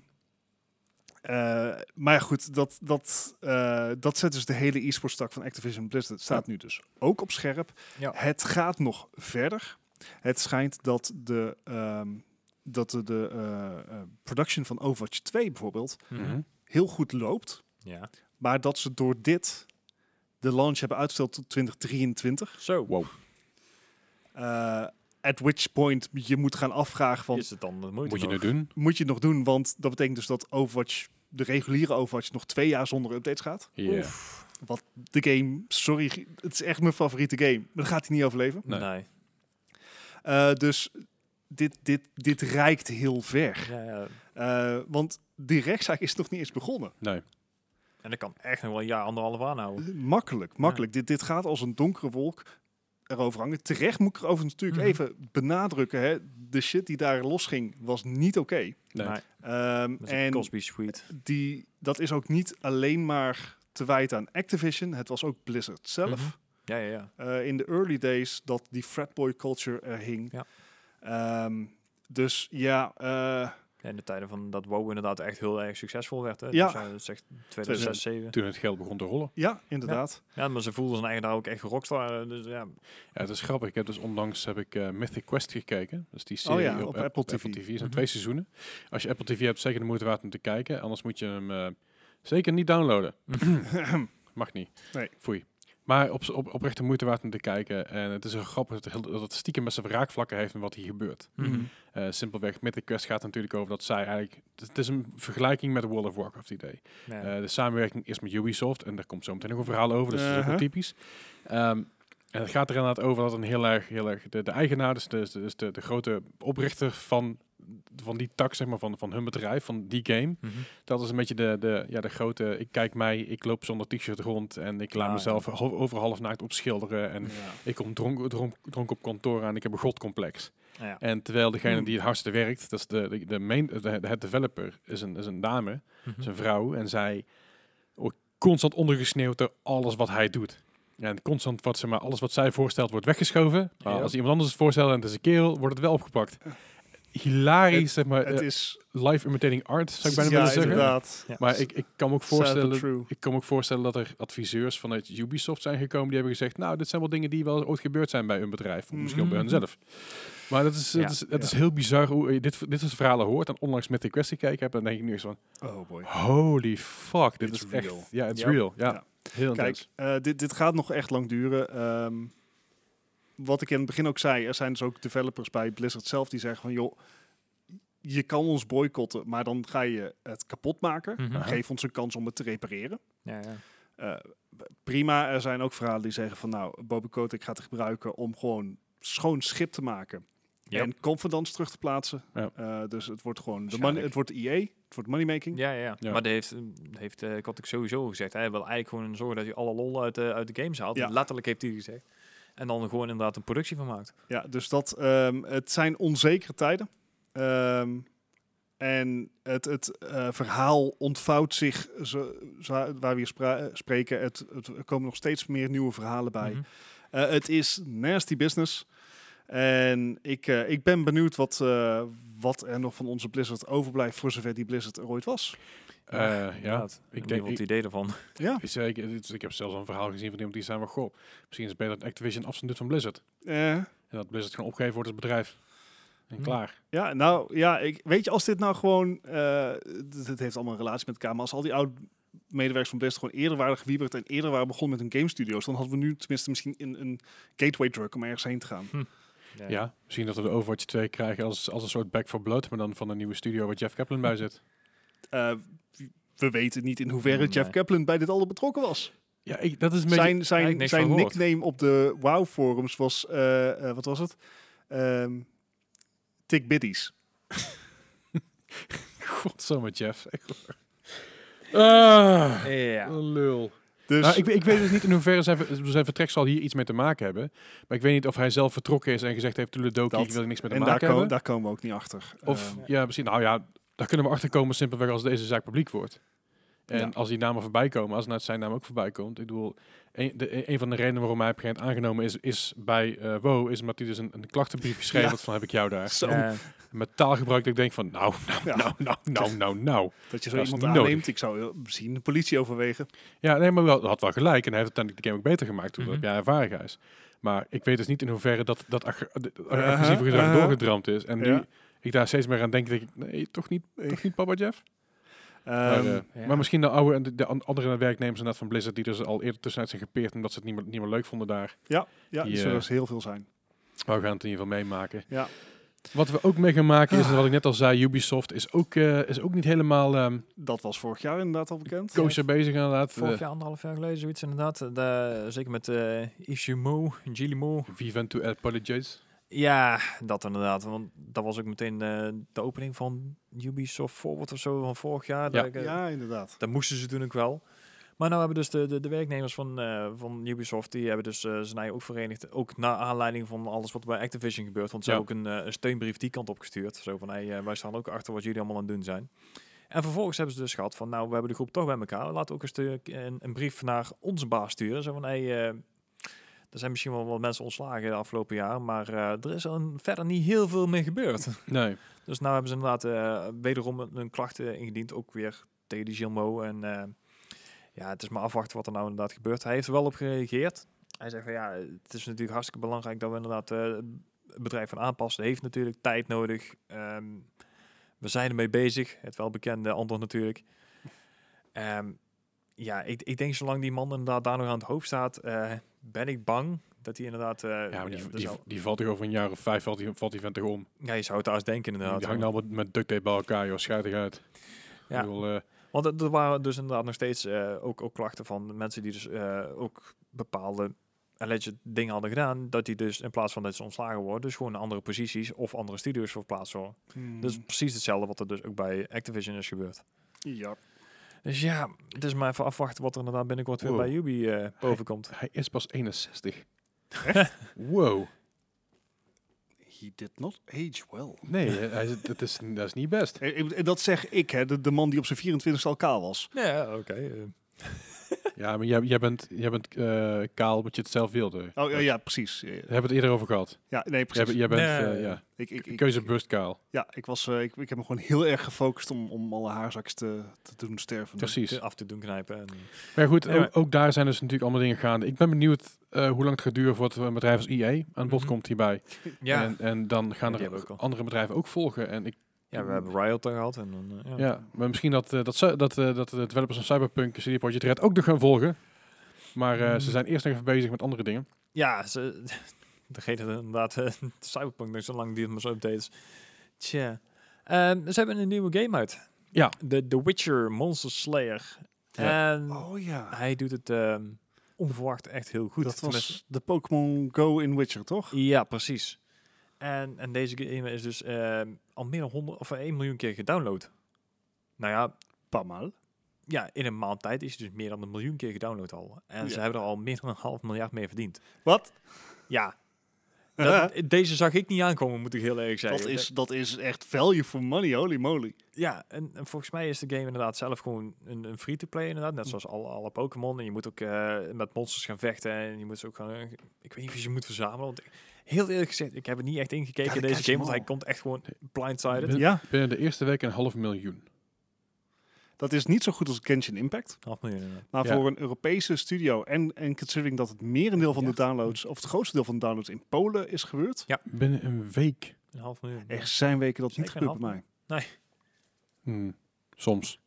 Speaker 3: eh, maar ja, goed, dat, dat, eh, dat zet dus de hele e-sports tak van Activision Blizzard staat nu dus ook op scherp.
Speaker 2: Ja.
Speaker 3: Het gaat nog verder. Het schijnt dat de, ehm, dat de, de eh, eh, production van Overwatch 2 bijvoorbeeld
Speaker 1: Mhm.
Speaker 3: heel goed loopt,
Speaker 2: ja.
Speaker 3: maar dat ze door dit de launch hebben uitgesteld tot 2023.
Speaker 2: Zo.
Speaker 1: Wow.
Speaker 3: Eh, at which point je moet gaan afvragen van
Speaker 2: Is het dan de moeite
Speaker 1: Moet je
Speaker 2: nog?
Speaker 1: nu doen?
Speaker 3: moet je het nog doen, want dat betekent dus dat Overwatch, de reguliere Overwatch, nog twee jaar zonder updates gaat.
Speaker 1: Ja.
Speaker 2: Oef.
Speaker 3: Wat de game, sorry, het is echt mijn favoriete game, maar dat gaat hij niet overleven.
Speaker 1: Nee.
Speaker 2: Nee.
Speaker 3: Eh, dus dit, dit, dit reikt heel ver.
Speaker 2: Ja, ja.
Speaker 3: Eh, want die rechtszaak is nog niet eens begonnen.
Speaker 1: Nee.
Speaker 2: En dat kan echt nog wel een jaar, anderhalf aanhouden.
Speaker 3: Makkelijk, makkelijk. Dit, dit gaat als een donkere wolk erover hangen. Terecht moet ik er overigens natuurlijk
Speaker 2: Mhm.
Speaker 3: even benadrukken. Hè. De shit die daar losging was niet oké.
Speaker 1: Nee.
Speaker 2: Nee.
Speaker 3: Ehm,
Speaker 2: Met een
Speaker 3: en
Speaker 2: Cosby Suite.
Speaker 3: die, dat is ook niet alleen maar te wijten aan Activision. Het was ook Blizzard zelf.
Speaker 2: Mhm. Ja, ja, ja.
Speaker 3: Eh, in de early days dat die fratboy culture er hing.
Speaker 2: Ja.
Speaker 3: Ehm, dus ja, eh,
Speaker 2: Ja, In de tijden van dat WoW inderdaad echt heel erg succesvol werd. Hè?
Speaker 3: Ja.
Speaker 2: Dus, eh, dat is echt 2006, 2007.
Speaker 1: Toen het geld begon te rollen.
Speaker 3: ja inderdaad.
Speaker 2: Ja, maar ze voelden zijn eigen daar ook echt rockstar. eh, Dus ja,
Speaker 1: Ja, het is grappig. Ik heb dus onlangs heb ik eh, Mythic Quest gekeken. Dus die
Speaker 3: Oh
Speaker 1: serie
Speaker 3: ja,
Speaker 1: op,
Speaker 3: op
Speaker 1: App-
Speaker 3: Apple
Speaker 1: op Apple TV.
Speaker 3: TV.
Speaker 1: Er zijn
Speaker 2: Mhm.
Speaker 1: twee seizoenen. Als je Apple TV hebt, zeker de moeite waard om te kijken. Anders moet je hem eh, zeker niet downloaden. Mag niet.
Speaker 3: Nee.
Speaker 1: Foei. Maar op, op, oprecht de moeite waard om te kijken. En het is heel grappig dat het, heel- dat het stiekem best wel raakvlakken heeft met wat hier gebeurt.
Speaker 2: Mhm.
Speaker 1: Eh, simpelweg, Mythic Quest gaat natuurlijk over dat zij eigenlijk... Het, het is een vergelijking met World of Warcraft idee.
Speaker 2: ja.
Speaker 1: Eh, de samenwerking is met Ubisoft en daar komt zo meteen nog een verhaal over, dus dat is ook
Speaker 3: Uh-huh.
Speaker 1: wel typisch. Ehm, en het gaat er inderdaad over dat een heel erg, heel erg de, de eigenaar, dus, de, dus de, de grote oprichter van, van die tak, zeg maar, van, van hun bedrijf, van die game.
Speaker 2: Mhm.
Speaker 1: Dat is een beetje de, de, ja, de grote, ik kijk mij, ik loop zonder t-shirt rond en ik laat
Speaker 2: Ah, ja.
Speaker 1: mezelf ho- over half naakt opschilderen en
Speaker 3: Ja.
Speaker 1: ik kom dronk, dronk, dronk op kantoor aan, ik heb een godcomplex.
Speaker 2: Nou ja.
Speaker 1: En terwijl degene
Speaker 3: Hmm.
Speaker 1: die het hardste werkt, dat is de, de, de, main, de, de head developer, is een, is een dame,
Speaker 3: Mm.
Speaker 2: Mhm.
Speaker 1: zijn vrouw. En zij wordt constant ondergesneeuwd door alles wat hij doet. En constant wat, ze maar, alles wat zij voorstelt wordt weggeschoven. Maar
Speaker 2: Ja.
Speaker 1: als iemand anders het voorstelt en het is een kerel, wordt het wel opgepakt. Hilarisch, zeg maar.
Speaker 3: [LAUGHS] Het
Speaker 1: eh,
Speaker 3: is,
Speaker 1: live imitating art, zou ik bijna
Speaker 3: ja,
Speaker 1: willen zeggen.
Speaker 3: inderdaad.
Speaker 2: Ja.
Speaker 1: Maar ik, ik kan me ook
Speaker 3: Sad but
Speaker 1: voorstellen
Speaker 3: true.
Speaker 1: ik kan me ook voorstellen dat er adviseurs vanuit Ubisoft zijn gekomen die hebben gezegd, nou, dit zijn wel dingen die wel ooit gebeurd zijn bij een bedrijf, of misschien ook bij
Speaker 2: Mhm.
Speaker 1: hunzelf. Maar dat is,
Speaker 2: Ja,
Speaker 1: dat is, dat is
Speaker 3: ja.
Speaker 1: heel bizar hoe je dit, dit soort verhalen hoort en onlangs met de kwestie gekeken heb, dan denk ik nu eens van,
Speaker 3: Oh boy.
Speaker 1: holy fuck, dit
Speaker 3: It's
Speaker 1: is
Speaker 3: real.
Speaker 1: echt, ja, it's
Speaker 2: Ja.
Speaker 1: real, ja.
Speaker 3: Ja.
Speaker 1: Heel
Speaker 3: Kijk,
Speaker 1: intens.
Speaker 3: eh, dit, dit gaat nog echt lang duren. Ehm, wat ik in het begin ook zei, er zijn dus ook developers bij Blizzard zelf die zeggen van joh, je kan ons boycotten, maar dan ga je het kapot maken.
Speaker 2: Mhm.
Speaker 1: Aha.
Speaker 3: Geef ons een kans om het te repareren.
Speaker 2: Ja, ja.
Speaker 3: Eh, prima, er zijn ook verhalen die zeggen van nou, Bobby Kotick gaat het gebruiken om gewoon schoon schip te maken.
Speaker 2: Ja.
Speaker 3: En confidence terug te plaatsen.
Speaker 1: Ja.
Speaker 3: Eh, dus het wordt gewoon, de money,
Speaker 1: Waarschijnlijk.
Speaker 3: het wordt EA, het wordt moneymaking.
Speaker 2: Ja, ja, ja.
Speaker 1: Ja.
Speaker 2: Maar dat heeft, dat heeft eh Kotick sowieso gezegd. Hij wil eigenlijk gewoon zorgen dat je alle lol uit, de uit de games haalt.
Speaker 3: Ja.
Speaker 2: Letterlijk heeft hij gezegd. En dan gewoon inderdaad een productie van maakt.
Speaker 3: Ja, dus dat, ehm, het zijn onzekere tijden. Ehm, en het, het eh, verhaal ontvouwt zich, zo, zo- waar we hier spra- spreken. Het, het, er komen nog steeds meer nieuwe verhalen bij.
Speaker 2: Mhm.
Speaker 3: Eh, het is nasty business. En ik, eh, ik ben benieuwd wat, eh, wat er nog van onze Blizzard overblijft, voor zover die Blizzard er ooit was.
Speaker 1: Eh, ja,
Speaker 2: Inderdaad.
Speaker 1: denk-
Speaker 2: Ik denk het idee ervan.
Speaker 3: Ja,
Speaker 1: zeker. dit- Ik heb zelfs al een verhaal gezien van iemand die zei van, goh, misschien is het beter dat Activision afstand doet van Blizzard.
Speaker 3: eh,
Speaker 1: En dat Blizzard gewoon opgegeven wordt als bedrijf. En
Speaker 2: Hmm.
Speaker 1: klaar.
Speaker 3: ja nou ja, ik, weet je, als dit nou gewoon, eh dit dit heeft allemaal een relatie met elkaar, maar als al die oud medewerkers van Blizzard gewoon eerder waren gewieberd en eerder waren begonnen met hun game studios, dan hadden we nu tenminste misschien een, een gateway drug om ergens heen te gaan.
Speaker 1: Ja. misschien dat we de Overwatch 2 krijgen als, als een soort Back for Blood, maar dan van een nieuwe studio waar Jeff Kaplan bij zit.
Speaker 3: Eh, we weten niet in hoeverre
Speaker 2: Nee.
Speaker 3: Jeff Kaplan bij dit al betrokken was.
Speaker 1: Ja, ik, dat is een beetje...
Speaker 3: zijn zijn,
Speaker 2: eigenlijk niks
Speaker 3: zijn
Speaker 2: van gehoord.
Speaker 3: nickname op de WoW forums was, eh, eh, wat was het? Ehm Tick Biddies.
Speaker 1: Godsamme, Jeff. Echt waar. Ah,
Speaker 2: Ja.
Speaker 1: wat een Oh, lul.
Speaker 3: Dus
Speaker 1: Nou, ik, we- ik weet dus niet in hoeverre zijn, ver- zijn vertrek zal hier iets mee te maken hebben. Maar ik weet niet of hij zelf vertrokken is en gezegd heeft, Tuledoki,
Speaker 3: Dat.
Speaker 1: ik wil hier niks mee te
Speaker 3: en daar,
Speaker 1: maken
Speaker 3: ko-
Speaker 1: hebben.
Speaker 3: daar komen we ook niet achter.
Speaker 1: Of,
Speaker 3: Eh,
Speaker 1: ja, misschien, nou ja, daar kunnen we achter komen simpelweg als deze zaak publiek wordt. En
Speaker 3: Ja.
Speaker 1: als die namen voorbij komen, als nou zijn naam ook voorbij komt. Ik bedoel, een, de, een van de redenen waarom hij op een gegeven moment aangenomen is, is bij eh Wo, is omdat hij dus een, een klachtenbrief geschreven
Speaker 3: Ja.
Speaker 1: had van heb ik jou daar.
Speaker 3: zo,
Speaker 2: Eh,
Speaker 1: Met taalgebruik dat ik denk van nou, [LAUGHS] nou,
Speaker 3: Ehm, Ja.
Speaker 1: nou, nou, nou, nou, nou.
Speaker 3: dat je zo
Speaker 1: dat is
Speaker 3: iemand
Speaker 1: niet
Speaker 3: aanneemt.
Speaker 1: nodig.
Speaker 3: Ik zou heel- misschien de politie overwegen.
Speaker 1: Ja, nee, maar wel, hij had wel gelijk. En hij heeft uiteindelijk de game ook beter gemaakt, omdat
Speaker 2: Mhm.
Speaker 1: hij ervaring is. Maar ik weet dus niet in hoeverre dat, dat ag- de- de-
Speaker 3: Aha,
Speaker 1: agressieve gedrag
Speaker 3: aha.
Speaker 1: doorgedramd is. En nu
Speaker 3: Ja.
Speaker 1: ik daar steeds meer aan denk, denk ik, nee, toch niet, toch niet papa Jeff?
Speaker 3: Ehm,
Speaker 1: maar, eh,
Speaker 2: ja.
Speaker 1: maar misschien de, oude, en de, de an- andere werknemers inderdaad van Blizzard, die dus al eerder tussenuit zijn gepeerd omdat ze het niet meer, niet meer leuk vonden daar.
Speaker 3: ja, ja, die
Speaker 1: die,
Speaker 3: zullen
Speaker 1: eh,
Speaker 3: er heel veel zijn.
Speaker 1: Maar Oh, we gaan het in ieder geval meemaken.
Speaker 3: Ja.
Speaker 1: Wat we ook mee gaan maken is, en wat ik net al zei, Ubisoft is ook, eh, is ook niet helemaal ehm
Speaker 3: Dat was vorig jaar inderdaad al bekend.
Speaker 1: kosher bezig eh, inderdaad.
Speaker 2: Vorig
Speaker 1: Vorig
Speaker 2: jaar, anderhalf jaar geleden, zoiets inderdaad. Eh, daar- zeker met eh Ishimo, Gilimo.
Speaker 1: Vivant to apologize.
Speaker 2: Ja, dat inderdaad. Want dat was ook meteen eh, de opening van Ubisoft Forward of zo van vorig jaar.
Speaker 1: Ja.
Speaker 2: Dat, ik, eh,
Speaker 3: Ja, inderdaad.
Speaker 2: dat moesten ze toen ook wel. Maar nou hebben dus de, de, de werknemers van, eh, van Ubisoft, die hebben dus eh zijn eigen ook verenigd. Ook naar aanleiding van alles wat bij Activision gebeurt. Want ze
Speaker 1: Ja.
Speaker 2: hebben ook een, eh, een steunbrief die kant op gestuurd. Zo van, hey, eh, wij staan ook achter wat jullie allemaal aan het doen zijn. En vervolgens hebben ze dus gehad van, nou, we hebben de groep toch bij elkaar. Laten we ook een, stuk, een, een brief naar onze baas sturen. Zo van, hey, eh, er zijn misschien wel wat mensen ontslagen de afgelopen jaar. Maar eh, er is een, verder niet heel veel meer gebeurd.
Speaker 1: Nee.
Speaker 2: Dus nou hebben ze inderdaad eh, wederom een een klacht eh, ingediend, ook weer tegen die Gilmo. En eh, ja, het is maar afwachten wat er nou inderdaad gebeurt. Hij heeft er wel op gereageerd. Hij zegt van ja, het is natuurlijk hartstikke belangrijk dat we inderdaad eh, het bedrijf van aanpassen. Het heeft natuurlijk tijd nodig. Ehm, we zijn ermee bezig. Het welbekende antwoord natuurlijk. Ehm, ja, ik, ik denk zolang die man inderdaad daar nog aan het hoofd staat, eh, ben ik bang dat hij inderdaad... eh,
Speaker 1: Ja, maar die,
Speaker 2: er
Speaker 1: die,
Speaker 2: zal-
Speaker 1: die valt toch over een jaar of vijf, valt die, valt die vent toch om.
Speaker 2: ja, je zou het daar eens denken inderdaad.
Speaker 1: die hangt nou met, met duct tape bij elkaar, joh. Schijtig uit.
Speaker 2: Ja.
Speaker 1: Ik bedoel, eh,
Speaker 2: Want er er waren dus inderdaad nog steeds eh, ook, ook klachten van mensen die dus eh, ook bepaalde alleged dingen hadden gedaan. Dat die dus in plaats van dat ze ontslagen worden, dus gewoon naar andere posities of andere studios verplaatst worden.
Speaker 3: Hmm.
Speaker 2: Dat is precies hetzelfde wat er dus ook bij Activision is gebeurd.
Speaker 3: ja.
Speaker 2: Dus ja, het is maar even afwachten wat er inderdaad binnenkort weer
Speaker 1: Wow.
Speaker 2: bij Ubi eh boven komt.
Speaker 1: hij is pas 61. Wow.
Speaker 3: He did not age well.
Speaker 1: Nee, eh, hij, is- dat, is, dat is niet best.
Speaker 3: Eh, ik- Dat zeg ik, hè, de, de man die op zijn 24 al kaal was.
Speaker 2: Ja, oké. eh.
Speaker 1: Ja, maar jij, jij bent, jij bent eh, kaal omdat je het zelf wilde.
Speaker 3: Oh ja, ja precies. Eh,
Speaker 1: We hebben het eerder over gehad.
Speaker 3: Ja, nee,
Speaker 1: Jij,
Speaker 3: precies.
Speaker 1: bent- jij bent
Speaker 2: Nee.
Speaker 1: eh, ja,
Speaker 3: ik, ik, ik-
Speaker 1: keuzebewust kaal.
Speaker 3: ja, ik, was, eh, ik, ik heb me gewoon heel erg gefocust om, om alle haarzakjes te, te doen sterven.
Speaker 1: Precies.
Speaker 2: af te doen knijpen. En,
Speaker 1: Maar goed,
Speaker 2: Ja, maar-
Speaker 1: ook, ook daar zijn dus natuurlijk allemaal dingen gaande. Ik ben benieuwd eh, hoe lang het gaat duren voordat een bedrijf als EA aan bod
Speaker 2: Mhm.
Speaker 1: komt hierbij.
Speaker 2: ja.
Speaker 1: En, en dan gaan
Speaker 2: die
Speaker 1: er
Speaker 2: hebben we ook al.
Speaker 1: andere bedrijven ook volgen. En ik,
Speaker 2: ja, we hebben Riot er gehad. En, dan, eh, ja.
Speaker 1: ja, maar misschien dat, eh, dat, ze- dat, eh, dat de developers van Cyberpunk CD Projekt Red ook nog gaan volgen. Maar eh, ze
Speaker 2: Mm.
Speaker 1: zijn eerst nog even bezig met andere dingen.
Speaker 2: Ja, ze, [LAUGHS] de reden dat inderdaad eh, [LAUGHS] Cyberpunk nog zo lang duurt met zo'n updates. Tja. Ehm, ze hebben een nieuwe game uit.
Speaker 1: Ja.
Speaker 2: The, The Witcher Monster Slayer. En
Speaker 3: Oh
Speaker 1: Ah,
Speaker 3: ja,
Speaker 2: hij doet het ehm, onverwacht echt heel goed.
Speaker 3: dat
Speaker 2: Tenminste-
Speaker 3: was de Pokémon Go in Witcher, toch?
Speaker 2: Ja, precies. En, en deze game is dus ehm, al meer dan 100 of 1 miljoen keer gedownload. Nou ja,
Speaker 3: Pamal.
Speaker 2: ja, in een maand tijd is hij dus meer dan een miljoen keer gedownload al. En ze
Speaker 3: Ja.
Speaker 2: hebben er al meer dan een half miljard mee verdiend.
Speaker 3: Wat?
Speaker 2: Ja. Dat- [LAUGHS] deze zag ik niet aankomen, moet ik heel eerlijk zeggen.
Speaker 3: Dat is, dat is echt value for money, holy moly.
Speaker 2: Ja, en, en volgens mij is de game inderdaad zelf gewoon een, een free-to-play inderdaad. Net zoals alle, alle Pokémon. En je moet ook eh, met monsters gaan vechten. En je moet ze ook gaan... Ik weet niet of je ze moet verzamelen. Want ik- heel eerlijk gezegd, ik heb er niet echt ingekeken
Speaker 3: Ja,
Speaker 2: in
Speaker 3: dan
Speaker 2: deze
Speaker 3: krijg je
Speaker 2: game. Want
Speaker 3: hem
Speaker 2: hij komt echt gewoon blindsided.
Speaker 1: Ben-
Speaker 3: Ja,
Speaker 1: Binnen de eerste week een half miljoen.
Speaker 3: dat is niet zo goed als Genshin Impact.
Speaker 2: Half miljoen inderdaad.
Speaker 3: Maar
Speaker 1: Ja.
Speaker 3: voor een Europese studio en, en considering dat het merendeel van de
Speaker 2: Ja.
Speaker 3: downloads, of het grootste deel van de downloads in Polen is gebeurd.
Speaker 1: Binnen een week.
Speaker 2: Een half miljoen.
Speaker 3: Er zijn weken dat niet
Speaker 2: Zeker een
Speaker 3: gebeurt bij mij.
Speaker 1: Hmm, Soms.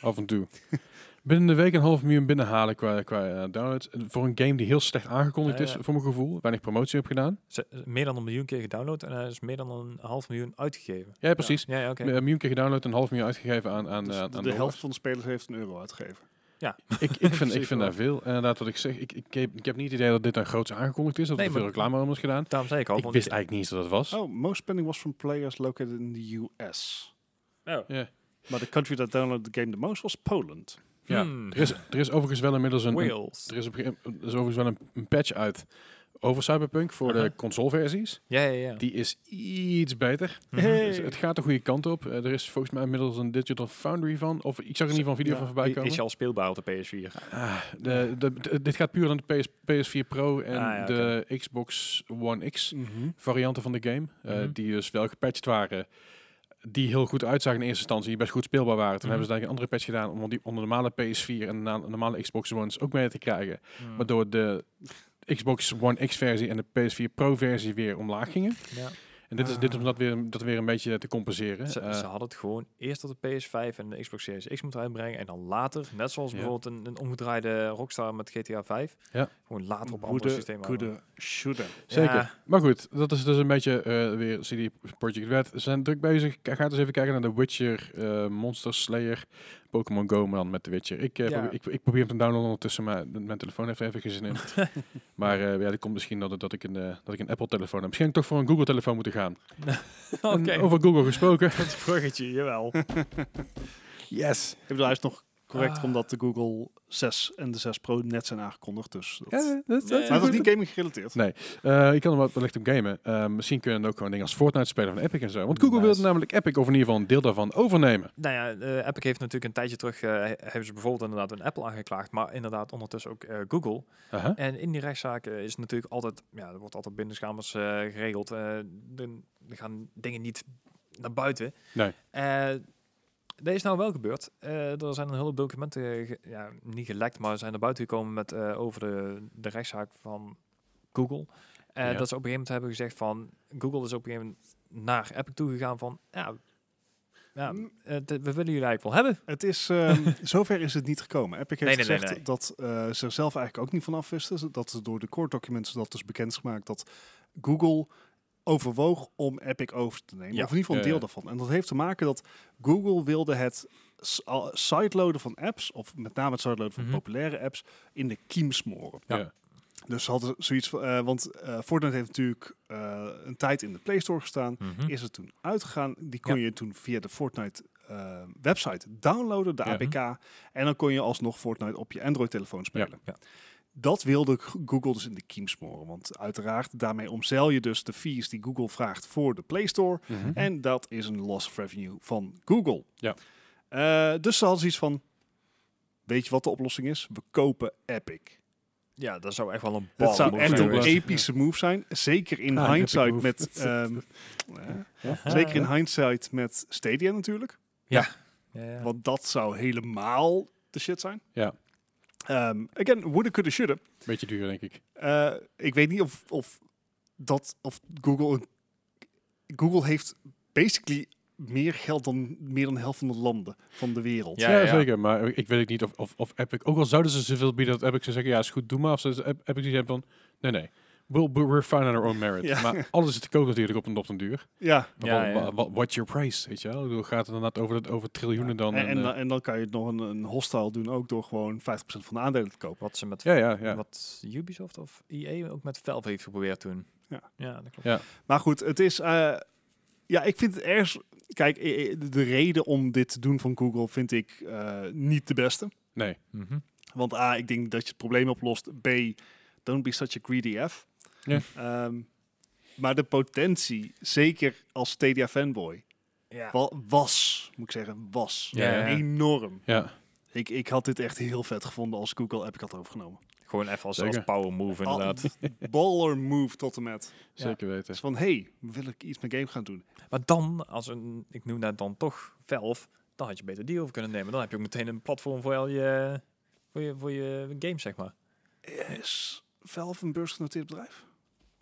Speaker 1: Af en toe. [LAUGHS] Binnen de week een half miljoen binnenhalen qua, qua eh, downloads. En Voor een game die heel slecht aangekondigd
Speaker 2: Ja,
Speaker 1: is,
Speaker 2: ja.
Speaker 1: voor mijn gevoel. Weinig promotie heb gedaan.
Speaker 2: Ze- Meer dan een miljoen keer gedownload. En hij is meer dan een half miljoen uitgegeven.
Speaker 1: Ja, precies. Eh,
Speaker 2: Ja, ja oké.
Speaker 1: Een miljoen keer gedownload, een half miljoen uitgegeven aan, aan,
Speaker 3: Dus
Speaker 1: eh, aan
Speaker 3: de, de
Speaker 1: dollars.
Speaker 3: helft van de spelers heeft een euro uitgegeven.
Speaker 1: Ik,
Speaker 2: [LAUGHS]
Speaker 1: ik vind, ik
Speaker 2: Precies,
Speaker 1: vind
Speaker 2: hoor.
Speaker 1: daar veel. En inderdaad, wat ik zeg, ik, ik, heb, ik heb niet het idee dat dit een groots aangekondigd is. Dat
Speaker 2: Nee,
Speaker 1: er veel
Speaker 2: maar-
Speaker 1: reclame om is gedaan.
Speaker 2: Daarom zei ik al.
Speaker 1: Ik
Speaker 2: want-
Speaker 1: wist eigenlijk niet eens dat het was.
Speaker 3: Oh, most spending was from players located in the US.
Speaker 2: Oh.
Speaker 1: Ja.
Speaker 3: Maar the country that downloaded the game the most was Poland.
Speaker 1: Ja.
Speaker 2: Hmm.
Speaker 1: Er, is, er is overigens wel inmiddels een, een-
Speaker 2: Wales.
Speaker 1: er is, op een gegeven- er is overigens wel een, een patch uit over Cyberpunk voor
Speaker 2: Aha.
Speaker 1: de consoleversies.
Speaker 2: Ja, ja, ja.
Speaker 1: Die is iets beter. [LAUGHS]
Speaker 2: Mhm.
Speaker 3: Hey.
Speaker 1: Dus het gaat de goede kant op. Eh, er is volgens mij inmiddels een Digital Foundry van. Of ik zag er in ieder geval een video
Speaker 3: Ja,
Speaker 1: van voorbij
Speaker 2: Die
Speaker 1: komen.
Speaker 2: is al speelbaar op de PS4.
Speaker 1: Ah, de, de, de- dit gaat puur aan de PS, 4 Pro en
Speaker 2: Ah, ja,
Speaker 1: de Xbox One X
Speaker 3: Mhm.
Speaker 1: varianten van de game. eh,
Speaker 2: Mhm.
Speaker 1: Die dus wel gepatcht waren. Die heel goed uitzagen in eerste instantie. Die best goed speelbaar waren. Toen
Speaker 2: Mhm.
Speaker 1: hebben ze denk ik een andere patch gedaan om die onder normale PS4 en na- normale Xbox One's ook mee te krijgen.
Speaker 2: Mhm.
Speaker 1: Waardoor de Xbox One X versie en de PS4 Pro versie weer omlaag gingen.
Speaker 2: Ja.
Speaker 1: En dit is, dit is om
Speaker 2: Ah.
Speaker 1: dat weer, dat weer een beetje te compenseren.
Speaker 2: Ze,
Speaker 1: Eh,
Speaker 2: ze hadden het gewoon eerst op de PS5 en de Xbox Series X moeten uitbrengen. En dan later, net zoals
Speaker 1: Ja.
Speaker 2: bijvoorbeeld een, een omgedraaide Rockstar met GTA 5.
Speaker 1: Ja.
Speaker 2: Gewoon later op andere
Speaker 3: Woede,
Speaker 2: systemen. [LAUGHS] houden.
Speaker 3: goede, shoulda. [LAUGHS]
Speaker 1: Zeker.
Speaker 2: Ja.
Speaker 1: Maar goed, dat is dus een beetje eh, weer CD Projekt Red. Ze zijn druk bezig. K- Ga eens even kijken naar The Witcher, eh, Monster Slayer, Pokémon Go, maar dan met The Witcher. Ik, eh,
Speaker 2: Ja.
Speaker 1: probeer, ik, ik probeer hem te downloaden ondertussen, maar m- mijn telefoon heeft er even geen zin
Speaker 2: [LAUGHS]
Speaker 1: in. maar eh, ja, dat komt misschien dat, het- dat, ik een, eh, dat ik een Apple-telefoon heb. Misschien heb ik toch voor een Google-telefoon moeten gaan. En
Speaker 2: Oké,
Speaker 1: Over Google
Speaker 2: [LAUGHS]
Speaker 1: gesproken.
Speaker 2: dat bruggetje, jawel.
Speaker 1: Yes.
Speaker 3: Ik bedoel, hij is nog correct
Speaker 2: Ah.
Speaker 3: omdat de Google 6 en de 6 Pro net zijn aangekondigd. Dus dat-
Speaker 1: Ja, dat, dat,
Speaker 2: Nee.
Speaker 3: Maar het was niet gaming gerelateerd.
Speaker 1: Eh, ik kan er wel wellicht om gamen. Eh, misschien kunnen we ook gewoon dingen als Fortnite spelen van Epic en zo. Want Google
Speaker 2: Nice.
Speaker 1: wilde namelijk Epic, of in ieder geval een deel daarvan, overnemen.
Speaker 2: Nou ja, eh, Epic heeft natuurlijk een tijdje terug, eh, he- hebben ze bijvoorbeeld inderdaad een Apple aangeklaagd, maar inderdaad ondertussen ook eh, Google.
Speaker 1: Aha.
Speaker 2: En in die rechtszaak eh, is natuurlijk altijd, ja, er wordt altijd binnenkamers eh, geregeld. eh, de- er gaan dingen niet naar buiten.
Speaker 1: Nee.
Speaker 2: Eh, dat is nou wel gebeurd. Eh, er zijn een heleboel documenten, eh, ge- ja, niet gelekt, maar zijn naar buiten gekomen met, eh, over de, de rechtszaak van Google. Eh,
Speaker 1: Ja.
Speaker 2: Dat ze op een gegeven moment hebben gezegd van, Google is op een gegeven moment naar Epic toegegaan van, ja, ja
Speaker 3: Mm.
Speaker 2: eh, d- we willen jullie eigenlijk wel hebben.
Speaker 3: Het
Speaker 1: [LAUGHS]
Speaker 3: is, ehm, zover is het niet gekomen. Epic heeft
Speaker 2: Nee, nee, nee,
Speaker 3: gezegd
Speaker 2: nee.
Speaker 3: dat eh, ze er zelf eigenlijk ook niet van af wisten. Dat ze door de court documents dat dus bekend is gemaakt dat Google overwoog om Epic over te nemen.
Speaker 2: Ja.
Speaker 3: Of in ieder geval een
Speaker 1: Ja,
Speaker 3: deel
Speaker 1: ja.
Speaker 3: daarvan. En dat heeft te maken dat Google wilde het s- al- sideloaden van apps, of met name het sideloaden van
Speaker 2: Mhm.
Speaker 3: populaire apps, in de kiem smoren.
Speaker 1: Ja.
Speaker 3: Dus ze hadden zoiets van, eh, want eh, Fortnite heeft natuurlijk eh, een tijd in de Play Store gestaan
Speaker 1: Mhm.
Speaker 3: is het toen uitgegaan. Die kon
Speaker 2: Mhm. Ja.
Speaker 3: je toen via de Fortnite eh, website downloaden, de
Speaker 1: Ja.
Speaker 3: APK. En dan kon je alsnog Fortnite op je Android-telefoon spelen.
Speaker 2: Ja.
Speaker 3: Dat wilde G- Google dus in de kiem smoren. Want uiteraard, daarmee omzeil je dus de fees die Google vraagt voor de Play Store.
Speaker 1: Mhm.
Speaker 3: En dat is een loss of revenue van Google.
Speaker 1: Ja.
Speaker 3: Eh, dus ze hadden zoiets van, weet je wat de oplossing is? We kopen Epic.
Speaker 2: Ja, dat zou echt wel een bal
Speaker 3: Dat zou
Speaker 1: move
Speaker 3: echt
Speaker 1: zijn
Speaker 3: een
Speaker 1: geweest.
Speaker 3: epische move zijn. Zeker in
Speaker 1: Ah, een epic
Speaker 3: hindsight
Speaker 1: move.
Speaker 3: met... ehm, eh, Zeker in hindsight met Stadia natuurlijk. Want dat zou helemaal de shit zijn.
Speaker 1: Ja.
Speaker 3: Ehm, again, woulda, coulda, shoulda.
Speaker 1: Beetje duur, denk ik.
Speaker 3: Eh, ik weet niet of, of, dat, of Google... een- Google heeft basically meer geld dan meer dan de helft van de landen van de wereld.
Speaker 2: Ja,
Speaker 1: Ja,
Speaker 2: ja, ja.
Speaker 1: zeker. Maar ik weet ook niet of, of, of Epic... Ook al zouden ze zoveel bieden dat Epic zou zeggen... Ja, is goed, doe maar. Of ze Ep- Epic die zegt van... Nee, nee. We'll, we're fine on our own
Speaker 2: [LAUGHS]
Speaker 1: merit.
Speaker 3: Ja.
Speaker 1: Maar alles is te koop natuurlijk op een, op een duur.
Speaker 3: Ja.
Speaker 1: Maar
Speaker 2: Ja,
Speaker 1: wa-
Speaker 2: ja.
Speaker 1: wa- wa- what's your price, weet je wel? Ik bedoel, gaat het inderdaad over, het, over triljoenen dan?
Speaker 3: en,
Speaker 1: en,
Speaker 3: en,
Speaker 1: eh,
Speaker 3: dan- en dan kan je het nog een, een hostile doen, ook door gewoon 50% van de aandelen te kopen.
Speaker 2: Wat ze met
Speaker 1: ja, ja, ja.
Speaker 2: wat Ubisoft of EA ook met Valve heeft geprobeerd toen.
Speaker 3: Ja.
Speaker 2: ja dat klopt.
Speaker 3: Maar goed, het is. eh, ja, ik vind het ergens. Kijk, eh, eh, de reden om dit te doen van Google vind ik eh, niet de beste.
Speaker 1: Nee.
Speaker 2: Mhm.
Speaker 3: Want A, ik denk dat je het probleem oplost. B, don't be such a greedy F.
Speaker 1: Ja.
Speaker 3: Ehm, maar de potentie, zeker als Stadia fanboy,
Speaker 2: ja.
Speaker 3: wa- was, moet ik zeggen, was
Speaker 1: Ja, ja.
Speaker 3: enorm.
Speaker 1: Ja,
Speaker 3: Ik, ik had dit echt heel vet gevonden als Google Epic had overgenomen.
Speaker 2: Gewoon even als,
Speaker 1: Zeker.
Speaker 2: als power move inderdaad.
Speaker 3: Al- baller move tot en met.
Speaker 1: zeker weten.
Speaker 3: Dus van, hey, wil ik iets met game gaan doen?
Speaker 2: Maar dan, als een, ik noem dat dan toch Valve, dan had je beter die over kunnen nemen. Dan heb je ook meteen een platform voor al je, voor je, voor je game, zeg maar.
Speaker 3: Is Valve een beursgenoteerd bedrijf?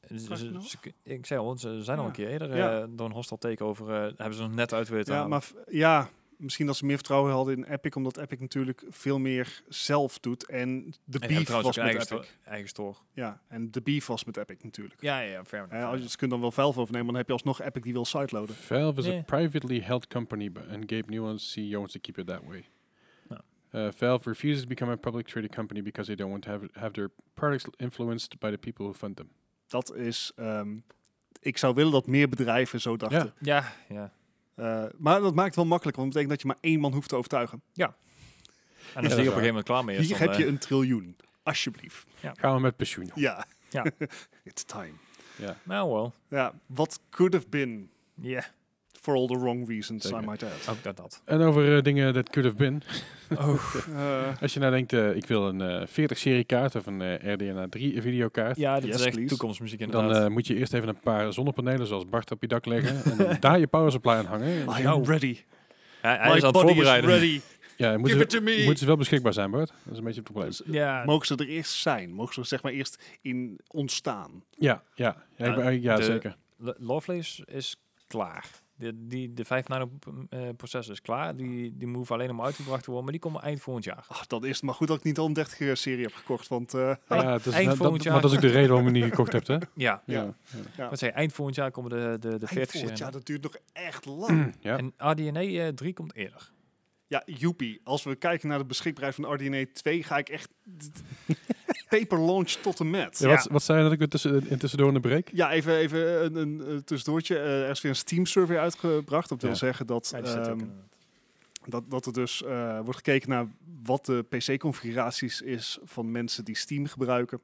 Speaker 2: Ze-
Speaker 3: Vraag je
Speaker 2: Dus ze-
Speaker 3: nog?
Speaker 2: ze- ik zei al, ze zijn al
Speaker 3: Ja.
Speaker 2: een keer eerder
Speaker 3: Ja.
Speaker 2: eh, door een hostile takeover, eh hebben ze nog net uit weten
Speaker 3: Ja, maar v- ja, misschien dat ze meer vertrouwen hadden in Epic, omdat Epic natuurlijk veel meer zelf doet. En de
Speaker 2: en
Speaker 3: beef
Speaker 2: trouwens ook
Speaker 3: was
Speaker 2: een
Speaker 3: met
Speaker 2: eigen,
Speaker 3: Epic.
Speaker 2: sto- eigen store.
Speaker 3: Ja, en de beef was met Epic natuurlijk.
Speaker 2: Ja, ja, ja, fair
Speaker 3: Eh,
Speaker 2: enough.
Speaker 3: als je, ze kunnen dan wel Valve overnemen, maar dan heb je alsnog Epic die wil sideloaden.
Speaker 1: Valve is
Speaker 2: Nee.
Speaker 1: a privately held company, but and Gabe Newell's CEO wants to keep it that way.
Speaker 2: Nou.
Speaker 1: Uh, Valve refuses to become a public traded company because they don't want to have, have their products influenced by the people who fund them.
Speaker 3: Dat is... ehm, ik zou willen dat meer bedrijven zo dachten.
Speaker 1: Ja.
Speaker 2: ja, ja.
Speaker 3: Eh, maar dat maakt het wel makkelijk, want dat betekent dat je maar één man hoeft te overtuigen.
Speaker 2: En als
Speaker 1: dat
Speaker 2: die op een
Speaker 1: is
Speaker 2: gegeven moment klaar mee is,
Speaker 3: Hier
Speaker 2: dan,
Speaker 3: heb
Speaker 2: eh,
Speaker 3: je een triljoen. Alsjeblieft.
Speaker 1: Gaan we met pensioen.
Speaker 3: Ja.
Speaker 2: Ja.
Speaker 3: [LAUGHS] It's time.
Speaker 1: Ja.
Speaker 2: Nou wel.
Speaker 3: Ja, what could have been
Speaker 2: Ja,
Speaker 3: for all the wrong reasons, I
Speaker 1: Zeker.
Speaker 3: might
Speaker 2: [LAUGHS]
Speaker 3: add.
Speaker 2: ook dat dat.
Speaker 1: En over eh, dingen that could have been.
Speaker 3: Eh,
Speaker 1: Als je nou denkt, eh, ik wil een eh, 40 serie kaart of een eh, RDNA 3 videokaart.
Speaker 2: Ja, dat
Speaker 3: Yes,
Speaker 2: is echt
Speaker 3: please.
Speaker 2: toekomstmuziek
Speaker 1: Dan
Speaker 2: inderdaad.
Speaker 1: eh, moet je eerst even een paar zonnepanelen zoals Bart op je dak
Speaker 2: [LAUGHS]
Speaker 1: leggen. en dan daar je power supply aan hangen. Dus
Speaker 3: I
Speaker 2: Nou.
Speaker 3: am ready.
Speaker 2: hij, hij
Speaker 3: My
Speaker 2: is aan het
Speaker 3: body is
Speaker 2: voorbereiden.
Speaker 3: ready.
Speaker 1: Ja, moeten
Speaker 3: Give
Speaker 1: ze,
Speaker 3: it to me.
Speaker 1: moeten ze wel beschikbaar zijn, Bart. Dat is een beetje het probleem.
Speaker 3: Dus,
Speaker 2: Ja,
Speaker 3: Mogen ze er eerst zijn? Mogen ze er zeg maar eerst in ontstaan?
Speaker 1: Ja, ja. Ja, ik
Speaker 2: Ja,
Speaker 1: ben- ja
Speaker 2: de-
Speaker 1: zeker.
Speaker 2: [LAUGHS] Lo- Lovelace is klaar. De, die, de 5 nano eh, processor is klaar. Die, die move alleen om uitgebracht te worden, maar die komt eind volgend jaar.
Speaker 3: Ach, dan is het maar goed Ah, dat ik niet al een 30 serie heb gekocht, want [LAUGHS] eh,
Speaker 1: Ja, het is,
Speaker 2: eind
Speaker 1: dat-
Speaker 2: volgend
Speaker 1: dat,
Speaker 2: jaar.
Speaker 1: maar dat is ook de reden waarom we niet gekocht hebt, hè?
Speaker 2: [LAUGHS] Ja.
Speaker 3: Ja. Ja.
Speaker 2: Wat zei je, eind volgend jaar komen de, de, de 40
Speaker 3: eind volgend jaar,
Speaker 2: serie. Mm.
Speaker 3: dat duurt nog echt lang.
Speaker 1: Ja.
Speaker 2: En RDNA eh, 3 komt eerder.
Speaker 3: ja, joepie. Als we kijken naar de beschikbaarheid van RDNA 2, ga ik echt [LAUGHS] paper launch tot en met.
Speaker 1: Ja, Wat, wat zei je dat ik weer tussen, in tussendoor een break?
Speaker 3: Ja, even, even een, een eh, tussendoortje. Eh, er is weer een Steam-survey uitgebracht. Dat wil
Speaker 1: Ja.
Speaker 3: zeggen dat,
Speaker 2: Ja, die staat ook
Speaker 3: ehm,
Speaker 2: in.
Speaker 3: dat, dat er dus eh, wordt gekeken naar wat de PC-configuraties is van mensen die Steam gebruiken.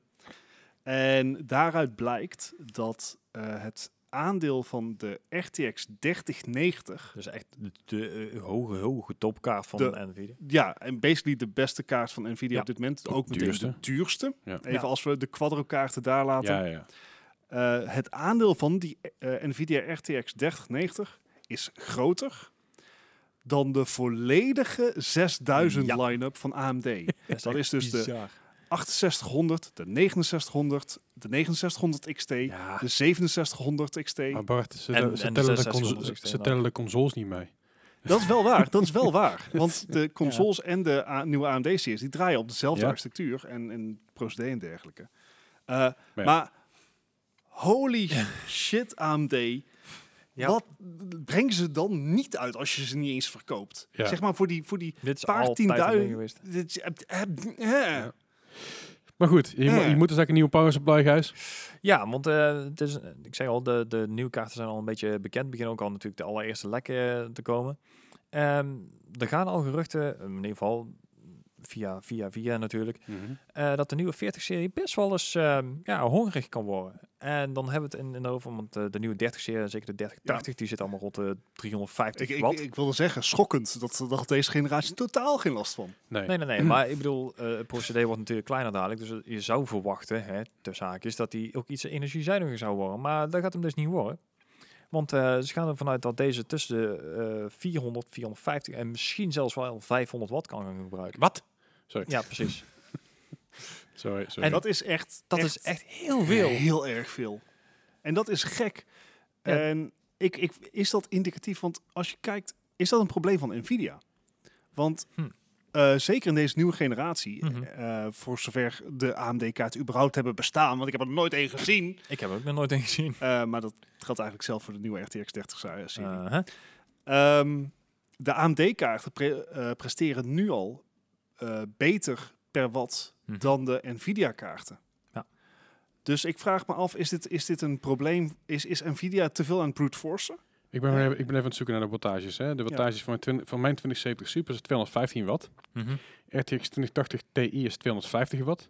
Speaker 3: En daaruit blijkt dat eh, het aandeel van de RTX 3090,
Speaker 2: Dus echt de, de, eh, hoge, hoge topkaart van
Speaker 3: De-
Speaker 2: Nvidia.
Speaker 3: ja, en basically de beste kaart van Nvidia
Speaker 2: Ja.
Speaker 3: op dit moment,
Speaker 1: Ook
Speaker 3: ook meteen de
Speaker 1: duurste.
Speaker 3: duurste.
Speaker 1: Ja.
Speaker 3: Even
Speaker 2: Ja.
Speaker 3: als we de quadro-kaarten daar laten.
Speaker 1: Ja, ja.
Speaker 3: Eh, het aandeel van die eh, Nvidia RTX 3090 is groter dan de volledige 6000
Speaker 2: Ja.
Speaker 3: line-up van AMD.
Speaker 2: Dat is,
Speaker 3: [LAUGHS]
Speaker 2: echt
Speaker 3: dat is dus de-
Speaker 2: bizar.
Speaker 3: 6800, de 6900, de 6900 XT,
Speaker 2: Ja.
Speaker 3: de 6700 XT.
Speaker 1: Maar Bart, ze,
Speaker 2: En-
Speaker 1: ze
Speaker 2: en de
Speaker 1: tellen, de
Speaker 2: 600
Speaker 1: consoles-
Speaker 2: XT
Speaker 1: ze
Speaker 2: dan.
Speaker 1: tellen de consoles niet mee.
Speaker 3: Dat is wel waar, dat is
Speaker 1: [LAUGHS]
Speaker 3: wel waar. Want de consoles en de a- nieuwe AMD-series, die draaien op dezelfde
Speaker 1: Ja.
Speaker 3: architectuur en, en procedé en dergelijke. Eh, maar,
Speaker 1: ja.
Speaker 3: holy shit AMD,
Speaker 2: Ja.
Speaker 3: wat brengen ze dan niet uit als je ze niet eens verkoopt?
Speaker 1: Ja.
Speaker 3: Zeg maar voor die, voor die
Speaker 2: Dit is
Speaker 3: paar
Speaker 2: altijd een ding
Speaker 3: tienduizend...
Speaker 2: geweest.
Speaker 3: Dit is- eh, eh, eh.
Speaker 1: Ja. Maar goed, je, mo-
Speaker 3: Ja.
Speaker 1: je moet dus eigenlijk een nieuwe power supply, Gijs.
Speaker 2: Ja, want eh, het is, ik zei al, de, de nieuwe kaarten zijn al een beetje bekend. Beginnen ook al natuurlijk de allereerste lekken eh, te komen. Ehm, er gaan al geruchten, eh, in ieder geval via, via, via natuurlijk, eh, dat de nieuwe 40-serie best wel eens ehm, ja, hongerig kan worden. En dan hebben we het in, in de over, want eh, de nieuwe 30-serie, zeker de 3080, die zit allemaal rond de 350
Speaker 3: Ik, ik,
Speaker 2: watt.
Speaker 3: ik wilde zeggen, schokkend, dat, daar had deze generatie totaal geen last van.
Speaker 1: Nee.
Speaker 2: Nee, nee, nee. Maar ik bedoel, eh het procedé wordt natuurlijk kleiner dadelijk. Dus je zou verwachten, hè, tussen haakjes, dat die ook iets energiezuiniger zou worden. Maar dat gaat hem dus niet worden. Want eh, ze gaan ervan uit dat deze tussen de eh, 400, 450 en misschien zelfs wel 500 watt kan gaan gebruiken.
Speaker 1: Wat? Sorry.
Speaker 2: Ja, precies.
Speaker 1: Sorry, sorry.
Speaker 3: En dat is echt...
Speaker 2: Dat is echt heel veel.
Speaker 3: Heel erg veel. En dat is gek.
Speaker 2: Ja.
Speaker 3: En ik, ik, is dat indicatief? Want als je kijkt, is dat een probleem van Nvidia? Want
Speaker 2: Hm.
Speaker 3: eh, zeker in deze nieuwe generatie,
Speaker 2: Mhm.
Speaker 3: eh, voor zover de AMD-kaart überhaupt hebben bestaan, want ik heb er nooit één gezien,
Speaker 2: Ik heb er ook nog nooit een gezien.
Speaker 3: eh, maar dat geldt eigenlijk zelf voor de nieuwe RTX 30-serie.
Speaker 2: Eh, hè?
Speaker 3: Ehm, de AMD-kaarten pre- eh, presteren nu al eh, beter per watt
Speaker 2: Mhm.
Speaker 3: dan de Nvidia-kaarten.
Speaker 2: Ja.
Speaker 3: Dus ik vraag me af, is dit, is dit een probleem? Is, is Nvidia te veel aan het brute forcen?
Speaker 1: Ik, ben even, ik ben even aan het zoeken naar de wattages. Hè. De wattages van, mijn 20, van mijn 2070 Super is 215 watt.
Speaker 2: Mhm.
Speaker 1: RTX 2080 Ti is 250 watt.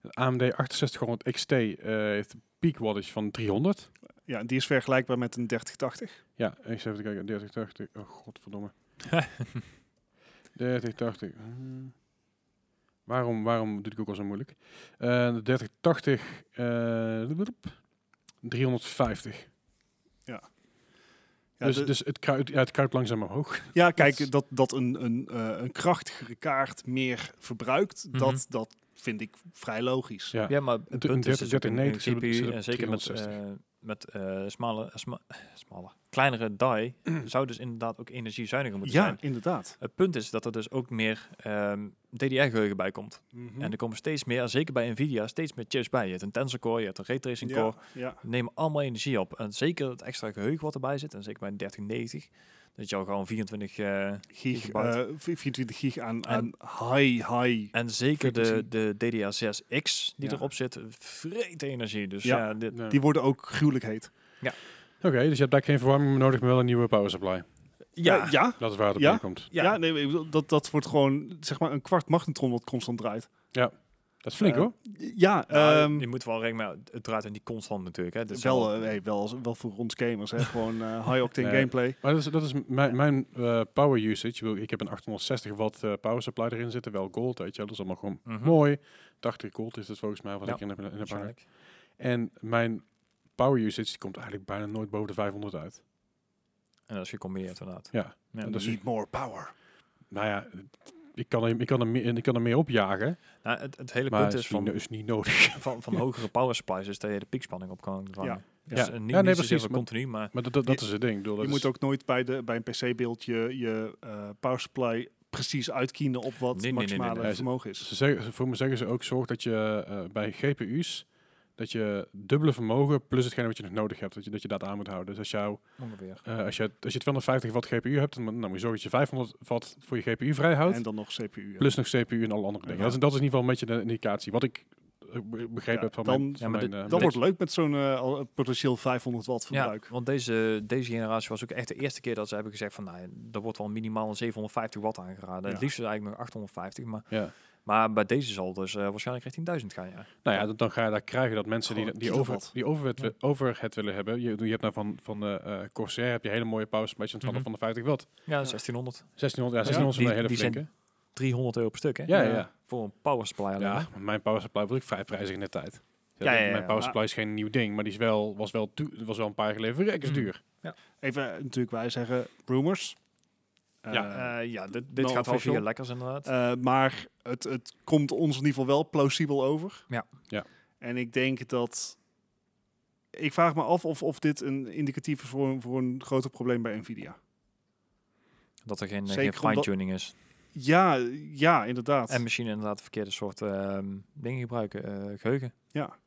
Speaker 1: De AMD 6800 XT eh, heeft een peak wattage van 300.
Speaker 3: Ja, die is vergelijkbaar met een 3080.
Speaker 1: Ja, ik zit even te kijken. 3080. Oh, godverdomme. [LAUGHS] 3080. hmm. Waarom, waarom doe ik ook al zo moeilijk? Eh, de 3080. eh, bloep, 350.
Speaker 3: Ja,
Speaker 1: dus
Speaker 3: de-
Speaker 1: dus het, kruipt, ja, het kruipt langzaam omhoog.
Speaker 3: ja
Speaker 2: dus-
Speaker 3: kijk, dat, dat een, een, eh, een krachtigere kaart meer verbruikt,
Speaker 2: Mhm.
Speaker 3: dat, dat vind ik vrij logisch.
Speaker 1: Ja.
Speaker 2: Ja, maar het
Speaker 1: de-
Speaker 2: punt
Speaker 1: 30,
Speaker 2: is dus ook in-
Speaker 1: 90
Speaker 2: in
Speaker 1: zit op-
Speaker 2: CPU,
Speaker 1: zit op
Speaker 2: en zeker met,
Speaker 1: 360.
Speaker 2: eh, met eh smalle, sma- [LAUGHS] smalle, kleinere die, zou dus inderdaad ook energiezuiniger moeten
Speaker 3: Ja,
Speaker 2: zijn.
Speaker 3: inderdaad.
Speaker 2: Het punt is dat er dus ook meer ehm, DDR-geheugen bij komt.
Speaker 3: Mhm.
Speaker 2: En er komen steeds meer, en zeker bij Nvidia, steeds meer chips bij. Je hebt een Tensor Core, je hebt een Raytracing
Speaker 3: ja,
Speaker 2: Core.
Speaker 3: ja.
Speaker 2: Die nemen allemaal energie op. En zeker het extra geheugen wat erbij zit, en zeker bij een 3090, dat je al gewoon 24... eh,
Speaker 3: Gig,
Speaker 2: Gigabyte.
Speaker 3: eh, 24 gig aan, aan
Speaker 2: En-
Speaker 3: high, high
Speaker 2: en zeker de,
Speaker 3: Frequentie.
Speaker 2: de DDR6X die
Speaker 3: Ja.
Speaker 2: erop zit, vreet energie. Dus
Speaker 3: Ja.
Speaker 2: ja, dit,
Speaker 1: Ja.
Speaker 3: Die worden ook gruwelijk heet.
Speaker 1: Oké, dus je hebt daar geen verwarming meer nodig, maar wel een nieuwe power supply.
Speaker 2: Ja,
Speaker 3: Eh, ja.
Speaker 1: Dat is waar het op
Speaker 3: Ja?
Speaker 1: neerkomt.
Speaker 2: Ja.
Speaker 3: Ja, nee, ik bedoel, dat, dat wordt gewoon zeg maar een kwart magnetron wat constant draait.
Speaker 1: Dat is flink
Speaker 3: Eh,
Speaker 1: hoor.
Speaker 3: Ja,
Speaker 2: Nou,
Speaker 3: ehm,
Speaker 2: je moet wel rekening mee Het draait aan die constant natuurlijk. Hè. Dat is
Speaker 3: wel, eh, nee, wel, wel voor ons gamers, hè. gewoon
Speaker 2: [LAUGHS]
Speaker 3: eh, high-octane
Speaker 1: Nee.
Speaker 3: gameplay.
Speaker 1: Maar dat is, dat is mijn, mijn eh, power usage. Ik bedoel, Ik heb een 860 watt eh, power supply erin zitten. Wel gold, weet je wel. Dat is allemaal gewoon
Speaker 2: Mhm.
Speaker 1: mooi. 80 gold is dat volgens mij wat
Speaker 2: Ja,
Speaker 1: ik in heb, in heb hangen.
Speaker 2: waarschijnlijk.
Speaker 1: En mijn power usage die komt eigenlijk bijna nooit boven de 500 uit.
Speaker 2: En dat is gecombineerd inderdaad.
Speaker 1: Ja.
Speaker 2: Ja.
Speaker 1: dat is-
Speaker 3: Need more power.
Speaker 1: Nou ja, ik kan er, ik kan er, meer, ik kan er meer opjagen.
Speaker 2: Nou, het, het hele
Speaker 1: Maar
Speaker 2: punt
Speaker 1: het
Speaker 2: is
Speaker 1: is, niet,
Speaker 2: van,
Speaker 1: is niet nodig. [LAUGHS]
Speaker 2: van, van hogere power supplies is dat je de piekspanning op kan vangen. Dus
Speaker 1: Ja.
Speaker 2: eh,
Speaker 1: Ja,
Speaker 2: niet,
Speaker 1: nee,
Speaker 2: niet
Speaker 1: precies,
Speaker 2: zozeer
Speaker 1: maar-
Speaker 2: continu, maar
Speaker 1: Maar dat, dat, dat is het ding. Ik bedoel, dat
Speaker 3: Je moet
Speaker 1: is-
Speaker 3: ook nooit bij, de, bij een PC-beeld je, je eh, power supply precies uitkiezen op wat
Speaker 2: Nee, nee, nee, nee,
Speaker 3: maximale
Speaker 1: nee.
Speaker 3: vermogen is.
Speaker 1: Ze zeggen, voor me zeggen ze ook, zorg dat je eh, bij GPU's, dat je dubbele vermogen plus hetgene wat je nog nodig hebt, dat je dat, je dat aan moet houden. Dus als, jou,
Speaker 2: ongeveer.
Speaker 1: eh, als, je, als je 250 watt GPU hebt, dan, dan moet je zorgen dat je 500 watt voor je GPU vrijhoudt,
Speaker 3: En dan nog CPU. ja.
Speaker 1: plus nog CPU en alle andere dingen.
Speaker 3: Ja.
Speaker 1: Dat, is, dat is in ieder geval een beetje de indicatie. Wat ik eh, be- begrepen
Speaker 3: Ja,
Speaker 1: heb van
Speaker 3: dan-
Speaker 1: mijn...
Speaker 2: Ja,
Speaker 1: Van
Speaker 2: maar
Speaker 1: mijn
Speaker 2: dit-
Speaker 1: eh,
Speaker 3: Dat
Speaker 1: mijn-
Speaker 3: wordt leuk met zo'n eh, al- potentieel 500 watt
Speaker 2: Ja,
Speaker 3: verbruik.
Speaker 2: want deze, deze generatie was ook echt de eerste keer dat ze hebben gezegd van, nou, er wordt wel minimaal een 750 watt aangeraden.
Speaker 3: Ja.
Speaker 2: Het liefst is eigenlijk nog 850, maar,
Speaker 1: ja.
Speaker 2: maar bij deze zal het dus eh, waarschijnlijk richting 1000 gaan, ja.
Speaker 1: Nou ja, dan, dan ga je daar krijgen dat mensen die,
Speaker 3: Gewoon
Speaker 1: die,
Speaker 3: kilowatt.
Speaker 1: over, die overhead, wi- overhead willen hebben. Je, je hebt nou van, van de eh, Corsair heb je hele mooie power supplies van
Speaker 2: Mhm.
Speaker 1: 250 watt.
Speaker 2: Ja, 1600.
Speaker 1: 1600, ja, 1600 is
Speaker 2: die-
Speaker 1: een hele
Speaker 2: die zijn-
Speaker 1: flinke.
Speaker 2: 300 euro per stuk, hè? Eh,
Speaker 1: Ja, ja,
Speaker 3: Ja.
Speaker 1: ja.
Speaker 2: Voor een power supply alleen.
Speaker 1: Ja,
Speaker 2: hè?
Speaker 1: want mijn power supply was ook vrij prijzig in de tijd.
Speaker 2: Ja, ja, ja,
Speaker 1: mijn
Speaker 2: ja,
Speaker 1: power
Speaker 3: maar-
Speaker 1: supply is geen nieuw ding, maar die is wel, was, wel toe- was wel een paar jaar geleden verrekkers
Speaker 2: Mhm.
Speaker 1: duur.
Speaker 3: Even eh, natuurlijk wij zeggen rumors. Eh,
Speaker 2: Eh, ja, dit, dit
Speaker 3: Nou,
Speaker 2: gaat wel
Speaker 3: official.
Speaker 2: via lekkers inderdaad.
Speaker 3: Eh, maar het, het komt ons in ieder geval wel plausibel over.
Speaker 2: Ja.
Speaker 1: Ja.
Speaker 3: En ik denk dat... Ik vraag me af of, of dit een indicatief is voor een, voor een groter probleem bij Nvidia.
Speaker 2: dat er geen,
Speaker 3: zeker
Speaker 2: geen
Speaker 3: omdat-
Speaker 2: fine-tuning is.
Speaker 3: Ja, ja, inderdaad.
Speaker 2: En misschien inderdaad verkeerde soort ehm, dingen gebruiken, eh, geheugen.
Speaker 3: ja.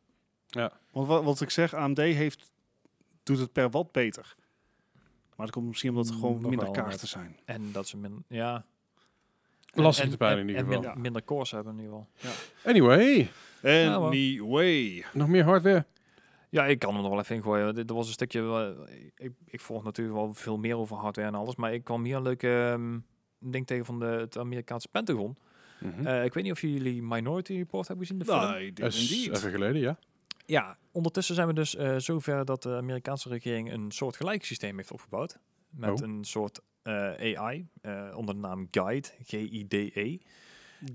Speaker 1: Ja.
Speaker 3: Want wat, wat ik zeg, AMD heeft, doet het per watt beter. Maar dat komt misschien omdat er
Speaker 2: Mm,
Speaker 3: gewoon
Speaker 2: nog
Speaker 3: minder
Speaker 2: wel,
Speaker 3: kaarten zijn.
Speaker 2: En dat ze min, ja.
Speaker 1: Lastig
Speaker 2: En-
Speaker 1: te peilen
Speaker 2: en-
Speaker 1: in ieder
Speaker 2: en
Speaker 1: geval.
Speaker 2: min-
Speaker 3: Ja.
Speaker 2: minder cores hebben in ieder geval.
Speaker 1: Anyway,
Speaker 2: Ja, wel.
Speaker 3: Anyway.
Speaker 1: nog meer hardware.
Speaker 2: Ja, ik kan hem er wel even in gooien. want Dit was een stukje... eh, ik, ik volg natuurlijk wel veel meer over hardware en alles. Maar ik kwam hier een leuke ehm, ding tegen van de, het Amerikaanse Pentagon.
Speaker 1: Mhm.
Speaker 2: Eh, ik weet niet of jullie Minority Report hebben gezien, de film?
Speaker 3: Nee,
Speaker 1: Dat is Eh, even geleden, ja.
Speaker 2: Ja, ondertussen zijn we dus eh, zover dat de Amerikaanse regering een soort gelijk systeem heeft opgebouwd. Met
Speaker 1: Oh.
Speaker 2: een soort eh, AI eh, onder de naam GUIDE, G-I-D-E.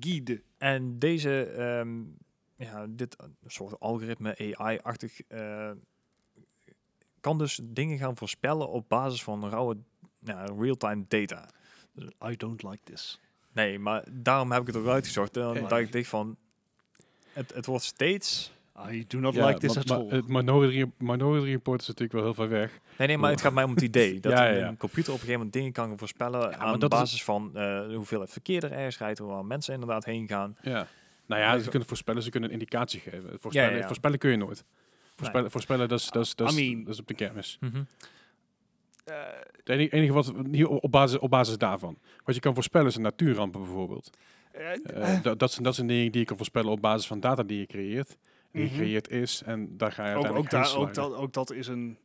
Speaker 3: Guide.
Speaker 2: En deze, ehm, ja, dit soort algoritme AI-achtig, eh, kan dus dingen gaan voorspellen op basis van rauwe nou, real-time data.
Speaker 3: I don't like this.
Speaker 2: Nee, maar daarom heb ik het ook uitgezocht. En
Speaker 3: Ja.
Speaker 2: dan dacht ik echt van, het, het wordt steeds...
Speaker 3: I do not
Speaker 1: Ja,
Speaker 3: like this
Speaker 1: want-
Speaker 3: at
Speaker 1: maar
Speaker 3: all.
Speaker 1: Het minority, minority Report is natuurlijk wel heel ver weg.
Speaker 2: Nee, nee, maar het gaat mij om het
Speaker 1: [LAUGHS]
Speaker 2: idee dat
Speaker 1: Ja, ja, ja.
Speaker 2: een computer op een gegeven moment dingen kan gaan voorspellen
Speaker 1: maar
Speaker 2: aan
Speaker 1: dat is-
Speaker 2: basis van eh hoeveel het verkeer er ergens rijdt, waar mensen inderdaad heen gaan.
Speaker 1: Ja. Nou ja,
Speaker 2: Maar
Speaker 1: ze
Speaker 2: zo-
Speaker 1: kunnen voorspellen, ze kunnen een indicatie geven. Voorspellen,
Speaker 2: ja, ja.
Speaker 1: voorspellen kun je nooit. Voorspellen, voorspellen dat, is, dat, is, dat, is,
Speaker 3: I mean-
Speaker 1: dat is op de kermis.
Speaker 3: Eh,
Speaker 1: Het enige, enige wat hier op basis, op basis daarvan. Wat je kan voorspellen zijn natuurrampen bijvoorbeeld.
Speaker 3: eh,
Speaker 1: Eh, dat, dat, zijn, dat zijn dingen die je kan voorspellen op basis van data die je creëert. Die
Speaker 3: Mhm.
Speaker 1: gecreëerd is. En daar ga je
Speaker 3: ook, ook,
Speaker 1: uiteindelijk
Speaker 3: daar,
Speaker 1: heen
Speaker 3: ook,
Speaker 1: slaan.
Speaker 3: dat, ook dat is een...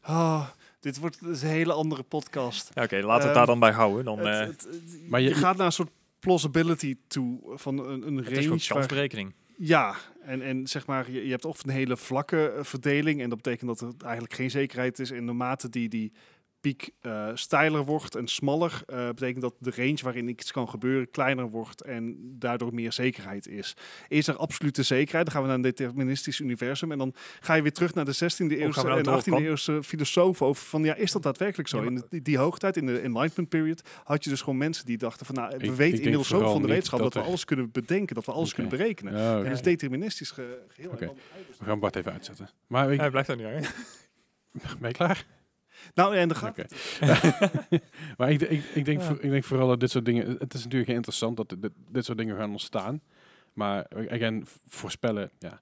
Speaker 3: Ah, dit wordt dit is een hele andere podcast.
Speaker 2: Ja, Oké, laten we het
Speaker 3: Ehm,
Speaker 2: daar dan bij houden. Dan,
Speaker 3: Het-
Speaker 2: eh,
Speaker 3: het- het-
Speaker 1: Maar
Speaker 3: je,
Speaker 1: je-
Speaker 3: gaat naar een soort plausibility toe van een, een
Speaker 2: het is gewoon
Speaker 3: range. waar-
Speaker 2: kansberekening.
Speaker 3: ja, en, en zeg maar, je, je hebt of een hele vlakke eh, verdeling. En dat betekent dat er eigenlijk geen zekerheid is. En naarmate die, die piek eh steiler wordt en smaller, eh, betekent dat de range waarin iets kan gebeuren kleiner wordt en daardoor meer zekerheid is. Is er absolute zekerheid? Dan gaan we naar een deterministisch universum. En dan ga je weer terug naar de
Speaker 1: Oh,
Speaker 3: 16e
Speaker 2: gaan we
Speaker 3: eeuwse
Speaker 2: nou
Speaker 3: en
Speaker 2: door,
Speaker 3: 18e
Speaker 2: kan?
Speaker 3: eeuwse filosofen over van ja, is dat daadwerkelijk zo?
Speaker 2: Ja, maar-
Speaker 3: In de- die, die hoogtijd, in de Enlightenment period, had je dus gewoon mensen die dachten van nou,
Speaker 1: Ik-
Speaker 3: we
Speaker 1: ik denk
Speaker 3: weten inmiddels zo
Speaker 1: vooral
Speaker 3: van de
Speaker 1: niet
Speaker 3: wetenschap
Speaker 1: dat
Speaker 3: dat we
Speaker 1: er-
Speaker 3: alles kunnen bedenken, dat we alles
Speaker 1: Oké.
Speaker 3: kunnen berekenen.
Speaker 1: Ja, oké.
Speaker 3: Het is Dus deterministisch ge- geheel.
Speaker 1: Oké.
Speaker 3: helemaal anders.
Speaker 1: We gaan Bart even uitzetten. Maar ik,
Speaker 2: Hij blijft er niet aan.
Speaker 1: [LAUGHS] ben je klaar?
Speaker 3: Nou, en dan Eh. gaat
Speaker 1: Oké. [LAUGHS] maar ik, ik, ik, denk
Speaker 2: Ja.
Speaker 1: voor- ik denk vooral dat dit soort dingen... Het is natuurlijk interessant dat dit, dit soort dingen gaan ontstaan. Maar, again, v- voorspellen, ja.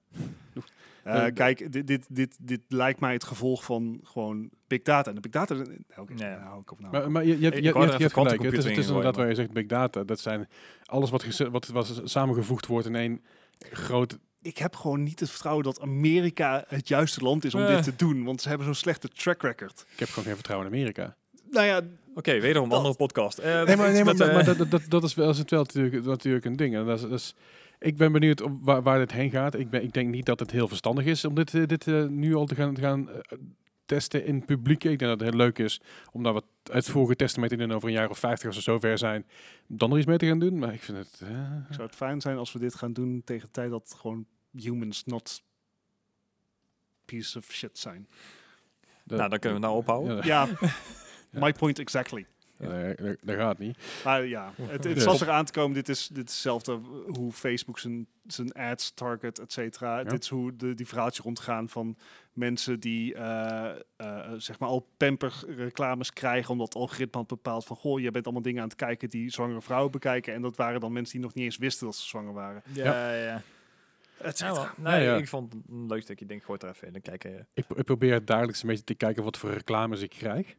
Speaker 3: Eh,
Speaker 1: Eh,
Speaker 3: kijk, dit, dit, dit, dit lijkt mij het gevolg van gewoon big data. En de big data... Nou, oké,
Speaker 2: Ja.
Speaker 3: nou, hou ik op nou.
Speaker 1: Maar, maar je, je, hebt- je,
Speaker 2: Ik
Speaker 1: je,
Speaker 2: wou
Speaker 1: hebt-
Speaker 2: er
Speaker 1: je
Speaker 2: even
Speaker 1: hebt gelijk. Het is,
Speaker 2: kwantumcomputing
Speaker 1: het is
Speaker 2: in gooien,
Speaker 1: inderdaad waar je zegt, big data. Dat zijn alles wat, geze- wat, wat samengevoegd wordt in één groot...
Speaker 3: ik heb gewoon niet het vertrouwen dat Amerika het juiste land is om
Speaker 2: Eh.
Speaker 3: dit te doen. Want ze hebben zo'n slechte track record.
Speaker 1: Ik heb gewoon geen vertrouwen in Amerika.
Speaker 3: nou ja,
Speaker 2: Oké, wederom een
Speaker 3: Dat-
Speaker 2: andere podcast. Eh,
Speaker 1: Nee, maar,
Speaker 2: iets
Speaker 1: nee, maar,
Speaker 2: met,
Speaker 1: maar,
Speaker 2: eh, [LAUGHS]
Speaker 1: maar dat, dat, dat is wel, is het wel natuurlijk, natuurlijk een ding. En dat is, dat is- ik ben benieuwd op waar, waar dit heen gaat. Ik, ben, ik denk niet dat het heel verstandig is om dit, eh, dit eh, nu al te gaan, te gaan eh, testen in publiek. Ik denk dat het heel leuk is om daar wat uitvoerige testen mee te doen over een jaar of 50 als we zover zijn. om Dan er iets mee te gaan doen. Maar ik vind het... eh,
Speaker 3: zou het fijn zijn als we dit gaan doen tegen de tijd dat gewoon humans not piece of shit
Speaker 1: [LAUGHS]
Speaker 3: zijn.
Speaker 1: dat-
Speaker 2: nou, dan kunnen we het nou ophouden.
Speaker 1: Ja,
Speaker 3: Ja, my point exactly.
Speaker 1: dat, dat- dat gaat niet.
Speaker 3: Maar ja, het, het
Speaker 1: Ja.
Speaker 3: zat eraan te komen. Dit is, dit is hetzelfde hoe Facebook zijn, zijn ads target, et cetera.
Speaker 1: Ja.
Speaker 3: Dit is hoe de, die verhaaltjes rondgaan van mensen die eh, eh, zeg maar al pamper reclames krijgen. Omdat het algoritme had bepaald van... Goh, je bent allemaal dingen aan het kijken die zwangere vrouwen bekijken. En dat waren dan mensen die nog niet eens wisten dat ze zwanger waren.
Speaker 2: Ja, ja.
Speaker 3: Et
Speaker 2: Nou,
Speaker 3: cetera.
Speaker 2: nou,
Speaker 1: Ja, ja.
Speaker 2: Ik vond het een leuk stukje. Ik denk, gooi het er even in. Dan kijken. eh.
Speaker 1: Ik, pro- ik probeer dagelijks een beetje te kijken wat voor reclames ik krijg.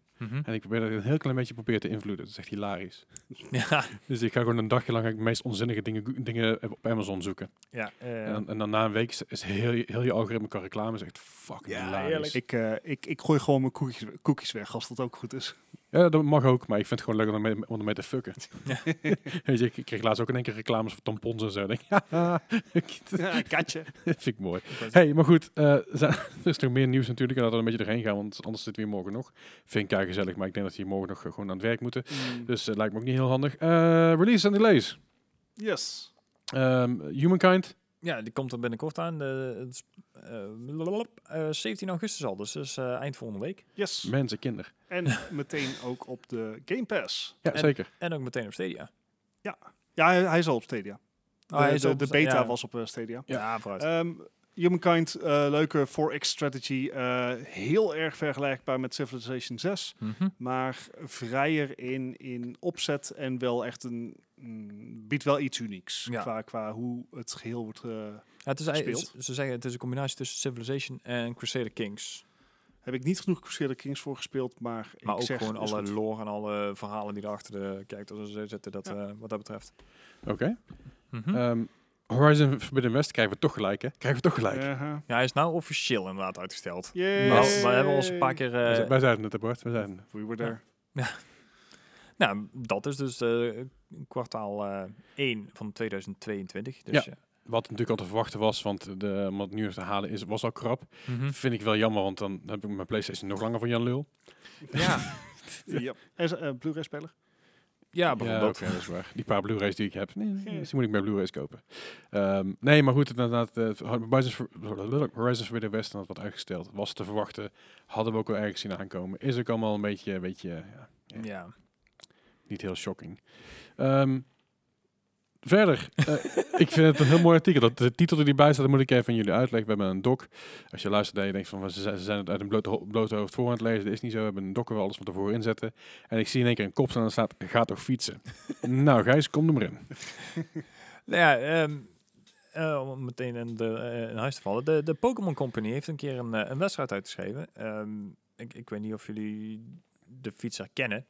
Speaker 1: En ik probeer dat een heel klein beetje probeer te invloeden. Dat is echt hilarisch.
Speaker 2: [LAUGHS] Ja,
Speaker 1: Dus ik ga gewoon een dagje lang ga ik de meest onzinnige dingen, go- dingen op Amazon zoeken.
Speaker 2: ja. eh,
Speaker 1: En, dan- en dan na een week is- is heel, je- heel je algoritme qua reclame is echt fucking
Speaker 2: Ja,
Speaker 1: hilarisch.
Speaker 2: heerlijk.
Speaker 3: Ik, eh, ik, ik gooi gewoon mijn koekjes, koekjes weg, als dat ook goed is.
Speaker 1: Ja, dat mag ook, maar ik vind het gewoon leuk om ermee, om ermee te fucken. [LAUGHS] Weet je, ik kreeg laatst ook in één keer reclames voor tampons en zo. [LAUGHS] Ik Denk,
Speaker 3: [LAUGHS]
Speaker 1: ja,
Speaker 3: Ja, katje.
Speaker 1: vind ik mooi. hey, maar goed, eh, [LAUGHS] zijn- er is nog meer nieuws natuurlijk. En dat we een beetje doorheen gaan, want anders zitten we hier morgen nog. Vind ik kei gezellig, maar ik denk dat we hier morgen nog eh, gewoon aan het werk moeten.
Speaker 3: Mm.
Speaker 1: Dus eh, lijkt me ook niet heel handig. Eh release en delays.
Speaker 3: Yes.
Speaker 1: Ehm, Humankind.
Speaker 2: ja, die komt er binnenkort aan. De, het is, eh, blablabla, eh, 17 augustus al, dus, dus eh, eind volgende week.
Speaker 3: Yes.
Speaker 1: Mensen, kinderen.
Speaker 3: En meteen ook op de Game Pass.
Speaker 1: Ja,
Speaker 2: En-
Speaker 1: zeker.
Speaker 2: En ook meteen op Stadia.
Speaker 3: Ja, hij, hij is al op Stadia. De,
Speaker 2: Oh, hij is
Speaker 3: dus, de,
Speaker 2: op-
Speaker 3: de beta
Speaker 2: ja.
Speaker 3: was op eh, Stadia.
Speaker 2: Ja, vooruit.
Speaker 3: Ehm Humankind, eh, leuke 4X strategy. eh, heel erg vergelijkbaar met Civilization 6.
Speaker 2: Mhm.
Speaker 3: Maar vrijer in, in opzet en wel echt een... mm, biedt wel iets unieks
Speaker 2: Ja.
Speaker 3: qua, qua hoe het geheel wordt... eh,
Speaker 2: Ja, het is eigenlijk,
Speaker 3: gespeeld.
Speaker 2: ze- ze zeggen het is een combinatie tussen Civilization en Crusader Kings.
Speaker 3: heb ik niet genoeg Crusader Kings voor gespeeld, maar,
Speaker 2: Maar
Speaker 3: ik
Speaker 2: ook
Speaker 3: zeg,
Speaker 2: gewoon
Speaker 3: is
Speaker 2: alle
Speaker 3: goed.
Speaker 2: lore en alle verhalen die erachter eh, de kijkers in zitten, dat, eh, wat dat betreft.
Speaker 1: Oké.
Speaker 2: Hm?
Speaker 1: Ehm, Horizon Forbidden West krijgen we toch gelijk, hè? Krijgen we toch gelijk.
Speaker 3: Ja.
Speaker 2: ja, hij is nou officieel inderdaad uitgesteld.
Speaker 3: Uh-huh. Yay.
Speaker 2: Maar we hebben ons een paar keer...
Speaker 1: Wij
Speaker 2: eh,
Speaker 1: zijn- wij zeiden het, hè, Bart. Wij zeiden het.
Speaker 3: We were there.
Speaker 2: Nou, dat is dus eh, kwartaal eh 1 van 2022. Dus, ja.
Speaker 1: Wat natuurlijk al te verwachten was, want de, om het nu eens te halen is, was al krap.
Speaker 2: eh. Hm?
Speaker 1: Vind ik wel jammer, want dan heb ik mijn PlayStation nog langer voor Jan Lul.
Speaker 2: [LAUGHS] ja.
Speaker 3: Ja. En ze- eh, Blu-ray speler.
Speaker 2: ja, bijvoorbeeld.
Speaker 1: oké, dat is waar. Die paar Blu-rays die ik heb, nee, nee,
Speaker 3: Ja.
Speaker 1: nee, die moet ik bij Blu-rays kopen. Ehm, nee, maar goed, inderdaad, eh, Horizon Fo- Horizon Forbidden West had wat uitgesteld. Was te verwachten, hadden we ook wel ergens zien aankomen. Is ook allemaal een beetje, weet je, ja,
Speaker 2: Ja. Ja.
Speaker 1: niet heel shocking. Ehm, verder, eh, [LAUGHS] ik vind het een heel mooi artikel. Dat de titel die erbij staat, dat moet ik even aan jullie uitleggen. We hebben een doc. Als je luistert en je denkt van, ze zijn- ze zijn het uit een blote, ho- blote hoofd voor aan het lezen. Dat is niet zo. We hebben een doc waar we alles van tevoren in zetten. En ik zie in één keer een kop staan en er staat, ga toch fietsen. nou Gijs, kom er maar in.
Speaker 2: Nou ja, ehm, eh, om meteen in, de, eh, in huis te vallen. De, de Pokémon Company heeft een keer een, eh, een wedstrijd uitgeschreven. Ehm, ik, ik weet niet of jullie de fietser kennen.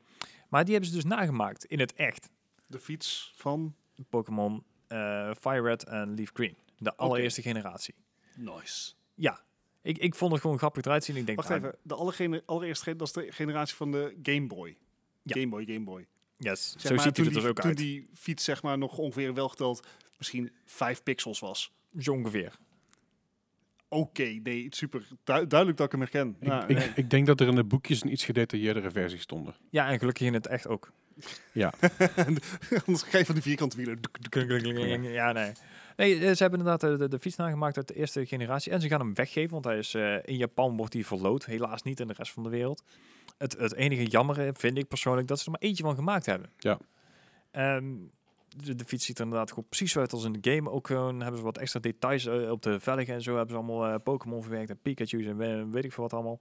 Speaker 2: Maar die hebben ze dus nagemaakt in het echt.
Speaker 3: De fiets van...
Speaker 2: Pokémon eh Fire Red en Leaf Green. De allereerste generatie.
Speaker 3: Nice.
Speaker 2: Ja, ik, ik vond het gewoon grappig eruit zien. Ik denk,
Speaker 3: Wacht
Speaker 2: nou,
Speaker 3: even, de allergene- allereerste gen- dat is de generatie van de Game Boy.
Speaker 2: Ja.
Speaker 3: Game Boy, Game Boy.
Speaker 2: Yes,
Speaker 3: Zeg
Speaker 2: zo
Speaker 3: maar,
Speaker 2: ziet
Speaker 3: toen
Speaker 2: hij er dus
Speaker 3: die-
Speaker 2: ook
Speaker 3: toen
Speaker 2: uit.
Speaker 3: die fiets zeg maar nog ongeveer wel geteld misschien 5 pixels was.
Speaker 2: Zo ongeveer.
Speaker 3: Oké, nee, super. Du- duidelijk dat ik hem herken. Nou,
Speaker 1: Ik,
Speaker 3: Ja,
Speaker 1: ik,
Speaker 3: nee.
Speaker 1: ik denk dat er in de boekjes een iets gedetailleerdere versie stonden.
Speaker 2: Ja, en gelukkig in het echt ook.
Speaker 3: [LAUGHS] Anders krijg je van die vierkante wielen.
Speaker 2: Ja, nee. Nee, eh, ze hebben inderdaad eh, de, de fiets nagemaakt uit de eerste generatie. En ze gaan hem weggeven, want hij is, eh, in Japan wordt hij verloot. Helaas niet in de rest van de wereld. Het, het enige jammer eh, vind ik persoonlijk dat ze er maar eentje van gemaakt hebben.
Speaker 1: Ja.
Speaker 2: Ehm, de, de fiets ziet er inderdaad gewoon precies zo uit als in de game. Ook gewoon hebben ze wat extra details eh, op de velgen en zo. Hebben ze allemaal eh, Pokémon verwerkt en Pikachu's en we- weet ik veel wat allemaal.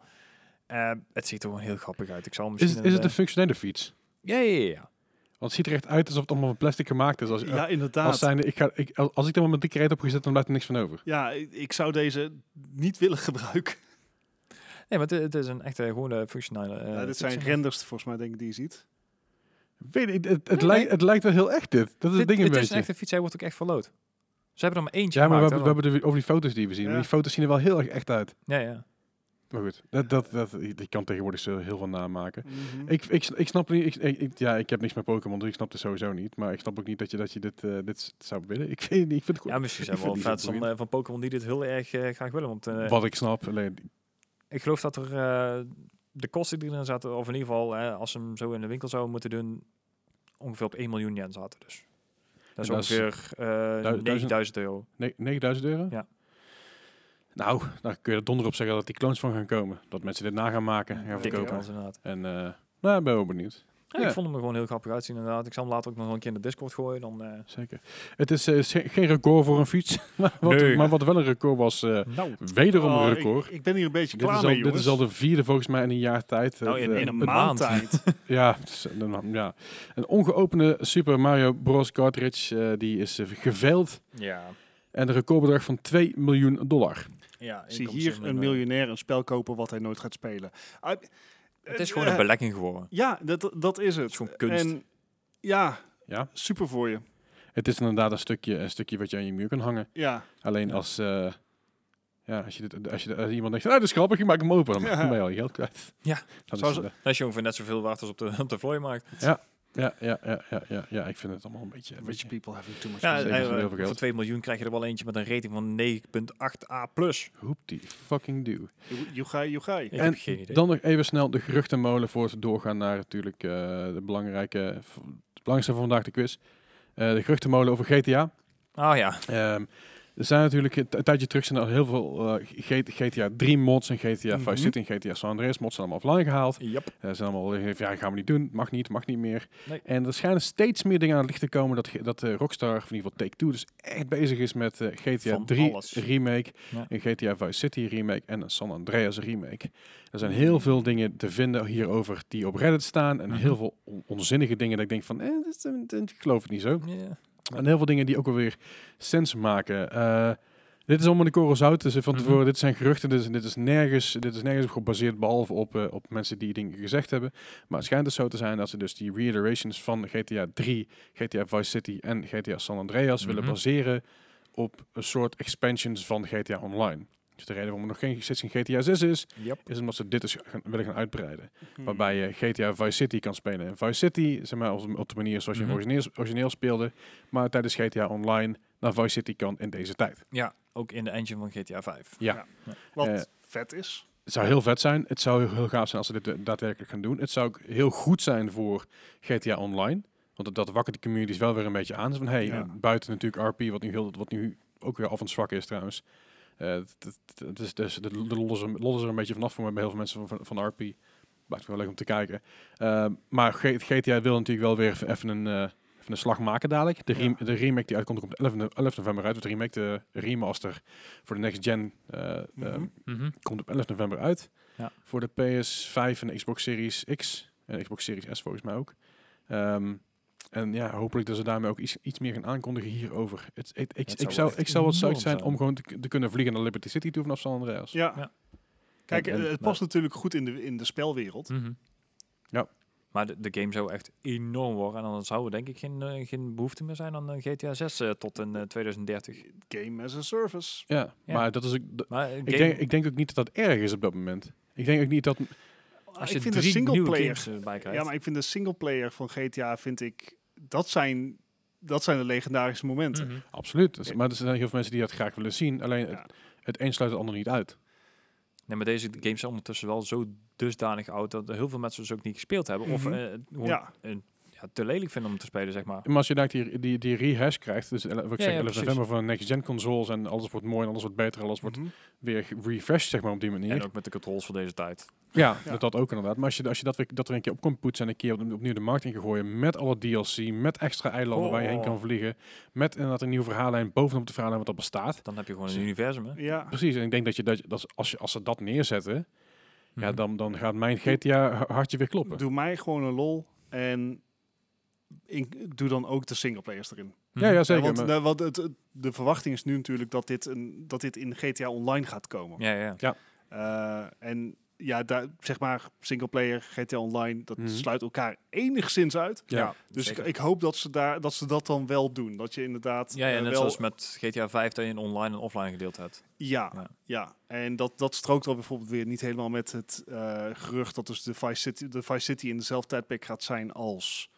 Speaker 2: Ehm, het ziet er gewoon heel grappig uit. Ik zal hem
Speaker 1: Is,
Speaker 2: misschien
Speaker 1: het-
Speaker 2: in
Speaker 1: is het
Speaker 2: de-
Speaker 1: een functionele fiets?
Speaker 2: Ja, ja, ja, ja.
Speaker 1: Want het ziet er echt uit alsof het allemaal van plastic gemaakt is. Als,
Speaker 3: Ja,
Speaker 1: als,
Speaker 3: inderdaad.
Speaker 1: zijnde, ik ga, ik, als ik er maar met dikke reet op gezet, dan blijft er niks van over.
Speaker 3: Ja, ik ik zou deze niet willen gebruiken.
Speaker 2: Nee, maar het, het is een echte gewone functionele... eh,
Speaker 3: Ja, dit
Speaker 2: fiets.
Speaker 3: zijn renders volgens mij denk ik die je ziet.
Speaker 1: Weet ik, het, het,
Speaker 2: Nee,
Speaker 1: lijkt,
Speaker 2: nee.
Speaker 1: het lijkt wel heel echt dit. Dat is
Speaker 2: Dit-
Speaker 1: het ding een
Speaker 2: het is
Speaker 1: beetje.
Speaker 2: een echte fiets, hij wordt ook echt verloot. Ze hebben er maar eentje
Speaker 1: ja, maar we
Speaker 2: gemaakt.
Speaker 1: hebben, we hebben de, over die foto's die we zien.
Speaker 3: Ja.
Speaker 1: Maar die foto's zien er wel heel erg echt uit.
Speaker 2: hè, dan. Ja, ja.
Speaker 1: Maar goed, dat, dat, dat, die kan tegenwoordig zo heel veel namaken.
Speaker 2: Mhm.
Speaker 1: Ik, ik, ik snap niet, ik, ik- ik- ja, ik heb niks met Pokémon, dus ik snap het sowieso niet. Maar ik snap ook niet dat je, dat je dit, eh, dit s- zou willen. Ik, [LAUGHS] vind, ik vind het goed.
Speaker 2: Ja, misschien zijn
Speaker 1: Ik
Speaker 2: er wel
Speaker 1: vind die
Speaker 2: fans
Speaker 1: zo
Speaker 2: van,
Speaker 1: boeiend.
Speaker 2: eh, van Pokémon die dit heel erg eh, graag willen. Want eh,
Speaker 1: Wat ik snap, alleen
Speaker 2: ik geloof dat er eh, de kosten die erin zaten, of in ieder geval eh, als ze hem zo in de winkel zouden moeten doen, ongeveer op 1 miljoen yen zaten dus. Dat is
Speaker 1: En dat is
Speaker 2: ongeveer eh,
Speaker 1: duizend-
Speaker 2: 9000 euro.
Speaker 1: ne- 9000 euro?
Speaker 2: Ja.
Speaker 1: Nou, dan kun je er donder op zeggen dat die clones van gaan komen. Dat mensen dit na gaan maken en gaan
Speaker 2: Dikke
Speaker 1: verkopen.
Speaker 2: kans inderdaad.
Speaker 1: En eh, nou, ik ben wel benieuwd.
Speaker 2: Ja,
Speaker 1: Ja.
Speaker 2: Ik vond hem er gewoon heel grappig uitzien inderdaad. Ik zal hem later ook nog wel een keer in de Discord gooien. Dan, eh,
Speaker 1: Zeker. Het is eh, ge- geen record voor een fiets. [LAUGHS] maar, wat,
Speaker 2: Nee.
Speaker 1: maar wat wel een record was, eh,
Speaker 2: nou,
Speaker 1: wederom
Speaker 3: Oh,
Speaker 1: een
Speaker 3: ik-
Speaker 1: record.
Speaker 3: Ik, ben hier een beetje
Speaker 1: Dit
Speaker 3: klaar
Speaker 1: is, al,
Speaker 3: mee,
Speaker 1: dit
Speaker 3: jongens.
Speaker 1: is al de vierde volgens mij in een jaar tijd.
Speaker 2: Nou,
Speaker 1: Het,
Speaker 2: in-
Speaker 1: eh,
Speaker 2: in
Speaker 3: een
Speaker 2: een
Speaker 3: maand
Speaker 2: maand.
Speaker 3: tijd.
Speaker 1: Ja, het is een, een- ja, een ongeopende Super Mario Bros. cartridge eh, die is eh, geveild
Speaker 2: ja.
Speaker 1: en een recordbedrag van 2 miljoen dollar.
Speaker 2: ja
Speaker 3: Zie
Speaker 2: inkomsten
Speaker 3: hier
Speaker 2: en,
Speaker 3: een
Speaker 2: eh,
Speaker 3: miljonair een spel kopen wat hij nooit gaat spelen. Ah,
Speaker 2: Het is
Speaker 3: eh,
Speaker 2: gewoon een
Speaker 3: eh,
Speaker 2: belegging geworden.
Speaker 3: Ja, dat, dat is het.
Speaker 2: is gewoon kunst.
Speaker 3: En ja,
Speaker 1: Ja.
Speaker 3: super voor je.
Speaker 1: Het is inderdaad een stukje, een stukje wat je aan je muur kan hangen.
Speaker 3: Ja.
Speaker 1: Alleen
Speaker 2: Ja.
Speaker 1: als, eh, ja, als, je dit, als, je, als iemand denkt, ah, dat is grappig, ik maak hem open, dan
Speaker 3: Ja.
Speaker 1: ben je al je geld kwijt.
Speaker 2: Ja.
Speaker 1: Dat
Speaker 3: Zou
Speaker 1: is,
Speaker 3: ze-
Speaker 1: eh,
Speaker 2: Dat is je ongeveer net zoveel waard als op de, op de vloeimarkt.
Speaker 1: ja, ja, ja, ja, ja, ja, ik vind het allemaal een beetje... Een
Speaker 3: Rich
Speaker 1: beetje
Speaker 3: people having too much
Speaker 2: Ja,
Speaker 1: is
Speaker 3: money.
Speaker 1: even
Speaker 2: eh,
Speaker 1: zo heel veel
Speaker 2: voor
Speaker 1: geld.
Speaker 2: 2 miljoen krijg je er wel eentje met een rating van 9.8a+. plus.
Speaker 1: hoep die fucking duw.
Speaker 3: You- You guy, you guy.
Speaker 2: Ik
Speaker 1: En
Speaker 2: heb geen idee.
Speaker 1: Dan nog even snel de geruchtenmolen voor het doorgaan naar natuurlijk eh, de belangrijke, v- het belangrijkste van vandaag de quiz. Eh, de geruchtenmolen over GTA.
Speaker 2: Oh ja,
Speaker 1: Ehm, er zijn natuurlijk een t- een tijdje terug zijn er al heel veel eh, G- GTA 3 mods en GTA 5
Speaker 3: Mhm.
Speaker 1: City en GTA San Andreas mods zijn allemaal offline gehaald.
Speaker 2: yep.
Speaker 1: Er zijn allemaal gezegd, ja, gaan we niet doen, mag niet, mag niet meer.
Speaker 2: Nee.
Speaker 1: En er schijnen steeds meer dingen aan het licht te komen dat, ge- dat eh, Rockstar, of in ieder geval Take-Two, dus echt bezig is met eh, GTA
Speaker 2: Van
Speaker 1: 3
Speaker 2: alles.
Speaker 1: remake,
Speaker 2: Ja.
Speaker 1: een GTA Vice City remake en een San Andreas remake. Er zijn heel veel dingen te vinden hierover die op Reddit staan en
Speaker 2: Mhm.
Speaker 1: heel veel on- onzinnige dingen dat ik denk van, eh, dat is- dat- dat- ik geloof het niet zo.
Speaker 2: Ja.
Speaker 1: En heel veel dingen die ook alweer sens maken. Eh, dit is allemaal in de korrel zout. Dus van
Speaker 2: Mhm.
Speaker 1: tevoren, dit zijn geruchten. Dit is, dit is, nergens, dit is nergens op gebaseerd, behalve op, eh, op mensen die dingen gezegd hebben. Maar het schijnt dus zo te zijn dat ze dus die reiterations van GTA 3, GTA Vice City en GTA San Andreas willen
Speaker 2: Mhm.
Speaker 1: baseren op een soort expansions van GTA Online. Dus de reden waarom er nog geen, steeds geen GTA 6 is,
Speaker 2: Yep.
Speaker 1: is omdat ze dit dus gaan, willen gaan uitbreiden.
Speaker 3: Hmm.
Speaker 1: Waarbij je GTA Vice City kan spelen. En Vice City, zeg maar, op, op de manier zoals je hem
Speaker 2: Mhm.
Speaker 1: origineel, origineel speelde. Maar tijdens GTA Online naar Vice City kan in deze tijd.
Speaker 2: Ja, ook in de engine van GTA 5.
Speaker 3: Wat
Speaker 1: eh,
Speaker 3: vet is.
Speaker 1: Het zou heel vet zijn. Het zou heel, heel gaaf zijn als ze dit daadwerkelijk gaan doen. Het zou ook heel goed zijn voor GTA Online. Want dat, dat wakkert de communities wel weer een beetje aan. Zo Van, hey,
Speaker 3: Ja.
Speaker 1: eh, buiten natuurlijk RP, wat nu, heel, wat nu ook weer af en zwak is trouwens. Eh, het- het- het- Het is dus de de lol is er- lol is er een beetje vanaf voor mij bij heel veel mensen van, van, van RP. Maakt het wel leuk om te kijken. Eh, maar G- GTA wil natuurlijk wel weer even een, eh, even een slag maken dadelijk. De, rem-
Speaker 3: Ja.
Speaker 1: de remake die uitkomt komt 11, no- 11 november uit. De remake, de remaster voor de next gen eh, eh,
Speaker 3: Mhm.
Speaker 1: komt op 11 november uit.
Speaker 2: Ja.
Speaker 1: Voor de PS5 en de Xbox Series X. En Xbox Series S volgens mij ook. Ehm, en ja, hopelijk dat ze daarmee ook iets, iets meer gaan aankondigen hierover. Het, het- ik,
Speaker 2: Het
Speaker 1: ik
Speaker 2: zou
Speaker 1: zou,
Speaker 2: echt
Speaker 1: ik zou wat
Speaker 2: enorm
Speaker 1: zuid zijn om
Speaker 2: zijn.
Speaker 1: gewoon te, k- te kunnen vliegen naar Liberty City toe vanaf San Andreas.
Speaker 3: Ja.
Speaker 2: Ja.
Speaker 3: Kijk,
Speaker 1: En-
Speaker 3: eh,
Speaker 1: en-
Speaker 3: het past natuurlijk goed in de, in de spelwereld.
Speaker 1: Ja.
Speaker 2: Maar de, de game zou echt enorm worden. En dan zou er denk ik geen, eh, geen behoefte meer zijn aan een GTA 6 eh, tot in eh, 2030.
Speaker 3: Game as a service.
Speaker 1: Ja,
Speaker 2: Ja.
Speaker 1: maar dat is ook... d-
Speaker 2: Maar een
Speaker 1: ik,
Speaker 2: game-
Speaker 1: denk, ik denk ook niet dat dat erg is op dat moment. Ik denk ook niet dat...
Speaker 2: als
Speaker 3: ik
Speaker 2: je
Speaker 3: vind de
Speaker 2: drie
Speaker 3: single
Speaker 2: nieuwe
Speaker 3: player.
Speaker 2: games erbij krijgt.
Speaker 3: Ja, maar ik vind de singleplayer van GTA vind ik. Dat zijn, dat zijn de legendarische momenten.
Speaker 2: Mhm.
Speaker 1: Absoluut. Dat is-
Speaker 3: Ja.
Speaker 1: Maar er zijn heel veel mensen die dat graag willen zien. Alleen
Speaker 3: Ja.
Speaker 1: het, het een sluit het ander niet uit.
Speaker 2: Nee, maar deze games zijn ondertussen wel zo dusdanig oud dat heel veel mensen dus ook niet gespeeld hebben.
Speaker 3: Mhm.
Speaker 2: Of eh, gewoon,
Speaker 3: Ja.
Speaker 2: eh, ja, te lelijk vinden om te spelen, zeg maar.
Speaker 1: Maar als je daar die, die, die rehash krijgt, dus ele- wat ik
Speaker 2: Ja,
Speaker 1: zeg,
Speaker 2: ja,
Speaker 1: 11
Speaker 2: precies.
Speaker 1: november van next-gen consoles en alles wordt mooi en alles wordt beter, alles wordt
Speaker 3: Mhm.
Speaker 1: weer refreshed, zeg maar, op die manier.
Speaker 2: En ook met de controls van deze tijd.
Speaker 1: Ja,
Speaker 3: Ja.
Speaker 1: Dat, dat ook inderdaad. Maar als je, als je dat, weer, dat er een keer op komt poetsen en een keer op- opnieuw de markt in gaat gooien met alle DLC, met extra eilanden waar je heen kan
Speaker 2: Oh.
Speaker 1: vliegen, met inderdaad een nieuwe verhaallijn bovenop de verhaallijn wat al bestaat.
Speaker 2: Dan heb je gewoon een
Speaker 1: Zie-
Speaker 2: universum, hè?
Speaker 3: Ja.
Speaker 1: Precies, en ik denk dat, je, dat, je- dat als, je, als ze dat neerzetten, ja,
Speaker 2: Mhm.
Speaker 1: dan, dan gaat mijn GTA hartje weer kloppen.
Speaker 3: Doe mij gewoon een lol. En ik doe dan ook de singleplayers erin.
Speaker 2: Mhm.
Speaker 1: Ja, ja,
Speaker 3: Ja,
Speaker 1: zeker.
Speaker 3: want
Speaker 1: maar-
Speaker 3: nou, want het, het- de verwachting is nu natuurlijk dat dit, een, dat dit in GTA Online gaat komen.
Speaker 2: Ja, ja.
Speaker 3: Eh, en ja, daar, zeg maar, singleplayer, GTA Online, dat
Speaker 1: Mhm.
Speaker 3: sluit elkaar enigszins uit.
Speaker 1: Ja.
Speaker 3: Dus ik,
Speaker 2: zeker.
Speaker 3: ik hoop dat ze, daar, dat ze dat dan wel doen. Dat je inderdaad
Speaker 2: Ja, ja,
Speaker 3: eh,
Speaker 2: net
Speaker 3: wel
Speaker 2: zoals met GTA 5 dat je een online en offline gedeeld hebt.
Speaker 3: Ja,
Speaker 2: Ja.
Speaker 3: ja. en dat, dat strookt dan bijvoorbeeld weer niet helemaal met het eh, gerucht dat dus de Vice City, de Vice City in dezelfde tijdperk gaat zijn als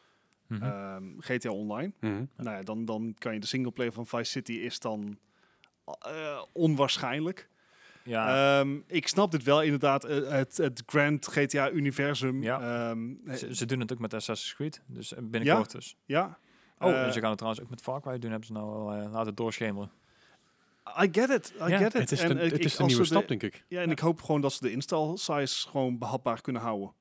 Speaker 2: Eh,
Speaker 3: ehm, GTA Online.
Speaker 1: Mhm.
Speaker 3: Nou ja, dan, dan kan je de singleplayer van Vice City is dan eh, onwaarschijnlijk.
Speaker 2: ja,
Speaker 3: Ehm, ik snap dit wel inderdaad, eh, het, het Grand GTA-universum.
Speaker 2: Ja. ze,
Speaker 1: Eh,
Speaker 3: ja.
Speaker 2: ze doen het ook met Assassin's Creed, dus eh,
Speaker 3: Ja?
Speaker 2: binnenkort dus.
Speaker 3: eh, ja.
Speaker 2: Oh,
Speaker 3: Eh,
Speaker 2: en ze gaan het trouwens ook met Far Cry doen, hebben ze nou al eh, laten doorschemeren.
Speaker 3: I get it, I
Speaker 2: Ja,
Speaker 3: get it.
Speaker 1: Het is de,
Speaker 3: En, eh,
Speaker 1: het
Speaker 3: ik-
Speaker 1: is de
Speaker 3: als
Speaker 1: nieuwe
Speaker 3: ze de-
Speaker 1: stap, denk ik.
Speaker 3: Ja, en ik hoop gewoon dat ze de install size gewoon behapbaar kunnen houden.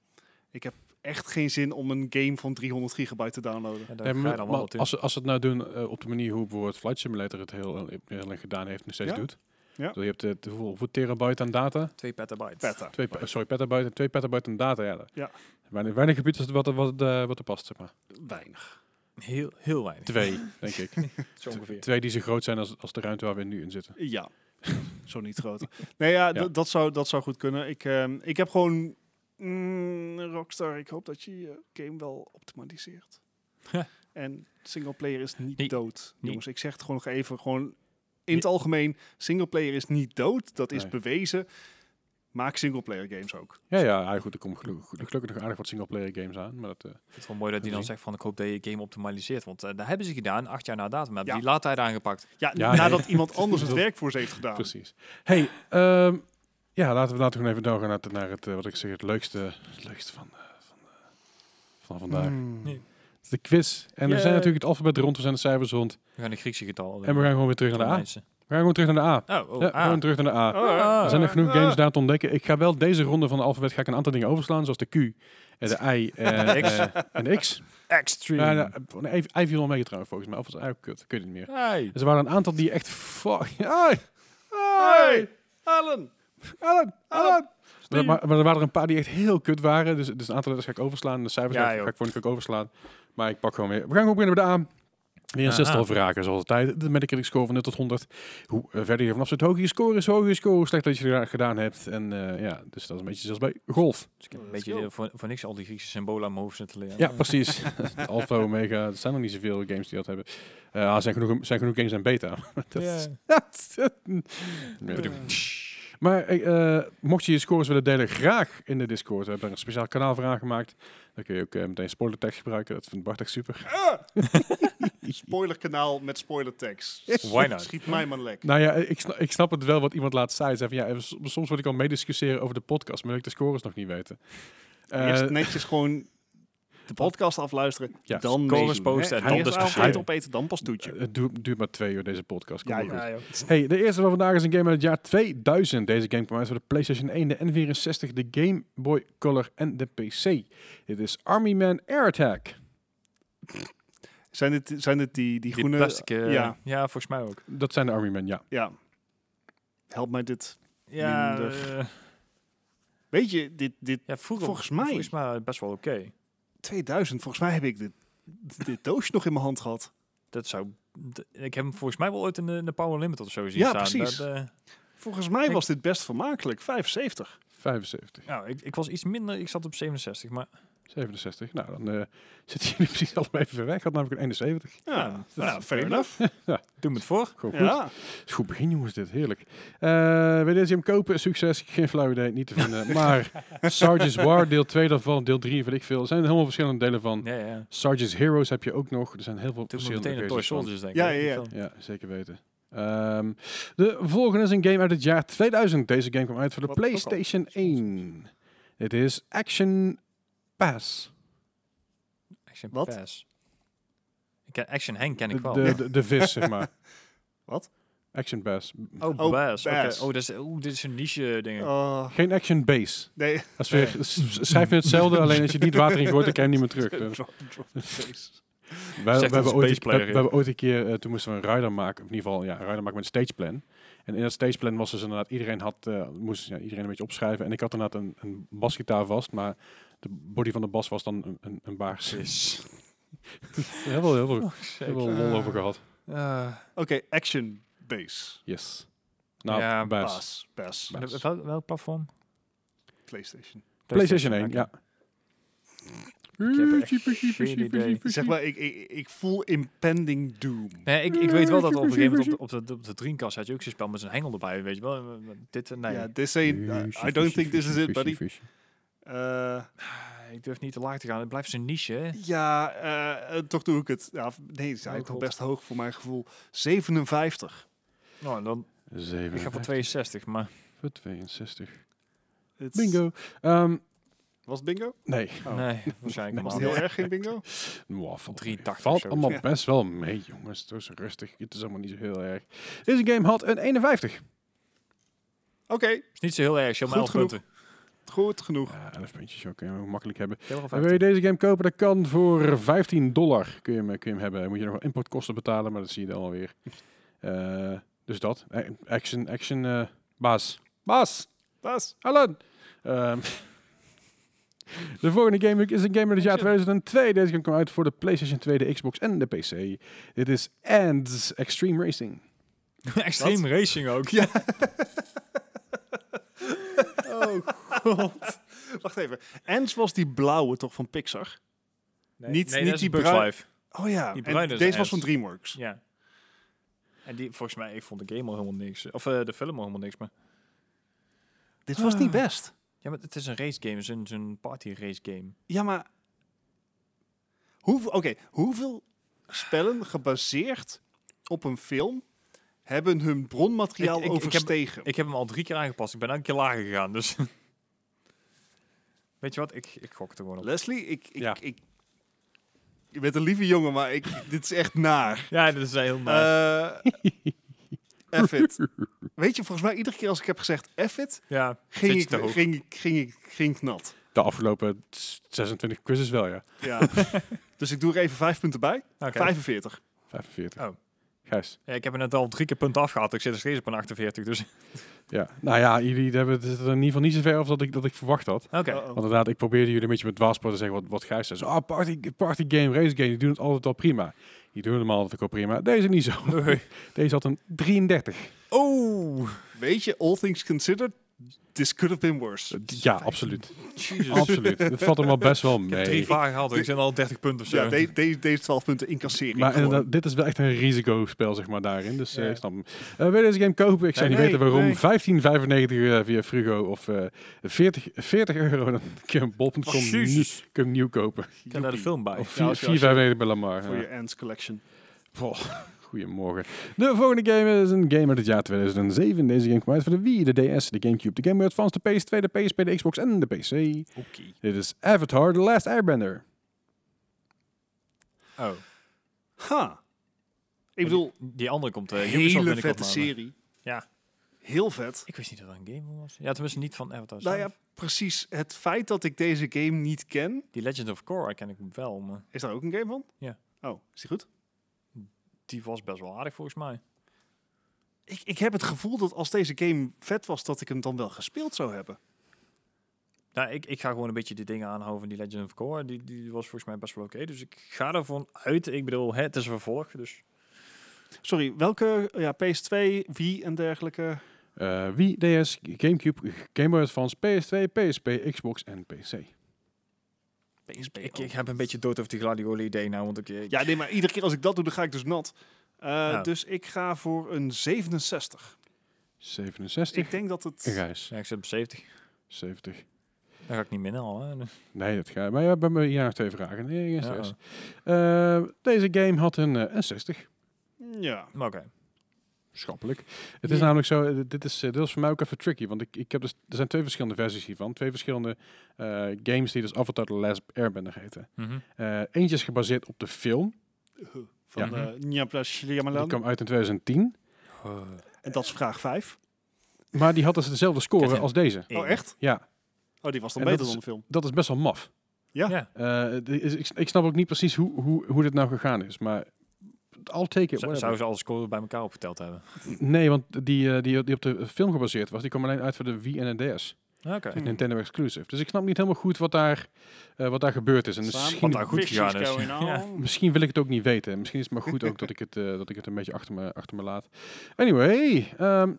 Speaker 3: Ik heb echt geen zin om een game van 300 gigabyte te downloaden.
Speaker 2: Ja, daar
Speaker 1: Nee,
Speaker 2: ga je
Speaker 1: maar,
Speaker 2: dan
Speaker 1: maar
Speaker 2: wel wat in.
Speaker 1: als, ze- als ze het nou doen eh, op de manier hoe bijvoorbeeld Flight Simulator het heel, heel lang gedaan heeft en nog steeds
Speaker 3: Ja.
Speaker 1: doet.
Speaker 3: Ja.
Speaker 1: Dus je hebt het, hoeveel, hoeveel terabyte aan data?
Speaker 2: 2 petabyte.
Speaker 3: Petta.
Speaker 1: Twee, pe- sorry, petabyte en twee petabyte aan data. Ja.
Speaker 3: Ja.
Speaker 1: Weinig, weinig gebied is het wat, er- wat, eh, wat er past, zeg maar.
Speaker 3: Weinig.
Speaker 2: Heel, heel weinig.
Speaker 1: Twee, [LAUGHS] denk ik.
Speaker 2: [LAUGHS] Zo ongeveer.
Speaker 1: Twee die zo groot zijn als, als de ruimte waar we nu in zitten.
Speaker 3: Ja, [LAUGHS] zo niet groter. Nee, ja, d-
Speaker 1: Ja.
Speaker 3: Dat, zou, dat zou goed kunnen. Ik, ehm, ik heb gewoon... mm, Rockstar, ik hoop dat je je game wel optimaliseert.
Speaker 2: Ja.
Speaker 3: en singleplayer is niet
Speaker 2: Nee.
Speaker 3: dood.
Speaker 2: Nee.
Speaker 3: Jongens, ik zeg het gewoon nog even. Gewoon in het algemeen, singleplayer is niet dood. Dat is
Speaker 1: Nee.
Speaker 3: bewezen. Maak singleplayer games ook.
Speaker 1: Ja, ja, ja, goed, er komen gelukkig, gelukkig nog aardig wat singleplayer games aan. Maar dat, eh,
Speaker 2: Ik vind het wel mooi dat hij dan
Speaker 1: Oké.
Speaker 2: zegt van ik hoop dat je je game optimaliseert. Want eh, dat hebben ze gedaan, acht jaar na datum. Hebben
Speaker 3: Ja.
Speaker 2: die laadtijd aangepakt.
Speaker 3: Ja,
Speaker 1: Ja,
Speaker 3: nadat
Speaker 1: nee.
Speaker 3: iemand anders het werk voor ze heeft gedaan.
Speaker 1: Precies. Hey, ehm, ja, laten we laten we gewoon even doorgaan naar, het- naar het, eh, wat ik zeg, het leukste, het leukste van, eh, van, eh, van vandaag.
Speaker 3: Mm.
Speaker 2: Nee.
Speaker 1: De quiz. En we
Speaker 2: Yay.
Speaker 1: zijn natuurlijk het alfabet rond, we zijn de cijfers rond.
Speaker 2: We gaan de Griekse getal.
Speaker 1: En we gaan gewoon weer terug naar de A. We
Speaker 2: Romeinse.
Speaker 1: gaan gewoon terug naar de A.
Speaker 2: Oh, oh,
Speaker 1: Ja,
Speaker 2: ah.
Speaker 1: gewoon terug naar de A.
Speaker 3: Oh,
Speaker 2: Ah.
Speaker 1: Er zijn er genoeg games daar te ontdekken. Ik ga wel deze ronde van de alfabet ga ik een aantal dingen overslaan, zoals de Q, eh, de I en,
Speaker 2: [LAUGHS] De X.
Speaker 1: eh, en de X.
Speaker 2: Extreme.
Speaker 1: Ja, nou, eh, I viel wel mee trouwens volgens mij. Of was I ook kut? Ik weet het niet meer.
Speaker 2: Hey.
Speaker 1: Dus er waren een aantal die echt... Fuck. [LAUGHS] Ah, Ai.
Speaker 3: Hey, Alan.
Speaker 1: Alan, Alan. Maar, maar- maar ah. er waren er een paar die echt heel kut waren. Dus, dus een aantal letters ga ik overslaan. De cijfers
Speaker 2: Ja,
Speaker 1: ga ik-
Speaker 2: joh.
Speaker 1: ga ik voor ook overslaan. Maar ik pak gewoon weer. We gaan gewoon beginnen met de A. Weer een
Speaker 2: Aha.
Speaker 1: zestal vragen, zoals altijd. De Metacritic score van 0 tot 100. Hoe eh, verder je vanaf zit, hoger je score is, hoger je score, hoe slecht dat je het gedaan hebt. En eh, ja, dus dat is een beetje zoals bij golf.
Speaker 2: Dus ik heb een
Speaker 3: Let's
Speaker 2: beetje
Speaker 3: go.
Speaker 2: eh, voor, voor niks al die Griekse symbolen aan mijn hoofd zitten leren.
Speaker 1: Ja, precies. [LAUGHS] Alpha, Omega, er zijn nog niet zoveel games die dat hebben. Eh, ah, er zijn genoeg, zijn genoeg games en beta. [LAUGHS] dat is- Ja. Maar eh, eh, mocht je je scores willen delen, graag in de Discord. We hebben daar een speciaal kanaal voor aangemaakt. Dan kun je ook eh, meteen spoilertekst gebruiken. Dat vindt Bart echt super.
Speaker 3: [LAUGHS] Spoilerkanaal met spoilertekst.
Speaker 2: Why not?
Speaker 3: Schiet mij maar lek.
Speaker 1: Nou ja, ik, sna- ik snap het wel wat iemand laat zei. Zei van, ja, eh, s- soms wil ik al meediscussiëren over de podcast, maar wil ik de scores nog niet weten. Eh,
Speaker 3: Nou, Eerst netjes gewoon de podcast afluisteren.
Speaker 1: Ja,
Speaker 3: dan
Speaker 2: scores
Speaker 3: meedoen,
Speaker 2: posten
Speaker 3: hè.
Speaker 2: en dan dus
Speaker 3: Eerst
Speaker 2: discussiëren.
Speaker 3: avond opeten, dan pas toetje.
Speaker 1: het duurt, duurt maar twee uur deze podcast. Kom maar goed.
Speaker 3: joh.
Speaker 1: Hey, de eerste van vandaag is een game uit het jaar 2000. Deze game kwam uit voor de PlayStation 1, de N64, de Game Boy Color en de PC. Dit is Army Man Air Attack.
Speaker 3: Zijn dit, zijn dit die, die,
Speaker 2: Die
Speaker 3: groene...
Speaker 2: plastic, eh,
Speaker 3: ja.
Speaker 2: ja. volgens mij ook.
Speaker 1: Dat zijn de Army Men, ja.
Speaker 3: ja. Help mij dit.
Speaker 2: Ja,
Speaker 3: Minder.
Speaker 2: eh,
Speaker 3: Weet je, dit, dit
Speaker 2: ja vroeger,
Speaker 3: Volgens mij.
Speaker 2: volgens mij best wel oké.
Speaker 3: 2000, volgens mij heb ik dit, dit doosje nog in mijn hand gehad.
Speaker 2: Dat zou. d- Ik heb hem volgens mij wel ooit in de, in de Power Limit of zo zien
Speaker 3: Ja,
Speaker 2: staan.
Speaker 3: precies.
Speaker 2: Dat, eh,
Speaker 3: Volgens mij
Speaker 2: Ik-
Speaker 3: was dit best vermakelijk. 75.
Speaker 1: 75.
Speaker 2: nou, ik, ik was iets minder. Ik zat op 67, maar
Speaker 1: 67. Nou, dan eh [LAUGHS] zitten jullie precies allemaal even ver weg. Ik had namelijk een 71.
Speaker 3: Ja,
Speaker 2: Ja,
Speaker 3: nou,
Speaker 2: dat is
Speaker 3: fair
Speaker 2: fair
Speaker 3: enough.
Speaker 2: doe me het voor.
Speaker 1: Gewoon goed.
Speaker 3: Ja.
Speaker 1: Is goed begin, jongens, dit. Heerlijk. Eh wil je hem kopen? Succes. Geen flauw idee, niet te
Speaker 2: [LAUGHS]
Speaker 1: vinden. maar Sarge's War, deel 2 daarvan, deel 3, weet ik veel. Er zijn helemaal verschillende delen van.
Speaker 2: Ja, ja.
Speaker 1: Sarge's Heroes heb je ook nog. Er zijn heel veel
Speaker 2: Doe me
Speaker 1: verschillende
Speaker 2: meteen een Toy
Speaker 1: versies van.
Speaker 2: Soldiers, denk ik.
Speaker 3: Ja,
Speaker 2: hè?
Speaker 3: ja, ja.
Speaker 2: Of zo.
Speaker 1: Ja, zeker weten. Ehm, de volgende is een game uit het jaar 2000. Deze game kwam uit voor de
Speaker 3: Wat ook al.
Speaker 1: PlayStation 1. Het is Action Pass.
Speaker 2: Action
Speaker 3: Wat?
Speaker 2: Pass. Ik ken, Action Henk ken ik
Speaker 1: De,
Speaker 2: wel.
Speaker 1: de, de, de vis, zeg maar.
Speaker 3: [LAUGHS] Wat?
Speaker 1: Action Pass.
Speaker 2: Oh,
Speaker 3: Oh,
Speaker 2: Bass. oké.
Speaker 3: Bass.
Speaker 2: Oh, dat is, oh, dit is een niche ding.
Speaker 3: Oh,
Speaker 1: Geen Action Base.
Speaker 3: nee.
Speaker 1: Dat is weer, s- s- schrijf je
Speaker 3: [LAUGHS]
Speaker 1: hetzelfde, alleen als je niet water in gooit, dan krijg je hem niet meer terug. Dus
Speaker 3: Drop- drop the face.
Speaker 1: we, we,
Speaker 2: Zegt dat
Speaker 1: hebben
Speaker 2: een
Speaker 1: ooit, een- we,
Speaker 2: spaceplayer,
Speaker 1: we hebben ooit een keer, eh, toen moesten we een rider maken, of in ieder geval ja, een rider maken met een stageplan. En in dat stageplan was dus inderdaad, iedereen had, eh, moest ja, iedereen een beetje opschrijven. En ik had inderdaad een, een basgitaar vast, maar de body van de bas was dan een, een, een baars. [LAUGHS]
Speaker 2: Yes.
Speaker 1: Heel veel, heel veel, heel veel
Speaker 2: Zeker.
Speaker 1: lol over gehad.
Speaker 2: Eh,
Speaker 3: Oké, action base.
Speaker 1: Yes. Nou,
Speaker 2: Ja,
Speaker 1: baas.
Speaker 3: Pass. Pass.
Speaker 1: Baas.
Speaker 2: wel- welk platform?
Speaker 3: PlayStation.
Speaker 1: PlayStation 1, ja.
Speaker 2: Ik heb
Speaker 1: Super,
Speaker 2: echt
Speaker 1: super,
Speaker 2: geen
Speaker 1: super,
Speaker 2: idee.
Speaker 1: super,
Speaker 3: Zeg maar, ik, ik, ik voel impending doom.
Speaker 2: Nee, ik, ik weet wel dat op een gegeven moment op de, op de, op de Dreamcast had je ook zo'n spel met zijn hengel erbij, weet je wel. En, eh, Dit, en nee.
Speaker 3: Ja, this ain't, uh, I- I don't think this is it, buddy. Eh,
Speaker 2: ah, Ik durf niet te laag te gaan. Het blijft zijn niche, hè.
Speaker 3: ja, eh, eh, toch doe ik het. Ja, nee, ze
Speaker 2: Oh,
Speaker 3: zijn toch
Speaker 2: God.
Speaker 3: best hoog voor mijn gevoel. 57.
Speaker 2: Nou, en dan, ik ga voor 62, maar...
Speaker 1: 62.
Speaker 3: It's-
Speaker 1: Bingo. Ehm,
Speaker 3: Was het bingo?
Speaker 1: nee.
Speaker 3: Oh.
Speaker 2: Nee, waarschijnlijk
Speaker 3: Was
Speaker 2: maar.
Speaker 3: het heel erg geen bingo?
Speaker 1: Mwah, valt
Speaker 2: 83
Speaker 1: Valt
Speaker 2: of zo.
Speaker 1: allemaal
Speaker 3: Ja.
Speaker 1: best wel mee, jongens. Doe eens rustig. Het is allemaal niet zo heel erg. Deze game had een 51.
Speaker 3: Oké,
Speaker 2: is niet zo heel erg, je hebt maar
Speaker 3: Goed
Speaker 2: 11
Speaker 3: genoeg.
Speaker 2: punten.
Speaker 3: goed genoeg.
Speaker 1: Ja, 11 puntjes ook. Kunnen we makkelijk hebben.
Speaker 2: Ik heb er al
Speaker 1: En wil je
Speaker 2: 15.
Speaker 1: deze game kopen? Dat kan voor 15 dollar. Kun je hem, kun je hem hebben. Dan moet je nog wel importkosten betalen, maar dat zie je dan alweer. Eh dus dat. Eh, Action, action, eh, baas. Baas!
Speaker 3: Bas.
Speaker 1: Alan! Ehm, [LAUGHS] de volgende game is een game uit het jaar 2002. Deze game kwam uit voor de PlayStation 2, de Xbox en de PC. Dit is Ants Extreme Racing.
Speaker 2: [LAUGHS] Extreme Racing ook. Ja.
Speaker 3: Oh god. [LAUGHS] Wacht even. Ants was die blauwe toch van Pixar? Niet-
Speaker 2: nee,
Speaker 3: niet
Speaker 2: dat is
Speaker 3: die
Speaker 2: Bugs
Speaker 3: bruin-
Speaker 2: Life.
Speaker 3: Oh ja,
Speaker 2: Die
Speaker 3: en
Speaker 2: bruine is
Speaker 3: deze was
Speaker 2: Ants.
Speaker 3: van DreamWorks.
Speaker 2: Ja. En die, volgens mij, ik vond de game al helemaal niks. Of eh, de film al helemaal niks, maar...
Speaker 3: Dit was niet
Speaker 2: Ah.
Speaker 3: best.
Speaker 2: Ja, maar het is een race game, het is een, zo'n party race game.
Speaker 3: Ja, maar... Hoeveel, Oké, hoeveel spellen gebaseerd op een film hebben hun bronmateriaal
Speaker 2: Ik- ik- ik heb-
Speaker 3: overstegen?
Speaker 2: Ik heb hem al drie keer aangepast, ik ben elke keer lager gegaan, dus... Weet je wat, ik, ik gok het er gewoon op.
Speaker 3: Leslie, ik, ik,
Speaker 1: Ja.
Speaker 3: ik... Je bent een lieve jongen, maar ik, dit is echt naar.
Speaker 2: [LAUGHS] Ja, dat is heel nice.
Speaker 3: Eh F it. Weet je, volgens mij iedere keer als ik heb gezegd F it,
Speaker 2: ja,
Speaker 3: ging
Speaker 2: zit
Speaker 3: ik,
Speaker 2: je te hoog.
Speaker 3: ging, ik, ging, ik, ging ik nat.
Speaker 1: De afgelopen 26 quizzes wel, ja.
Speaker 2: [LAUGHS]
Speaker 3: Ja. dus ik doe er even vijf punten bij.
Speaker 2: Oké.
Speaker 3: 45.
Speaker 1: 45.
Speaker 2: Oh.
Speaker 1: Gijs.
Speaker 2: Ja, ik heb er net al drie keer punten afgehaald, ik zit er steeds op een 48, dus...
Speaker 1: Ja. Nou ja, jullie hebben het in ieder geval niet zo ver als dat ik, dat ik verwacht had.
Speaker 2: Oké.
Speaker 3: Uh-oh.
Speaker 1: Want inderdaad, ik probeerde jullie een beetje met dwaaspoort te zeggen wat, wat Gijs zei. Zo, ah, party, party game, race game, die doen het altijd al prima. Die doen het allemaal altijd al prima. Deze niet zo. [LAUGHS] Deze had een 33.
Speaker 2: Oh!
Speaker 3: Weet je, all things considered, this could have been worse.
Speaker 1: Ja, absoluut.
Speaker 2: Jesus.
Speaker 1: absoluut. Het valt hem wel best wel
Speaker 2: Ik heb drie
Speaker 1: mee.
Speaker 2: vragen gehaald en ik zit al 30 punten of zo.
Speaker 3: Ja, de- de- deze 12 punten incasseren.
Speaker 1: Maar
Speaker 3: gewoon.
Speaker 1: inderdaad, dit is wel echt een risicospel, zeg maar, daarin. Dus eh
Speaker 2: Ja.
Speaker 1: ik snap hem. Eh, wil je deze game kopen? Ik zou
Speaker 3: Nee,
Speaker 1: niet
Speaker 3: nee,
Speaker 1: weten waarom.
Speaker 3: nee.
Speaker 1: 15,95 eh, via Frugo of eh 40, 40 euro. Dan kun je hem bol.com
Speaker 2: Oh,
Speaker 1: nieuw,
Speaker 2: Jezus.
Speaker 1: kun je hem nieuw kopen.
Speaker 2: Ik heb daar de
Speaker 3: Joepie.
Speaker 2: film bij.
Speaker 1: Of
Speaker 3: Ja, als je- als je-
Speaker 1: 4,95 bij Lamar.
Speaker 3: Voor
Speaker 1: ja.
Speaker 3: je Ants collection.
Speaker 1: Boah, goedemorgen. De volgende game is een game uit het jaar 2007. Deze game kwam uit voor de Wii, de DS, de Gamecube, de Game Boy Advance, de PS2, de PSP, de Xbox en de PC.
Speaker 2: Oké.
Speaker 1: Dit is Avatar The Last Airbender.
Speaker 2: Oh.
Speaker 3: Ha. Ik bedoel,
Speaker 2: Die andere komt... eh Ubisoft
Speaker 3: hele
Speaker 2: binnenkort
Speaker 3: vette
Speaker 2: maar.
Speaker 3: serie.
Speaker 2: Ja.
Speaker 3: Heel vet.
Speaker 2: Ik wist niet dat dat een game was. Ja, tenminste niet van Avatar
Speaker 3: Nou
Speaker 2: zelf.
Speaker 3: ja, precies. Het feit dat ik deze game niet ken,
Speaker 2: Die Legend of Korra ken ik wel, maar
Speaker 3: is daar ook een game van?
Speaker 2: Ja.
Speaker 3: Oh, is die goed?
Speaker 2: die was best wel aardig volgens mij.
Speaker 3: Ik, ik heb het gevoel dat als deze game vet was, dat ik hem dan wel gespeeld zou hebben.
Speaker 2: Nou, ik, ik ga gewoon een beetje die dingen aanhouden van die Legend of Korra. Die, die was volgens mij best wel oké. Dus ik ga ervan uit. Ik bedoel, hè, het is een vervolg, dus...
Speaker 3: Sorry, welke? Ja, PS2, Wii en dergelijke.
Speaker 1: Eh Wii, DS, Gamecube, Game Boy Advance, PS2, PSP, Xbox en PC.
Speaker 3: PSP.
Speaker 2: Ik, ik heb een beetje dood over die gladiolen idee nou, want ik... ik-
Speaker 3: Ja, nee, maar iedere keer als ik dat doe, dan ga ik dus nat. Eh,
Speaker 2: Ja.
Speaker 3: Dus ik ga voor een 67.
Speaker 1: 67.
Speaker 3: Ik denk dat het...
Speaker 1: En Gijs,
Speaker 2: Ja, ik zit op 70.
Speaker 1: 70.
Speaker 2: Dan ga ik niet minder al, hè. Dus-
Speaker 1: Nee, dat gaat. Maar ja, bij mij hier nog twee vragen. Nee, geen stress.
Speaker 2: Ja,
Speaker 1: Eh, deze game had een, eh, een 60.
Speaker 3: Ja.
Speaker 2: maar Oké.
Speaker 1: schappelijk. Het is
Speaker 2: Ja.
Speaker 1: namelijk zo, eh, dit is, eh, dit is voor mij ook even tricky, want ik, ik heb dus, er zijn twee verschillende versies hiervan. Twee verschillende eh, games die dus Avatar The Last Airbender heten.
Speaker 2: Mhm.
Speaker 1: Eh, eentje is gebaseerd op de film,
Speaker 3: Van eh,
Speaker 2: Ja.
Speaker 3: ja.
Speaker 1: die kwam uit in 2010,
Speaker 2: Eh,
Speaker 3: En dat is vraag 5.
Speaker 1: maar die had dus dezelfde score
Speaker 2: Kevin.
Speaker 1: als deze.
Speaker 3: Oh, echt?
Speaker 1: Ja,
Speaker 3: Oh, die was dan
Speaker 1: En dat
Speaker 3: beter
Speaker 1: is-
Speaker 3: dan de film.
Speaker 1: dat is best wel maf.
Speaker 3: Ja.
Speaker 2: Ja.
Speaker 1: Eh, het is- ik, ik snap ook niet precies hoe, hoe, hoe dit nou gegaan is, maar I'll take it.
Speaker 2: Zou,
Speaker 1: whatever.
Speaker 2: zou ze alle scoren bij elkaar opgeteld hebben?
Speaker 1: Nee, want die, eh, die, die op de film gebaseerd was, die kwam alleen uit voor de Wii en de DS.
Speaker 2: Oké.
Speaker 3: Hmm.
Speaker 1: Nintendo exclusive. Dus ik snap niet helemaal goed wat daar, eh, wat daar gebeurd is. En misschien,
Speaker 2: Wat daar goed
Speaker 3: Fishes
Speaker 2: gegaan is.
Speaker 3: going on.
Speaker 2: Ja.
Speaker 1: misschien wil ik het ook niet weten. Misschien is het maar goed ook dat ik het, eh, dat ik het een beetje achter me, achter me laat. Anyway, ehm,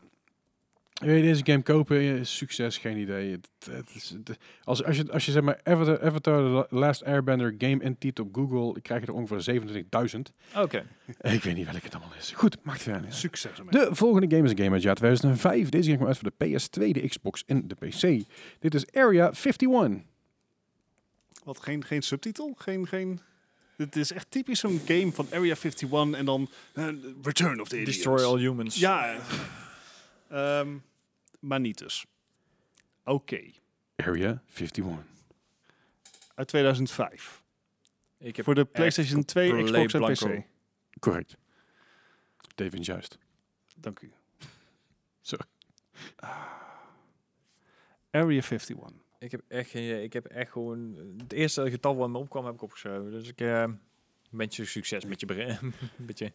Speaker 1: Wil je deze game kopen? Eh, Succes, geen idee. Het, het is, het- als, als, je, als je zeg maar Avatar, Avatar The Last Airbender game intypt op Google, krijg je er ongeveer [LAUGHS] 27.000.
Speaker 2: Oké.
Speaker 1: Eh, Ik weet niet welke het allemaal is. Goed, maakt verder niet uit.
Speaker 3: Succes ermee.
Speaker 1: De volgende game is een game uit het jaar 2005. Deze ging maar uit voor de PS2, de Xbox en de PC. Dit is Area 51.
Speaker 3: Wat, geen, geen subtitel? Geen, geen... Het is echt typisch zo'n game van Area 51 en dan eh, Return of the Idiots.
Speaker 2: Destroy all humans.
Speaker 3: Ja. eh, ehm, maar niet dus. Oké.
Speaker 1: Area 51.
Speaker 3: Uit 2005.
Speaker 2: Ik heb
Speaker 3: Voor de PlayStation 2,
Speaker 2: compleet
Speaker 3: Xbox en
Speaker 2: blanco.
Speaker 3: PC.
Speaker 1: Correct. David is juist.
Speaker 3: Dank u.
Speaker 1: Sorry.
Speaker 3: Ah. Area 51.
Speaker 2: Ik heb echt geen idee. Ik heb echt gewoon... Het eerste getal wat me opkwam heb ik opgeschreven. Dus ik... eh wens je succes met je [LAUGHS] begin. met je-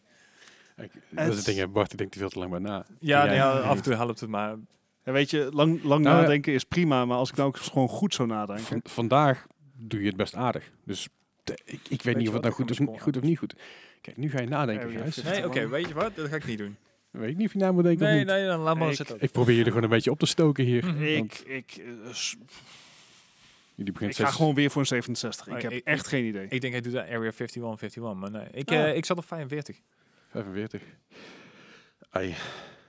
Speaker 1: Ik, dat is het ding, hè, Bart, ik denk er veel te lang bij na. Ja,
Speaker 2: Ja, nou ja,
Speaker 1: ik
Speaker 2: af en toe helpt het maar.
Speaker 3: Ja, weet je, lang, lang
Speaker 1: Nou, ja.
Speaker 3: nadenken is prima, maar als ik nou ook eens gewoon goed zou nadenken.
Speaker 1: Van- vandaag doe je het best aardig. Dus de- ik, ik weet
Speaker 2: je
Speaker 1: niet of het
Speaker 2: wat,
Speaker 1: nou
Speaker 2: ik
Speaker 1: goed
Speaker 2: kan
Speaker 1: is,
Speaker 2: mijn
Speaker 1: goed of niet goed. Kijk, nu ga je nadenken,
Speaker 3: Area
Speaker 1: Gijs.
Speaker 3: 51.
Speaker 2: Nee, oké, weet je wat? Dat ga ik niet doen.
Speaker 1: Weet ik niet of je na moet denken
Speaker 2: Nee,
Speaker 1: of niet.
Speaker 2: nee, Hm. dan laat maar Mhm.
Speaker 3: Ik-
Speaker 2: zitten.
Speaker 1: Ik probeer jullie gewoon een beetje op te stoken hier.
Speaker 3: ik,
Speaker 1: want
Speaker 3: ik, eh, s-
Speaker 1: jullie beginnen
Speaker 3: ik ga
Speaker 1: steeds-
Speaker 3: gewoon weer voor een 67. Ik
Speaker 2: Oh,
Speaker 3: heb
Speaker 2: ik-
Speaker 3: echt geen idee.
Speaker 2: Ik denk hij doet dat Area 51, 51, maar nee. Ik,
Speaker 1: Ah.
Speaker 2: eh, ik zat op 45.
Speaker 1: 45. Ai.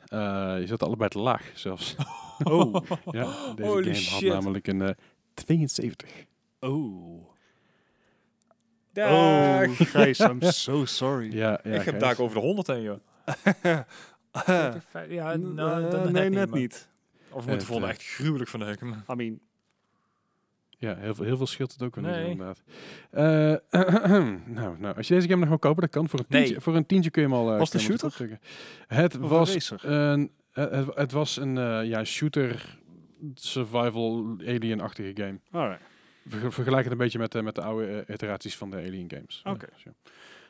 Speaker 1: Eh, je zat allebei te laag
Speaker 2: [LAUGHS]
Speaker 1: zelfs.
Speaker 3: Oh.
Speaker 1: [LAUGHS] ja, deze
Speaker 2: Holy
Speaker 1: game had
Speaker 2: shit.
Speaker 1: namelijk een eh, 72.
Speaker 3: Oh.
Speaker 2: Daag.
Speaker 3: Oh, Gijs, I'm so sorry. [LAUGHS]
Speaker 1: Ja, ja,
Speaker 2: ik heb
Speaker 1: Gijs.
Speaker 2: daar over de 100 heen, joh.
Speaker 3: Eh,
Speaker 2: Ja,
Speaker 3: n-
Speaker 2: nou,
Speaker 3: eh,
Speaker 2: dat
Speaker 3: nee,
Speaker 2: niet,
Speaker 3: net
Speaker 2: maar-
Speaker 3: niet.
Speaker 2: Of we
Speaker 1: Het,
Speaker 2: moeten vonden
Speaker 1: eh,
Speaker 2: echt gruwelijk van de heuken. maar-
Speaker 3: I mean,
Speaker 1: Ja, heel veel, heel veel scheelt het ook wel
Speaker 2: Nee.
Speaker 1: niet inderdaad. Eh, [CLEARS THROAT] nou, nou, als je deze game nog wil kopen, dat kan. Voor een
Speaker 2: Nee.
Speaker 1: tientje, voor een tientje kun je hem al... eh,
Speaker 3: Was het
Speaker 1: kun je
Speaker 3: een
Speaker 1: hem al terugtrekken. Het was
Speaker 3: racer.
Speaker 1: een... eh, Het, het was een eh, ja, shooter survival alien-achtige game.
Speaker 3: Alright.
Speaker 1: Ver- Vergelijk het een beetje met, eh, met de oude eh, iteraties van de Alien games.
Speaker 3: Oké.
Speaker 1: Ja, zo.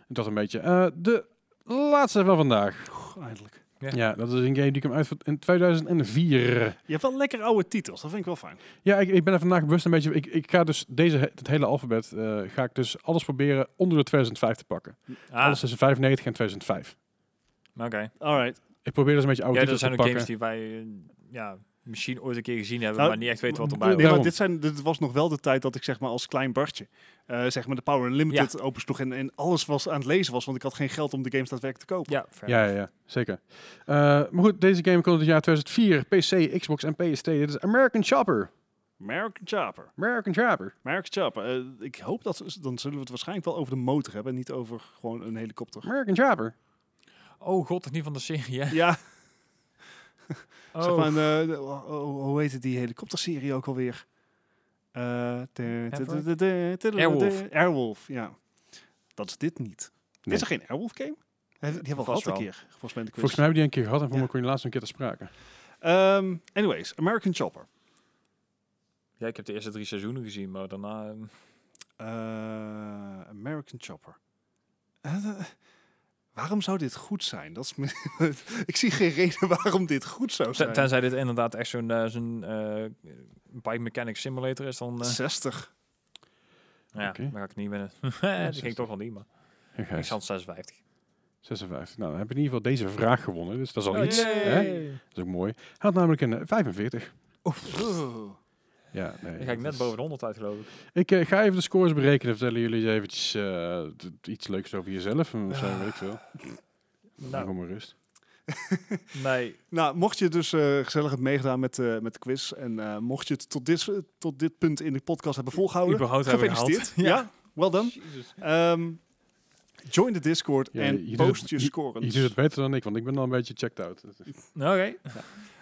Speaker 1: Dat een beetje. Eh, de laatste van vandaag.
Speaker 3: Goh, eindelijk.
Speaker 2: Ja.
Speaker 1: Ja, dat is een game die ik hem uit in 2004.
Speaker 3: Je hebt wel lekker oude titels, dat vind ik wel fijn.
Speaker 1: Ja, ik, ik ben er vandaag bewust een beetje. Ik, ik ga dus deze, he- het hele alfabet, eh, ga ik dus alles proberen onder de 2005 te pakken.
Speaker 2: Ah,
Speaker 1: Alles Oh, tussen 95 en 2005.
Speaker 2: oké.
Speaker 3: Alright.
Speaker 1: Ik probeer dus een beetje oude
Speaker 2: Ja, dat
Speaker 1: titels
Speaker 2: zijn
Speaker 1: te
Speaker 2: ook
Speaker 1: pakken.
Speaker 2: games die wij eh, ja, misschien ooit een keer gezien hebben,
Speaker 3: Nou,
Speaker 2: maar niet echt weten wat
Speaker 3: Nee,
Speaker 2: erbij
Speaker 3: maar
Speaker 1: die-
Speaker 2: hoort.
Speaker 1: Daarom.
Speaker 3: dit, zijn, dit was nog wel de tijd dat ik zeg maar als klein Bartje, eh, zeg maar de Power Unlimited opensloeg en, en alles was aan het lezen was, want ik had geen geld om de games daadwerkelijk te kopen.
Speaker 2: Ja, fair.
Speaker 1: ja, ja, ja, zeker. Eh, maar goed, deze game komt uit het jaar 2004. PC, Xbox en PST. Dit is American Chopper.
Speaker 3: American Chopper.
Speaker 1: American Chopper.
Speaker 3: American Chopper. Eh, ik hoop dat, ze- dan zullen we het waarschijnlijk wel over de motor hebben, en niet over gewoon een helikopter.
Speaker 1: American Chopper.
Speaker 2: Oh god, dat is niet van de serie, hè?
Speaker 3: Ja,
Speaker 2: Oh,
Speaker 3: [LAUGHS] zeg maar, een, eh, de- oh, oh, hoe heet het, die helikopterserie ook alweer? Eh, de- de- de- de- de- de- de-
Speaker 2: Airwolf.
Speaker 3: Airwolf, ja. Dat is dit niet.
Speaker 1: Nee.
Speaker 3: Is er geen Airwolf game? Heb- Die hebben we
Speaker 2: Vast
Speaker 3: gehad een
Speaker 2: wel.
Speaker 3: keer, volgens mij in de quiz.
Speaker 1: Volgens mij hebben we die een keer gehad en voor
Speaker 3: Ja.
Speaker 1: me kon je laatst een keer te sprake.
Speaker 3: Ehm, anyways, American Chopper.
Speaker 2: ja, ik heb de eerste drie seizoenen gezien, maar daarna... eh,
Speaker 3: Eh, American Chopper. Eh, eh, waarom zou dit goed zijn? Dat is me- [LAUGHS] ik zie geen reden waarom dit goed zou
Speaker 2: ten-
Speaker 3: zijn.
Speaker 2: tenzij dit inderdaad echt zo'n eh, zo'n eh, bike mechanic simulator is, dan, eh,
Speaker 3: 60.
Speaker 2: ja,
Speaker 1: Oké.
Speaker 2: dan ga ik het niet winnen. [LAUGHS] dat ging
Speaker 1: zestig.
Speaker 2: ik toch wel niet, maar
Speaker 1: En Gijs,
Speaker 2: ik zat op 56.
Speaker 1: 56. Nou, dan heb je in ieder geval deze vraag gewonnen. Dus dat is al
Speaker 2: Oh,
Speaker 1: iets.
Speaker 2: yay.
Speaker 1: Hè? Dat is ook mooi. Hij had namelijk een eh, 45.
Speaker 3: Oeh.
Speaker 1: Ja, nee.
Speaker 2: Dan ga ik
Speaker 1: dat
Speaker 2: net
Speaker 1: is-
Speaker 2: boven de 100 uit, geloof ik.
Speaker 1: Ik eh, ga even de scores berekenen. Vertellen jullie eens eventjes eh, d- iets leuks over jezelf. Of zo,
Speaker 3: Ah.
Speaker 1: weet ik veel. Nou.
Speaker 2: Nou,
Speaker 1: Gewoon maar rust.
Speaker 2: nee.
Speaker 3: Nou, mocht je dus eh, gezellig hebben meegedaan met, eh, met de quiz en eh, mocht je het tot dit, tot dit punt in de podcast hebben volgehouden,
Speaker 2: Überhaupt hebben
Speaker 3: oh, gefeliciteerd.
Speaker 2: gehaald.
Speaker 3: Ja.
Speaker 2: [LAUGHS]
Speaker 3: well done. Ehm, join de Discord
Speaker 1: Ja,
Speaker 3: en
Speaker 1: je doet
Speaker 3: post
Speaker 1: het-
Speaker 3: je
Speaker 1: Je
Speaker 3: scores.
Speaker 1: doet het beter dan ik, want ik ben al een beetje checked out.
Speaker 2: Oké.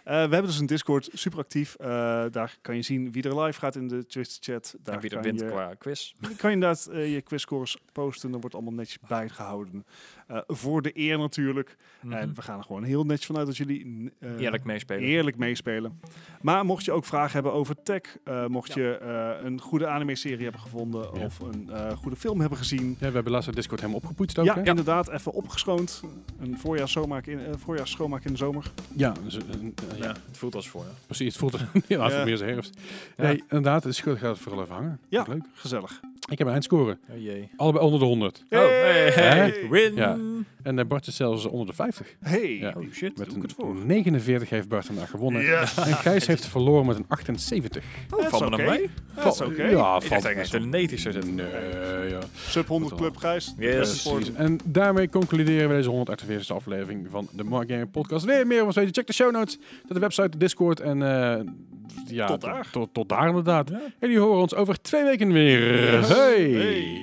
Speaker 3: Eh, we hebben dus een Discord, super actief. Eh, daar kan je zien wie er live gaat in de Twitch chat. Daar
Speaker 2: En wie er
Speaker 3: kan
Speaker 2: wint
Speaker 3: je-
Speaker 2: qua quiz.
Speaker 3: Dan [LAUGHS] kan je inderdaad eh, je quizscores posten. Dan wordt allemaal netjes bijgehouden. Eh, voor de eer natuurlijk. En we gaan er gewoon heel netjes vanuit dat jullie eh,
Speaker 2: Mhm. Eerlijk meespelen.
Speaker 3: eerlijk meespelen. Maar mocht je ook vragen hebben over tech. eh, mocht je eh, een goede anime-serie hebben gevonden.
Speaker 1: Ja.
Speaker 3: Of een eh, goede film hebben gezien.
Speaker 1: Ja, we hebben laatst de Discord helemaal opgepoetst ook,
Speaker 3: Ja,
Speaker 1: hè?
Speaker 3: inderdaad. Even opgeschoond. Een voorjaars schoonmaak in, eh, voorjaars schoonmaak in de zomer.
Speaker 1: Ja, dus, eh, eh, ja,
Speaker 2: Ja, het voelt als voor. ja.
Speaker 1: precies. Het voelt [LAUGHS] ja, het voelt
Speaker 3: Ja.
Speaker 1: meer als herfst.
Speaker 2: Ja.
Speaker 1: Nee, inderdaad. Het is goed. Gaat het vooral even hangen.
Speaker 3: Ja.
Speaker 1: Leuk.
Speaker 3: Gezellig.
Speaker 1: Ik heb een eindscore.
Speaker 2: Oh jee.
Speaker 1: Allebei onder de 100.
Speaker 2: Oh, hey, hey,
Speaker 3: Hey.
Speaker 2: win!
Speaker 1: Ja. En eh, Bart is zelfs onder de 50.
Speaker 3: Hey.
Speaker 1: Ja.
Speaker 2: Oh shit,
Speaker 1: Met
Speaker 2: doe ik het voor.
Speaker 1: een 49 heeft Bart vandaag gewonnen.
Speaker 3: Yes.
Speaker 1: En Gijs heeft verloren met een 78.
Speaker 2: Oh, valt me nog
Speaker 3: oké.
Speaker 2: mee.
Speaker 3: Dat is
Speaker 1: Val-
Speaker 3: oké.
Speaker 1: Ja,
Speaker 2: Ik
Speaker 1: valt
Speaker 2: dacht eigenlijk
Speaker 1: best
Speaker 2: dat het 90 zou
Speaker 1: wel.
Speaker 2: zitten.
Speaker 1: Nee, eh, ja.
Speaker 3: Sub 100
Speaker 1: Wat dan?
Speaker 3: Club Gijs.
Speaker 2: Yes.
Speaker 1: Precies. En daarmee concluderen we deze 148e aflevering van de Mark Gaming Podcast. Wil je meer van ons weten? Check de show notes, de website, de Discord en eh, ja,
Speaker 3: Tot daar.
Speaker 1: Tot, tot daar inderdaad.
Speaker 2: Ja.
Speaker 1: En jullie horen ons over twee weken weer. Hey.
Speaker 3: Hey.